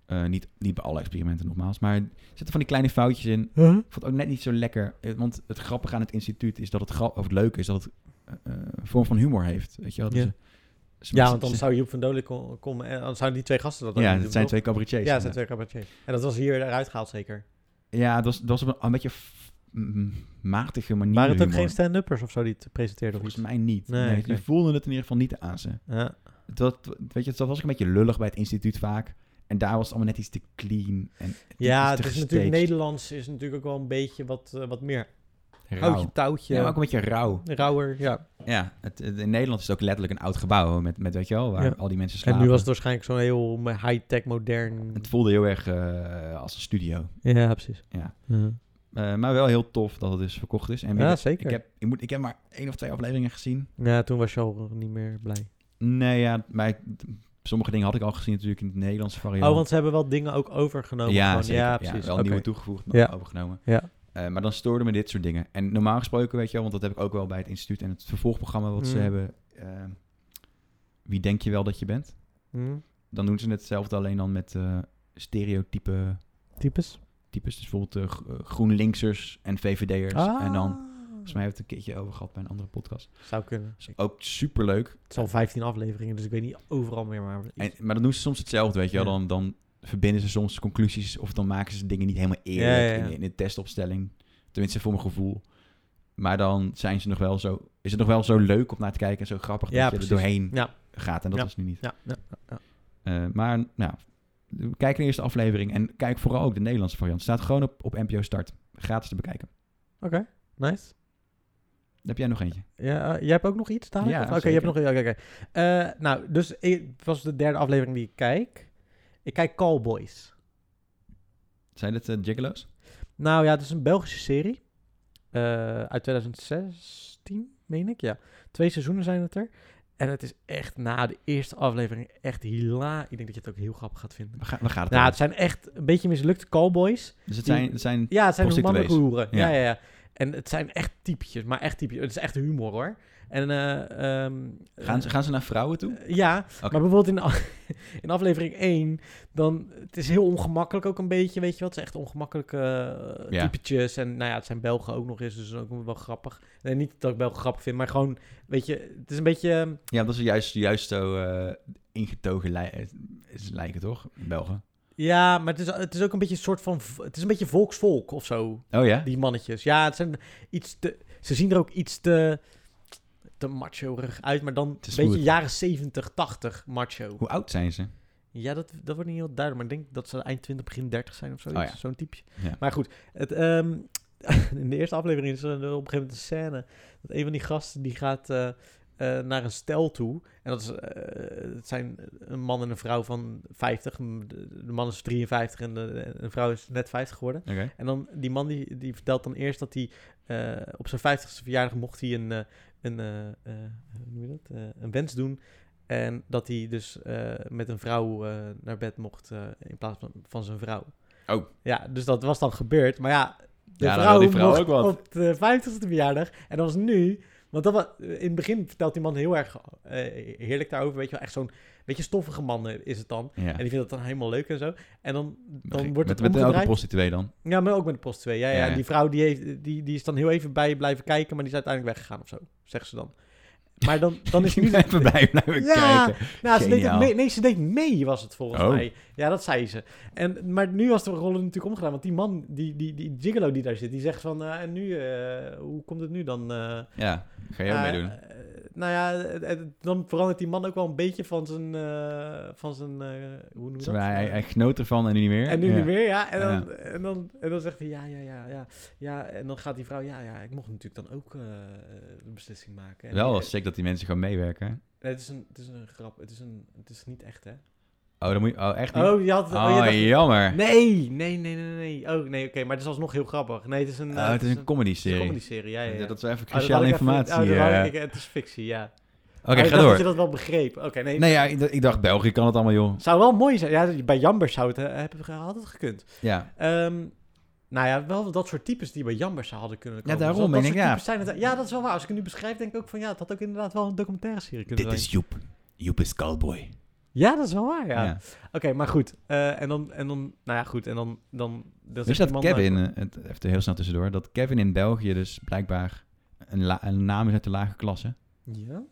Eh, niet, niet bij alle experimenten nogmaals. Maar er zitten van die kleine foutjes in. Ik vond het ook net niet zo lekker. Eh, Want het grappige aan het instituut is dat het grap, of het leuke is dat het eh, eh, een vorm van humor heeft. Weet je wel? Dus
Ja.
ze- ze-
Ja, want
ze-
dan zou Joep van Dolen ko- komen en dan zouden die twee gasten dat ook
Ja,
niet
het
doen,
zijn twee cabaretiers.
toch? Ja, het zijn twee cabaretiers. En dat was hier eruit gehaald zeker.
Ja, het was, het was op een, een beetje f- m- matige manier.
Waren het ook
humor.
geen stand-uppers of zo die het presenteerden of
Volgens
iets?
mij niet.
Nee,
Nee,
oké.
Je voelde het in ieder geval niet aan ze.
Ja.
Het was, weet je, dat was ook een beetje lullig bij het instituut vaak. En daar was het allemaal net iets te clean. En iets
Ja,
te
het is natuurlijk
gestaged.
Nederlands is natuurlijk ook wel een beetje wat, eh, wat meer.
Rauw.
Houtje, touwtje,
Ja, maar ook een beetje rauw.
rauwer. Ja.
Ja, het, het- in Nederland is het ook letterlijk een oud gebouw met, met weet je wel, waar
Ja.
al die mensen slapen.
En nu was het waarschijnlijk zo'n heel me- high-tech, modern.
Het voelde heel erg eh, als een studio.
Ja, precies.
Ja.
ja.
Eh, maar wel heel tof dat het dus verkocht is. En weer-
Ja, zeker.
Ik heb, ik, moet, ik heb maar één of twee afleveringen gezien.
Ja, toen was je al niet meer blij.
Nee, ja, maar ik- sommige dingen had ik al gezien natuurlijk in het Nederlandse variant.
Oh, want ze hebben wel dingen ook overgenomen.
ja,
gewoon.
zeker.
ja, precies.
wel
Oké.
nieuwe toegevoegd, maar
Ja.
overgenomen.
Ja.
Eh, maar dan stoorden me dit soort dingen. En normaal gesproken, weet je wel, want dat heb ik ook wel bij het instituut en het vervolgprogramma wat ze
Mm.
hebben. eh, wie denk je wel dat je bent?
Hm,
Dan doen ze hetzelfde alleen dan met eh, stereotype
Types.
types. Dus bijvoorbeeld eh, gro- eh, GroenLinksers en VVD'ers. En
Ah.
dan, volgens mij hebben we het een keertje over gehad bij een andere podcast.
Zou kunnen.
Dus ook superleuk.
Het is al 15 afleveringen, dus ik weet niet overal meer. Maar
En, maar dan doen ze soms hetzelfde, weet je wel.
Ja.
Dan, dan verbinden ze soms conclusies of dan maken ze dingen niet helemaal
Ja,
eerlijk
ja, ja.
In, in de testopstelling. Tenminste, voor mijn gevoel. Maar dan zijn ze nog wel zo, is het nog wel zo leuk om naar te kijken en zo grappig
Ja,
dat je
precies.
er doorheen
Ja.
gaat. En dat
Ja.
is nu niet.
ja, ja, ja.
Eh, maar nou, kijk de eerste aflevering en kijk vooral ook de Nederlandse variant. Staat gewoon op, op NPO Start. Gratis te bekijken.
Oké, nice.
Heb jij nog eentje?
Ja, eh, jij hebt ook nog iets dadelijk?
Ja,
Of- Oké, je hebt nog...
zeker.
Oké, oké. Eh, nou, dus ik- het was de derde aflevering die ik kijk. Ik kijk Callboys.
Zijn dit eh, Gigolo's?
Nou ja, het is een Belgische serie. Eh, uit 2016, meen ik, ja. Twee seizoenen zijn het er. En het is echt na de eerste aflevering echt hila. Ik denk dat je het ook heel grappig gaat vinden.
Waar, ga- waar gaat het
Nou,
over?
het zijn echt een beetje mislukte cowboys.
Dus het
die-
zijn, het zijn
Ja, het zijn
Prostituees.
mannelijke hoeren. Ja.
Ja.
Ja, ja, En het zijn echt typetjes, maar echt typetjes. Het is echt humor hoor. En eh, ehm,
gaan, ze, gaan ze naar vrouwen toe?
eh, ja, maar bijvoorbeeld in, af- in aflevering 1, dan, het is heel ongemakkelijk ook een beetje, weet je wat? Het zijn echt ongemakkelijke eh,
Ja.
typetjes. En nou ja, het zijn Belgen ook nog eens, dus dat is ook wel grappig. Nee, niet dat ik Belgen grappig vind, maar gewoon, weet je, het is een beetje... ehm,
Ja, dat is juist, juist zo eh, ingetogen lij- eh, is- lijken, toch? Belgen.
Ja, maar het is, het is ook een beetje een soort van, v- het is een beetje volksvolk of zo.
Oh ja?
Die mannetjes. Ja, het zijn iets te. Ze zien er ook iets te. te te macho-rig uit, maar dan een
Te
beetje
smooth.
jaren 70, 80 macho.
Hoe oud zijn ze?
Ja, dat, dat wordt niet heel duidelijk, maar ik denk dat ze eind 20, begin 30 zijn of zo.
Oh ja.
Zo'n type.
Ja.
Maar goed, het, ehm, in de eerste aflevering is er op een gegeven moment een scène dat een van die gasten die gaat eh, eh, naar een stel toe. En dat is, eh, het zijn een man en een vrouw van 50. De de man is 53 en de, en de vrouw is net 50 geworden.
Oké.
En dan die man die, die vertelt dan eerst dat hij eh, op zijn 50ste verjaardag mocht hij een, eh, een, eh, eh, hoe noem je dat? Eh, een wens doen. En dat hij dus eh, met een vrouw eh, naar bed mocht eh, in plaats van, van zijn vrouw.
Oh.
Ja, dus dat was dan gebeurd. Maar ja, de
Ja, dan wil
vrouw,
die vrouw
mocht
ook wat.
op de 50ste verjaardag. En dat was nu. Want dat was, eh, in het begin vertelt die man heel erg eh, heerlijk daarover. Weet je wel, echt zo'n beetje stoffige man eh, is het dan.
Ja.
En die vindt dat dan helemaal leuk en zo. En dan, dan
Met-
wordt
met, met
het
elke
omgedraaid.
prostituee dan.
Ja, maar ook met de post 2. Ja, ja,
Ja, ja.
Die vrouw die, heeft, die, die is dan heel even bij je blijven kijken, maar die is uiteindelijk weggegaan of zo, zegt ze dan. Maar dan, dan is nu... de-
Even bij blijven
Ja,
kijken.
nou, ze deed ook
geniaal.
mee, nee, ze deed mee, was het volgens
Oh.
mij. Ja, dat zei ze. En, maar nu was de rol natuurlijk omgedaan, want die man, die, die, die gigolo die daar zit, die zegt van, eh, en nu, eh, hoe komt het nu dan? eh
Ja, ga jij ook
eh,
meedoen.
eh, nou ja, het- het- dan verandert die man ook wel een beetje van zijn, eh, van zijn, eh, hoe noem je
Dus
dat? Eh,
Hij, hij, hij genoot ervan en nu niet meer.
En nu
Ja.
niet meer, ja. En dan,
Ja.
En, dan, en dan zegt hij, ja, ja, ja, ja, ja. En dan gaat die vrouw, ja, ja, ik mocht natuurlijk dan ook eh, de beslissing maken. En
Wel
die-
sick dat die mensen gaan meewerken. hè?
Nee, het, is een, het is een grap, het is, een, het is niet echt, hè?
Oh, dan moet je... Oh, echt niet?
Oh, je had...
Oh,
Oh, je dacht-
jammer.
nee, nee, nee, nee, nee. Oh, nee, oké, maar het is alsnog heel grappig. Nee, het is een...
Oh,
eh,
het is een comedy-serie.
comedy-serie, ja, ja, ja.
Ja, Dat is wel even
Oh, dat
cruciale
had ik even-
informatie.
oh, dat had
eh.
ik- het is fictie, ja.
Oké,
Oh, ik
ga
dacht dat je
door.
dat wel begreep. Oké, nee.
Nee, ja, ik d- ik dacht, België kan het allemaal, joh.
Zou wel mooi zijn. Ja, bij Jambers zou het, eh, hebben we- had het gekund.
Ja,
Ehm, nou ja, wel dat soort types die bij Jambers hadden kunnen
Ja,
komen. Dus
daarom,
dat, dat
ik denk,
soort
ja.
types Zijn het, ja, dat is wel waar. Als ik het nu beschrijf, denk ik ook van ja, het had ook inderdaad wel een documentaire serie kunnen
dit
zijn.
is Joep. Joep is cowboy.
Ja, dat is wel waar, ja.
Ja.
Oké, maar goed. Eh, en, dan, en dan, nou ja, goed. En dan, dan, dan
Dus
zegt
dat
die man,
Kevin, eh, het, even heel snel tussendoor, dat Kevin in België dus blijkbaar een, la- een naam is uit de lage klasse.
eh, ja?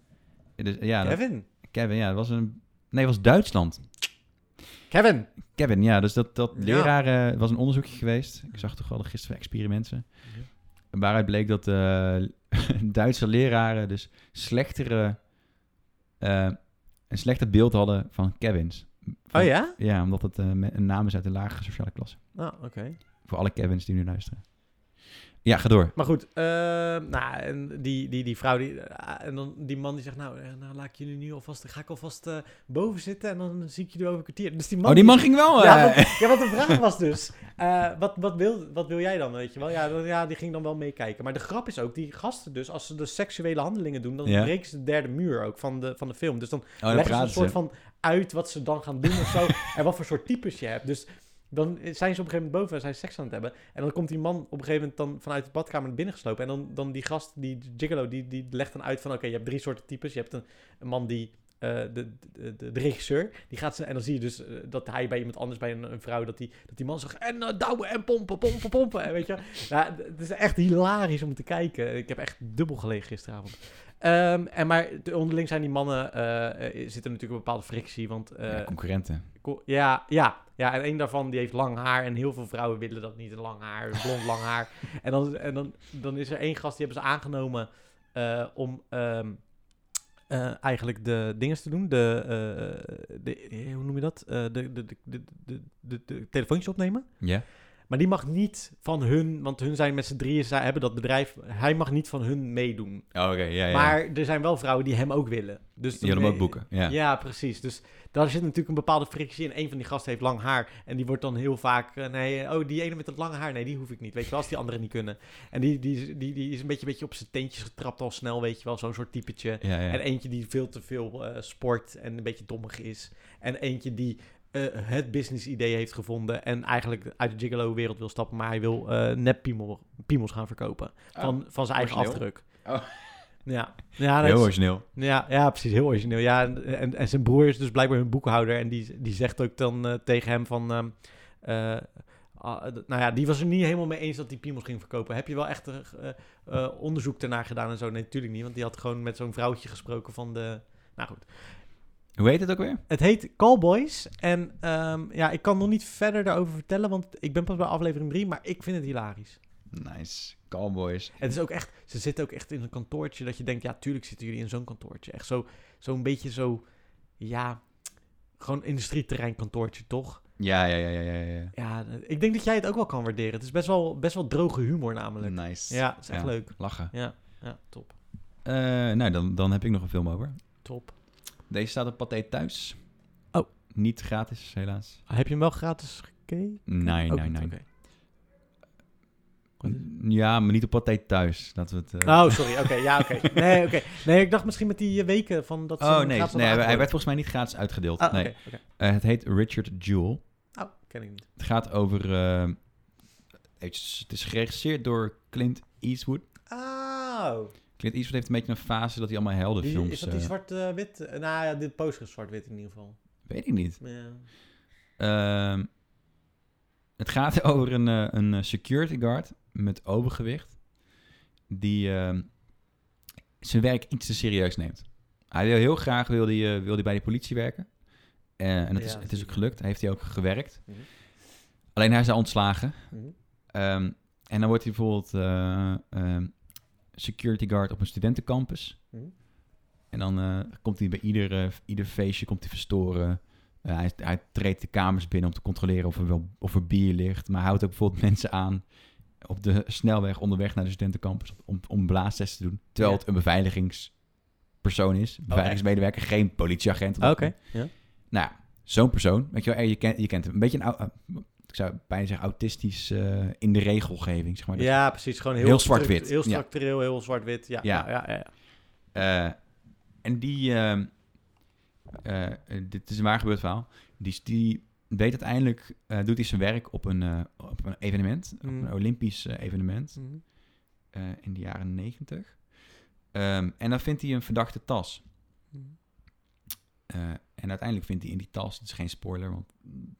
Eh, Dus, eh, ja, dat-
Kevin.
Kevin, ja, dat was een... Nee, het was Duitsland.
Kevin.
Kevin, ja, dus dat, dat
Ja.
leraar eh, was een onderzoekje geweest. Ik zag toevallig gisteren experimenten. Waaruit bleek dat eh, Duitse leraren dus slechtere, eh, een slechter beeld hadden van Kevins. Van-
Oh ja?
Ja, omdat het eh, me- een naam is uit de lagere sociale klasse.
Nou, oké.
Voor alle Kevins die nu luisteren. Ja, ga door.
Maar goed, ehm, nou, en die, die, die vrouw, die, ah, en dan die man die zegt, nou, eh, nou laat ik jullie nu alvast, ga ik alvast eh, boven zitten en dan zie ik jullie over een kwartier. Dus die man,
oh, die man ging wel.
Ja,
eh.
want, ja, want de vraag was dus, eh, wat, wat, wil, wat wil jij dan, weet je wel? Ja, dan- ja, die ging dan wel meekijken. Maar de grap is ook, die gasten dus, als ze de seksuele handelingen doen, dan
Ja.
breken ze de derde muur ook van de, van de film. Dus dan
oh, dan
leggen ze een
praten
soort
ze.
van uit wat ze dan gaan doen of zo. en wat voor soort types je hebt. Dus dan zijn ze op een gegeven moment boven en zijn ze seks aan het hebben. En dan komt die man op een gegeven moment dan vanuit de badkamer naar binnen geslopen. En dan, dan die gast, die gigolo, die, die legt dan uit van... Oké, je hebt drie soorten types. Je hebt een, een man die... eh, de, de, de, de regisseur, die gaat zijn, en dan zie je dus eh, dat hij bij iemand anders, bij een, een vrouw, dat die, dat die man zegt, en eh, douwen en pompen, pompen, pompen, en weet je wel. Ja, d- het is echt hilarisch om te kijken. Ik heb echt dubbel gelegen gisteravond. Ehm, en maar de- onderling zijn die mannen, eh, eh, zit er natuurlijk een bepaalde frictie, want eh,
Ja, concurrenten.
Ko- Ja, ja, ja. En een daarvan die heeft lang haar. En heel veel vrouwen willen dat niet. Een lang haar, een blond lang haar. En dan, en dan, dan is er één gast die hebben ze aangenomen eh, om ehm, eh, eigenlijk de dinges te doen. De, eh, de, eh, hoe noem je dat? Eh, de, de, de, de, de, de, de telefoontjes opnemen.
Ja.
Maar die mag niet van hun, want hun zijn met z'n drieën, zij hebben dat bedrijf. Hij mag niet van hun meedoen.
Oh, Oké, ja, ja.
Maar er zijn wel vrouwen die hem ook willen. Dus
Die willen hem ook
boeken.
boeken. Ja.
Ja. precies. Dus daar zit natuurlijk een bepaalde frictie in. Een van die gasten heeft lang haar. En die wordt dan heel vaak... eh, Nee, oh, die ene met dat lange haar. Nee, die hoef ik niet. Weet je wel, als die anderen niet kunnen. En die, die, die, die is een beetje, beetje op zijn teentjes getrapt al snel, weet je wel. Zo'n soort typetje.
ja, ja.
En eentje die veel te veel eh, sport en een beetje dommig is. En eentje die eh, het business idee heeft gevonden. En eigenlijk uit de gigolo wereld wil stappen. Maar hij wil eh nep piemel, piemels gaan verkopen.
Oh,
Van, van zijn eigen
Ah, origineel.
afdruk.
Oh.
Ja, ja dat
Heel
is-
origineel.
ja, ja, precies. Heel origineel. Ja, en, en, en zijn broer is dus blijkbaar hun boekhouder. En die, die zegt ook dan eh, tegen hem van... ehm, eh, ah, d- nou ja, die was er niet helemaal mee eens dat die piemels ging verkopen. Heb je wel echt eh, eh, onderzoek daarnaar gedaan en zo? Nee, natuurlijk niet. Want die had gewoon met zo'n vrouwtje gesproken van de... Nou goed.
Hoe heet het ook weer?
Het heet Callboys. En ehm, ja, ik kan nog niet verder daarover vertellen. Want ik ben pas bij aflevering 3. Maar ik vind het hilarisch.
Nice. Cowboys.
Het is ook echt, ze zitten ook echt in een kantoortje dat je denkt, ja, tuurlijk zitten jullie in zo'n kantoortje. Echt zo, zo'n beetje zo, ja, gewoon industrieterrein kantoortje, toch?
Ja, ja, ja, ja, ja. ja.
Ja, ik denk dat jij het ook wel kan waarderen. Het is best wel, best wel droge humor namelijk.
Nice.
Ja, het is echt
Mm. Ja.
leuk.
Lachen.
Ja, ja, top.
Eh, nou, dan, dan heb ik nog een film over.
Top.
Deze staat op Pathé thuis.
Oh.
Niet gratis, helaas.
Heb je hem wel gratis gekeken?
Nee,
Ook
nee,
niet,
nee.
Oh, oké. Wat is het?
N- Ja, maar niet op Pathé thuis. Laten we het... eh,
Oh, sorry. Oké, ja, oké. Nee, oké. Nee, ik dacht misschien met die eh, weken van dat... ze
Oh,
hem
nee,
gratis
nee hij
hadden
werd
aangeboden.
volgens mij niet gratis uitgedeeld.
Ah,
nee.
oké, oké.
Eh, het heet Richard Jewell.
Oh, ken ik niet.
Het gaat over... eh, eventjes, het is geregisseerd door Clint Eastwood.
Oh.
Clint Eastwood heeft een beetje een fase dat hij allemaal heldenfilms...
is dat die
eh,
zwart-wit? nou ja, dit poster is zwart-wit in ieder geval.
weet ik niet.
Ja.
Ehm, het gaat over een, eh, een eh, security guard met overgewicht. Die ehm, zijn werk iets te serieus neemt. Hij wil heel graag wil die, eh, wil die bij de politie werken. Eh, en het,
Ja,
is, het
dat
is
zie
ook
ik.
gelukt. Heeft hij ook gewerkt.
Mhm.
Alleen hij is daar ontslagen.
Mhm.
Ehm, en dan wordt hij bijvoorbeeld eh, ehm, security guard op een studentencampus.
Mhm.
En dan eh, komt hij bij ieder, eh, ieder feestje komt hij verstoren. Eh, hij, hij treedt de kamers binnen om te controleren of er, wel, of er bier ligt. Maar hij houdt ook bijvoorbeeld mensen aan op de snelweg onderweg naar de studentencampus om, om blaastests te doen. Terwijl
Ja.
het een beveiligingspersoon is. Beveiligingsmedewerker, geen politieagent.
Oké. Ja.
Nou, ja, zo'n persoon, weet je wel, en je kent, je kent hem. Een beetje een, au- eh, ik zou bijna zeggen, autistisch eh, in de regelgeving, zeg maar. Dus,
ja, precies. Gewoon heel,
Heel zwart-wit,
struct- Heel
ja.
structureel, heel zwart-wit. Ja,
Ja.
ja, ja. ja, ja.
eh, en die, ehm, eh, eh, dit is een waar gebeurd verhaal, die, die weet uiteindelijk, eh, doet hij zijn werk op een, eh, op een evenement, op
Mm.
een Olympisch eh, evenement eh, in de jaren negentig. Ehm, en dan vindt hij een verdachte tas.
Hm.
Eh, en uiteindelijk vindt hij in die tas, het is geen spoiler, want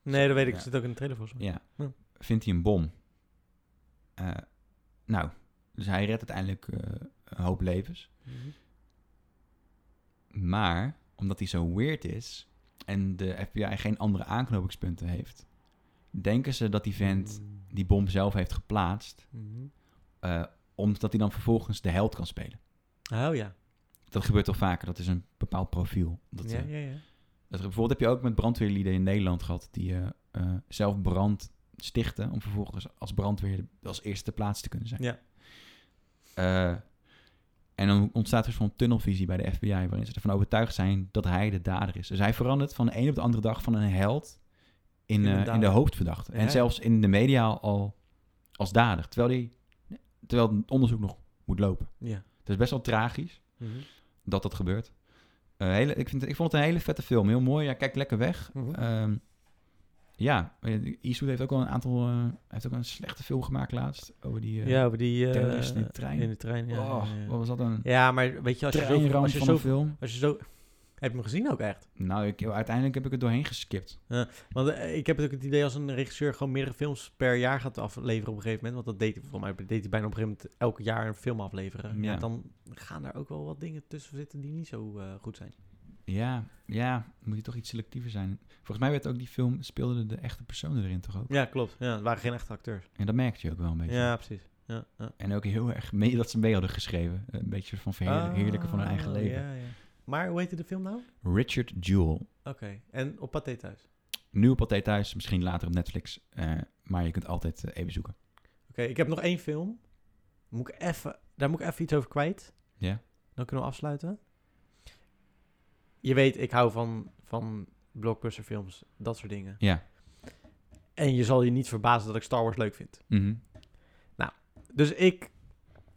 Nee, dat weet ik.
Ja.
Het zit ook in de trailer volgens mij.
Ja.
Mm. Ja.
Vindt hij een bom. Eh, nou, dus hij redt uiteindelijk eh, een hoop levens.
Mhm.
Maar omdat hij zo weird is en de FBI geen andere aanknopingspunten heeft, denken ze dat die vent die bom zelf heeft geplaatst,
Mhm.
eh, omdat hij dan vervolgens de held kan spelen.
Oh ja.
Dat gebeurt toch vaker, dat is een bepaald profiel. Dat,
ja,
eh,
ja, ja.
dat, bijvoorbeeld heb je ook met brandweerlieden in Nederland gehad die eh, eh, zelf brand stichten om vervolgens als brandweer als eerste ter plaatse te kunnen zijn.
Ja.
Eh, en dan ontstaat er zo'n tunnelvisie bij de FBI waarin ze ervan overtuigd zijn dat hij de dader is. Dus hij verandert van de een op de andere dag van een held in,
In een
eh, in de
dader.
hoofdverdachte. En
Ja.
zelfs in de media al als dader, terwijl, die, terwijl het onderzoek nog moet lopen.
Ja.
Het is best wel tragisch
Mhm.
dat dat gebeurt. Eh, hele, ik, vind, het- ik vond het een hele vette film. Heel mooi. Ja, kijk lekker weg.
Mhm.
Ehm, ja, Eastwood heeft ook wel een aantal... eh, hij heeft ook een slechte film gemaakt laatst. Over die... eh,
Ja, over die... eh,
terroristen in de trein.
In de trein, ja. ja,
oh,
ja, ja.
Wat was dat een
Ja, maar weet je, als je zo...
treinramp
Als je
van
zo,
een film?
als je zo heb je hem gezien ook echt?
Nou, ik, uiteindelijk heb ik het doorheen geskipt.
Want eh, ik heb het ook het idee als een regisseur gewoon meerdere films per jaar gaat afleveren op een gegeven moment. Want dat deed hij volgens mij deed hij bijna op een gegeven moment elk jaar een film afleveren.
Ja.
Ja. Dan gaan er ook wel wat dingen tussen zitten die niet zo eh, goed zijn.
Ja, ja. Moet je toch iets selectiever zijn. Volgens mij werd ook die film... Speelden de echte personen erin toch ook?
Ja, klopt. Ja, het waren geen echte acteurs.
En dat merkte je ook wel een beetje.
Ja, precies. Ja, ja.
En ook heel erg mee dat ze mee hadden geschreven. Een beetje van verheerlijken van hun eigen
Ah,
leven.
ja, ja. Maar hoe heette de film nou? Oké.
Richard Jewell.
En op Pathé thuis? Oké,
Nu op Pathé Thuis, misschien later op Netflix. eh, maar je kunt altijd eh, even zoeken.
ik heb nog één film. Moet ik even, daar moet ik even iets over kwijt.
Ja?
Dan kunnen we afsluiten. Je weet, ik hou van, van blockbusterfilms, dat soort dingen.
Ja.
En je zal je niet verbazen dat ik Star Wars leuk vind.
Mhm.
Dus ik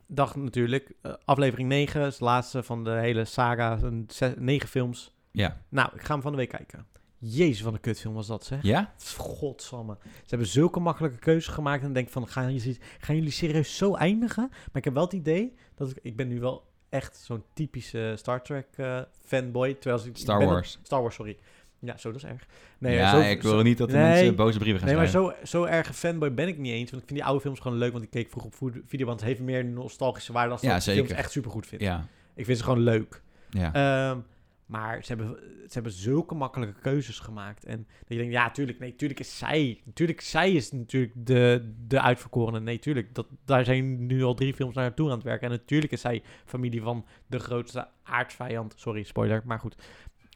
dacht natuurlijk, eh, aflevering 9 is de laatste van de hele saga, een zes- negen films.
Ja.
Nou, ik ga hem van de week kijken. Jezus, wat een kutfilm was dat, zeg.
Ja?
Godsamme. Ze hebben zulke makkelijke keuzes gemaakt. En denk ik van, gaan jullie, gaan jullie serieus zo eindigen? Maar ik heb wel het idee dat ik... Ik ben nu wel echt zo'n typische Star Trek eh, fanboy. Terwijl ze- ik,
Star
ben
Wars.
dat- Star Wars, sorry. Ja, zo, dat is erg. Nee,
ja,
zo-
ik wil
zo-
niet dat de
Nee.
mensen boze brieven gaan
Nee, maar
schrijven.
zo, zo erg een fanboy ben ik niet eens. Want ik vind die oude films gewoon leuk. Want ik keek vroeger op voed- videoband. Het heeft meer nostalgische waarde dan
Ja,
dat ik de films
zeker.
echt supergoed vind.
Ja.
Ik vind ze gewoon leuk.
Ja.
Ehm, Maar ze hebben, ze hebben zulke makkelijke keuzes gemaakt. En dat je denkt, ja, tuurlijk, nee, tuurlijk is zij. Tuurlijk, zij is natuurlijk de, de uitverkorene. Nee, tuurlijk, dat, daar zijn nu al drie films naartoe aan het werken. En natuurlijk is zij familie van de grootste aardsvijand. Sorry, spoiler, maar goed.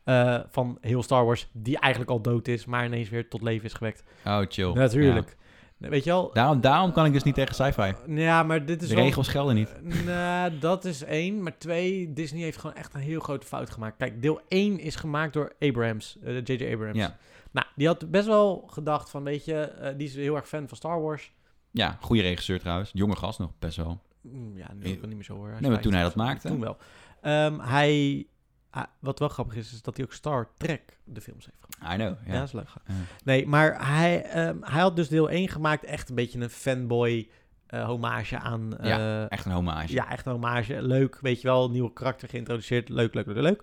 Eh, van heel Star Wars, die eigenlijk al dood is, maar ineens weer tot leven is gewekt.
Oh, chill.
Eh, Natuurlijk. Weet je
Ja.
wel?
Daarom, daarom kan ik dus niet tegen sci-fi.
Ja, maar dit
De
is wel...
regels gelden niet.
Eh, nou, dat is één. Maar twee, Disney heeft gewoon echt een heel grote fout gemaakt. Kijk, deel 1 is gemaakt door Abrams, eh, J.J. Abrams.
Ja.
Nou, die had best wel gedacht van, weet je, eh, die is heel erg fan van Star Wars.
Ja, goede regisseur trouwens. Jonge gast nog, best wel.
Mm, Ja, nu kan niet meer zo hoor. is
Eh, Nee, maar toen
50.
hij dat maakte.
Toen wel. Ehm, hij, ah, wat wel grappig is, is dat hij ook Star Trek de films heeft gemaakt.
I know.
Ja,
Ja.
dat is leuk.
Ja.
Nee, maar hij, ehm, hij had dus deel 1 gemaakt, echt een beetje een fanboy eh, hommage aan... eh,
Echt een hommage.
Ja, echt een hommage. Leuk, weet je wel. Nieuwe karakter geïntroduceerd. Leuk, leuk, leuk, leuk.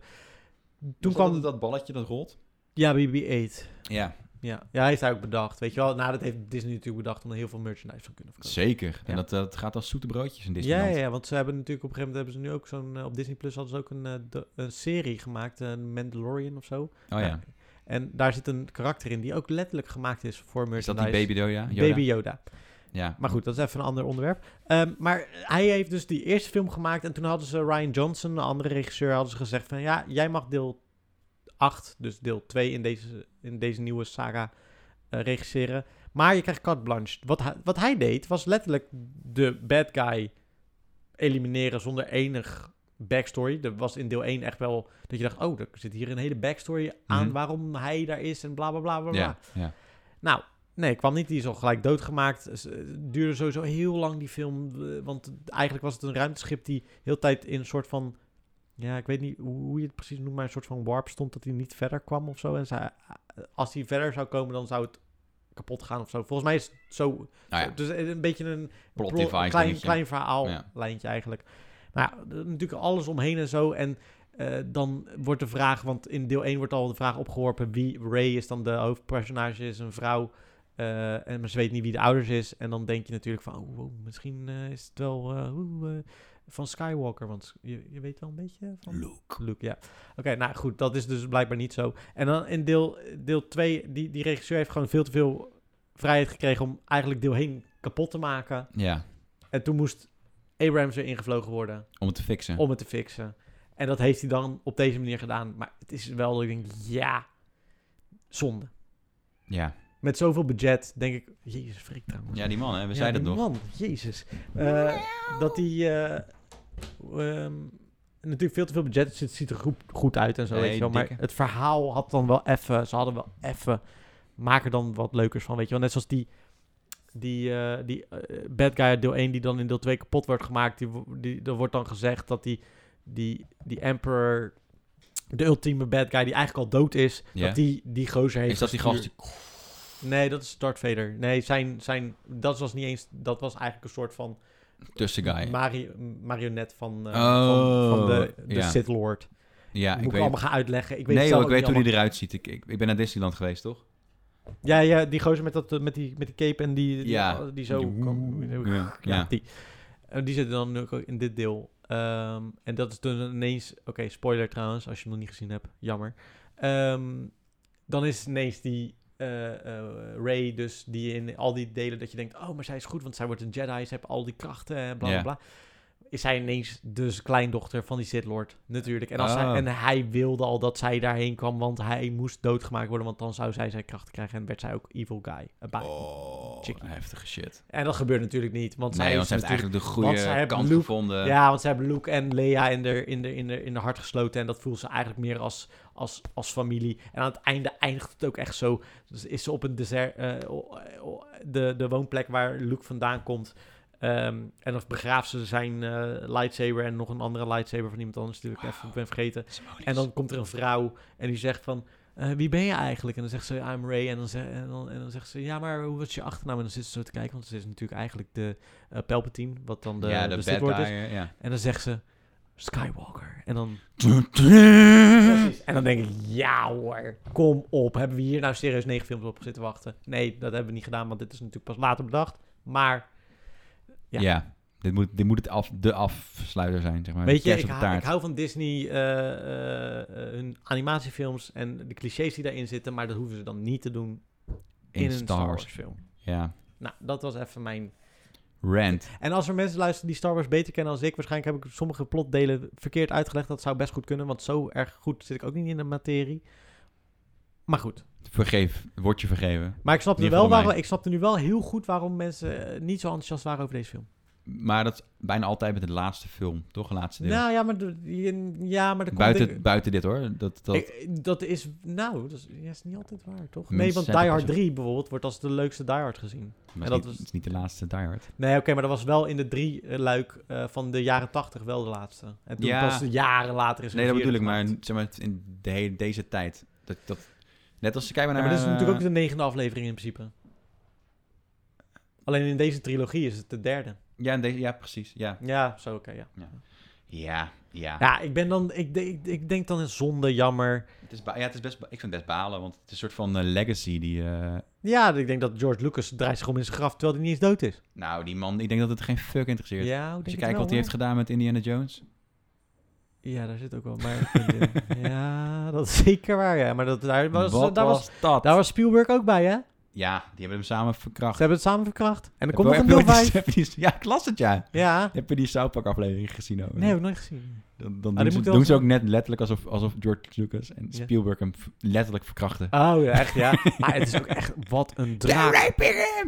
Toen
Toen
kwam...
kwam dat balletje dat rolt.
Ja, BB-8.
Ja,
Ja. ja, hij is daar ook bedacht. Weet je wel, nou, dat heeft Disney natuurlijk bedacht om er heel veel merchandise van kunnen verkopen.
zeker.
Ja.
En dat, dat gaat als zoete broodjes in
Ja,
Disneyland.
ja, ja, want ze hebben natuurlijk op een gegeven moment hebben ze nu ook zo'n... eh, op Disney Plus hadden ze ook een, eh, do- een serie gemaakt, een Mandalorian of zo.
Oh ja.
En daar zit een karakter in die ook letterlijk gemaakt is voor
Is dat
merchandise.
die baby Yoda? Yoda?
Baby Yoda.
Ja.
Maar goed, dat is even een ander onderwerp. Ehm, maar hij heeft dus die eerste film gemaakt. En toen hadden ze Ryan Johnson, een andere regisseur, hadden ze gezegd van... Ja, jij mag deel 8, dus deel 2 in deze, in deze nieuwe saga eh, regisseren. Maar je krijgt carte blanche. Wat, hij- wat hij deed, was letterlijk de bad guy elimineren zonder enig backstory. Er was in deel 1 echt wel dat je dacht... Oh, er zit hier een hele backstory aan
Mhm.
waarom hij daar is en bla bla bla bla bla.
Ja, ja.
Nou, nee, kwam niet. Die is al gelijk doodgemaakt. Het duurde sowieso heel lang, die film. eh, Want eigenlijk was het een ruimteschip die heel de tijd in een soort van... Ja, ik weet niet hoe je het precies noemt, maar een soort van warp stond dat hij niet verder kwam of zo. En zij- als hij verder zou komen, dan zou het kapot gaan of zo. Volgens mij is het zo
Nou ja,
dus een beetje een
Plot
pro-
device
klein,
dingetje.
klein verhaal
Ja.
lijntje eigenlijk. Maar ja, er- natuurlijk alles omheen en zo. En eh, dan wordt de vraag, want in deel 1 wordt al de vraag opgeworpen wie Ray is dan de hoofdpersonage, is een vrouw. eh, en, maar ze weet niet wie de ouders is. En dan denk je natuurlijk van, oh, wow, misschien eh, is het wel eh, oeh, eh, van Skywalker. Want je, je weet wel een beetje van...
Luke.
Luke, ja. Oké, nou goed, dat is dus blijkbaar niet zo. En dan in deel, deel 2, die, die regisseur heeft gewoon veel te veel vrijheid gekregen om eigenlijk deel heen kapot te maken.
Ja,
En toen moest Abrams weer ingevlogen worden
om het te fixen.
om het te fixen. En dat heeft hij dan op deze manier gedaan. Maar het is wel dat ik denk, ja, zonde.
Ja.
Met zoveel budget denk ik, jezus, frik trouwens.
ja, die man, hè. We
Ja,
zeiden
die
het nog.
Man, jezus. Eh, dat die... eh, ehm, natuurlijk veel te veel budget, dus het ziet er goed, goed uit en zo,
Nee,
weet je wel. Maar
dikke.
het verhaal had dan wel even... Ze hadden wel even... Maak er dan wat leukers van, weet je wel. Net zoals die... Die, eh, die eh, bad guy uit deel 1 die dan in deel 2 kapot wordt gemaakt. Die, wo- die, er wordt dan gezegd dat die, die, die emperor, de ultieme bad guy die eigenlijk al dood is,
Ja.
dat die die gozer heeft
Is dat die
gestuurd.
gast? die-
Nee, dat is Darth Vader. Nee, zijn, zijn, dat was niet eens. Dat was eigenlijk een soort van
Tussen guy.
mari- marionet van, eh,
Oh,
van, van de, de
ja.
Sith Lord.
Ja,
Moet
ik
ik
weet...
allemaal gaan uitleggen. Ik weet
Nee,
het zelf
joh, ik
ook
weet hoe
niet
die eruit ziet. Ik, ik, ik ben naar Disneyland geweest, toch?
allemaal. Ja, ja, die gozer met, dat, eh, met, die, met die cape en die, die,
Ja.
die zo...
Die-
kan-
Ja.
ja,
ja.
die. Eh, die zitten dan nu ook in dit deel. Ehm, en dat is dan ineens... Oké, spoiler trouwens, als je hem nog niet gezien hebt. Jammer. Ehm, dan is het ineens die eh, eh, Ray dus die in al die delen... dat je denkt, oh, maar zij is goed, want zij wordt een Jedi. Ze heeft al die krachten en bla, bla,
Ja.
bla. Is zij ineens dus kleindochter van die Sith Lord, natuurlijk. En, als
Oh.
hij, en hij wilde al dat zij daarheen kwam, want hij moest doodgemaakt worden... want dan zou zij zijn krachten krijgen en werd zij ook evil guy. A bad-
Oh,
Chickie.
heftige shit.
En dat gebeurt natuurlijk niet, want zij
nee,
is
want ze heeft
natuurlijk...
eigenlijk de
want zij
goede
hebben
kant
Luke-
gevonden.
Ja, want ze hebben Luke en Leia in de, in de, in de, in de hart gesloten. En dat voelt ze eigenlijk meer als, als, als familie. En aan het einde eindigt het ook echt zo. Dus is ze op een dessert, eh, o- o- de, de woonplek waar Luke vandaan komt. Ehm, en dan begraaft ze zijn eh, lightsaber en nog een andere lightsaber van iemand anders, die ik even ben vergeten. En dan komt er een vrouw en die zegt van... eh, wie ben je eigenlijk? En dan zegt ze, I'm Ray. En dan, ze- en, dan, en dan zegt ze, ja, maar hoe was je achternaam? En dan zit ze zo te kijken, want ze is natuurlijk eigenlijk de eh Palpatine, wat dan de,
ja, de,
Sith dus.
bad
Lord
guy,
is.
eh, ja.
En dan zegt ze Skywalker. En dan, en dan denk ik, ja hoor, kom op. Hebben we hier nou serieus negen films op zitten wachten? Nee, dat hebben we niet gedaan, want dit is natuurlijk pas later bedacht. Maar
Ja.
Ja.
Dit moet, dit moet het af, de afsluiter zijn, zeg maar.
Weet
De
je,
kerst
ik,
op de
hou-
taart.
ik hou van Disney, eh, eh, eh, hun animatiefilms en de clichés die daarin zitten, maar dat hoeven ze dan niet te doen in, een Star Wars film.
Ja.
Nou, dat was even mijn...
Rant.
En als er mensen luisteren die Star Wars beter kennen dan ik, waarschijnlijk heb ik sommige plotdelen verkeerd uitgelegd. Dat zou best goed kunnen, want zo erg goed zit ik ook niet in de materie. Maar goed.
Vergeef. Word je vergeven.
Maar ik snapte,
In ieder
wel
geval
waarom, ik snapte nu wel heel goed waarom mensen eh, niet zo enthousiast waren over deze film.
Maar dat is bijna altijd met de laatste film, toch? De laatste deel.
Nou ja, maar, de- je- ja, maar dat komt
buiten,
ik-
buiten dit hoor. Dat, dat,
Ik- dat is, nou, dat is, ja, is niet altijd waar, toch?
Mensen
nee, want Die
zijn
Hard
toch
3 bijvoorbeeld wordt als de leukste Die Hard gezien.
maar
en
is
dat
niet,
was-
is niet de laatste Die Hard.
Nee, oké, maar dat was wel in de drie eh, luik eh, van de jaren 80 wel de laatste. En toen
Ja.
pas jaren later is er
Nee,
een
dat bedoel
vierde
ik, maar
gemaakt.
zeg maar in de hele, deze tijd. Dat, dat, net als kijken
Ja,
naar...
maar dit is natuurlijk ook
eh,
de negende aflevering in principe. Alleen in deze trilogie is het de derde.
eh, ja, in deze, ja, precies. Ja.
Ja, zo oké, ja.
Ja, ja.
Ja, ik ben dan, ik, denk- ik, ik denk dan een zonde, jammer.
Het is ba- ja, het is best, ba- ik vind het best balen, want het is een soort van eh, legacy die... eh,
Ja, ik denk dat George Lucas draait zich om in zijn graf terwijl hij niet eens dood is.
nou, die man, ik denk dat het geen fuck interesseert.
Ja, hoe denk
Als je
het
kijkt
wel,
wat hij heeft
hoor.
gedaan met Indiana Jones.
Ja, daar zit ook wel maar een punt in. Ja, dat is zeker waar, ja. Maar dat, daar, was,
Wat
daar, was,
dat?
daar was Spielberg ook bij, hè?
Ja, die hebben hem samen verkracht.
Ze hebben het samen verkracht. En er
Heb
komt nog
je-
een deel
heb je die-
5.
heb je die- Ja, ik las het, ja.
Ja.
Heb je die South Park aflevering gezien? ook?
Nee, heb ik nooit gezien.
Dan, dan
Ah,
doen,
die
ze,
moet wel
doen
eens-
ze ook net letterlijk alsof, alsof George Lucas en
Ja.
Spielberg hem v- letterlijk verkrachten.
Oh, ja, echt, ja. Maar het is ook echt, wat een draak.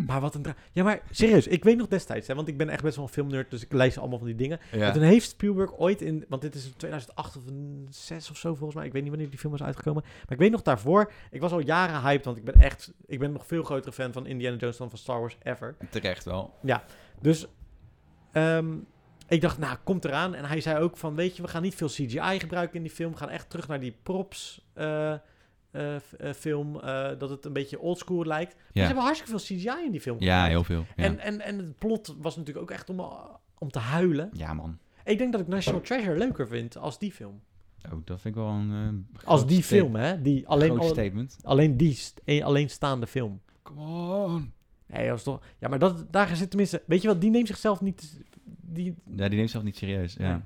Maar wat een draak. Ja, maar serieus, ik weet nog destijds, hè, want ik ben echt best wel een filmnerd, dus ik lijst allemaal van die dingen. En toen heeft Spielberg ooit in, want dit is in 2008 of 2006 of zo volgens mij, ik weet niet wanneer die film is uitgekomen. Maar ik weet nog daarvoor, ik was al jaren hyped, want ik ben echt, ik ben nog veel grotere fan van Indiana Jones dan van Star Wars ever.
Terecht wel.
Dus ehm, ik dacht, nou, komt eraan. En hij zei ook van, weet je, we gaan niet veel CGI gebruiken in die film. We gaan echt terug naar die props eh, eh, f- eh, film, eh, dat het een beetje oldschool lijkt. Maar ze
Ja.
hebben hartstikke veel CGI in die film.
Ja,
gebruikt.
heel veel. Ja,
En, en, en het plot was natuurlijk ook echt om, eh, om te huilen.
ja man.
Ik denk dat ik National Treasure leuker vind als die film.
Oh, dat vind ik wel een... eh,
Als
groot
die
sta-
film, hè? Die, alleen,
groot
al-
statement.
alleen die st- een alleenstaande film.
Come on.
Nee, dat is toch... Ja, maar dat, daar zit tenminste... Weet je wat, die neemt zichzelf niet... Die,
Ja, die neemt zichzelf niet serieus. Ja.
Nee.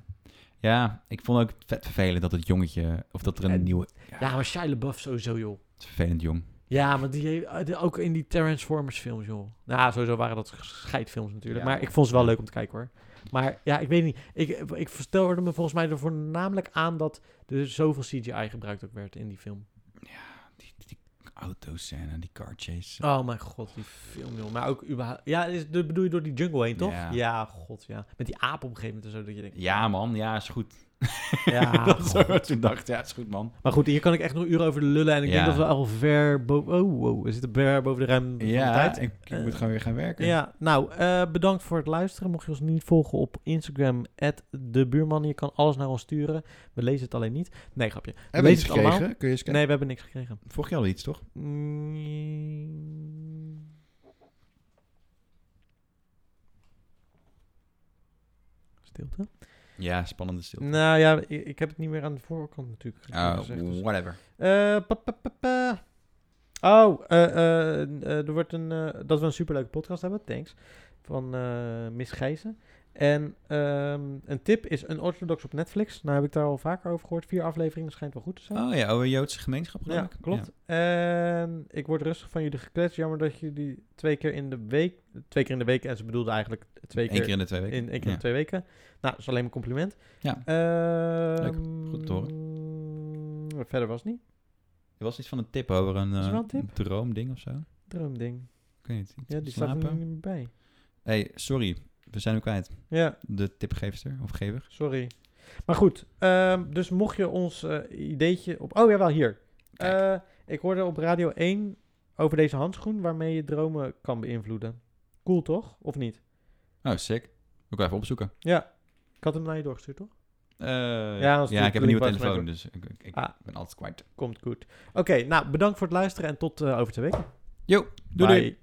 ja. ik vond ook vet vervelend dat het jongetje... Of dat er een
En-
nieuwe...
ja, maar Shia LaBeouf sowieso, joh.
Het is Vervelend jong.
Ja, maar die heeft- eh, de- ook in die Transformers films, joh. Nou, sowieso waren dat scheidfilms natuurlijk.
Ja.
Maar ik vond ze wel leuk om te kijken, hoor. Maar ja, ik weet niet. Ik, ik verstelde me volgens mij er voornamelijk aan dat er zoveel CGI gebruikt ook werd in die film.
Die, die autoscène, die car chase.
Oh mijn god, die film, joh. Maar ook überhaupt... Ja, is, dat bedoel je door die jungle heen, toch?
Ja.
Ja, god, ja. Met die aap op een gegeven moment en zo, dat je denkt...
Ja man, ja is goed.
Ja,
dat is zo
god.
wat ik dacht. Ja, is goed man.
Maar goed, hier kan ik echt nog uren over lullen. En ik denk
Ja.
dat we al ver boven... Oh, wow, we zitten ver boven de ruimte van de tijd.
ik, ik
Eh,
moet gewoon weer gaan werken.
Ja, nou, eh, bedankt voor het luisteren. Mocht je ons niet volgen op Instagram, de buurman. Je kan alles naar ons sturen. We lezen het alleen niet. Nee, grapje. We
Hebben we iets
lezen het allemaal.
gekregen? Kun je eens kijken?
Nee, we hebben niks gekregen.
Vroeg je al iets, toch?
Mm. Stilte?
Ja, spannende stilte.
Nou ja, i- ik heb het niet meer aan de voorkant natuurlijk
Oh,
gezegd. dus-
whatever.
Eh, pa, pa, pa, pa. Oh, eh, eh, eh, er wordt een, eh, dat we een superleuke podcast hebben, thanks, van eh Miss Gijzen. En ehm, een tip is een orthodox op Netflix. Nou heb ik daar al vaker over gehoord. Vier afleveringen schijnt wel goed te zijn.
Oh ja, over Joodse gemeenschap geloof
ja,
ik.
klopt. En ik word rustig van jullie gekletst. Jammer dat jullie twee keer in de week, twee keer in de week, en ze bedoelde eigenlijk twee
Eén
keer,
keer in de twee weken.
in, één keer
Ja.
in twee weken. Nou, dat is alleen mijn compliment.
Ja.
Ehm,
Goed te
Verder was het niet.
Er was iets van een tip over een,
Is er wel
eh,
een tip?
droomding of zo.
Droomding.
Ik weet niet.
Ja, die staat er
Slapen.
nu niet meer bij.
hey, sorry. We zijn ook kwijt.
Ja,
De tipgeefster of gever.
sorry. Maar goed, ehm, dus mocht je ons eh, ideetje op... Oh, jawel, hier.
Kijk.
Eh, ik hoorde op Radio 1 over deze handschoen waarmee je dromen kan beïnvloeden. Cool, toch? Of niet?
Oh, sick. Moet ik wel even opzoeken.
Ik had hem naar je doorgestuurd, toch?
Eh,
Ja,
ja,
als het
ik heb een nieuwe
link was, maar
telefoon, dus ik, ik, ik
Ah.
ben altijd kwijt.
Komt goed. Oké, nou, bedankt voor het luisteren en tot eh, over twee weken.
Yo, doei doei.
Bye.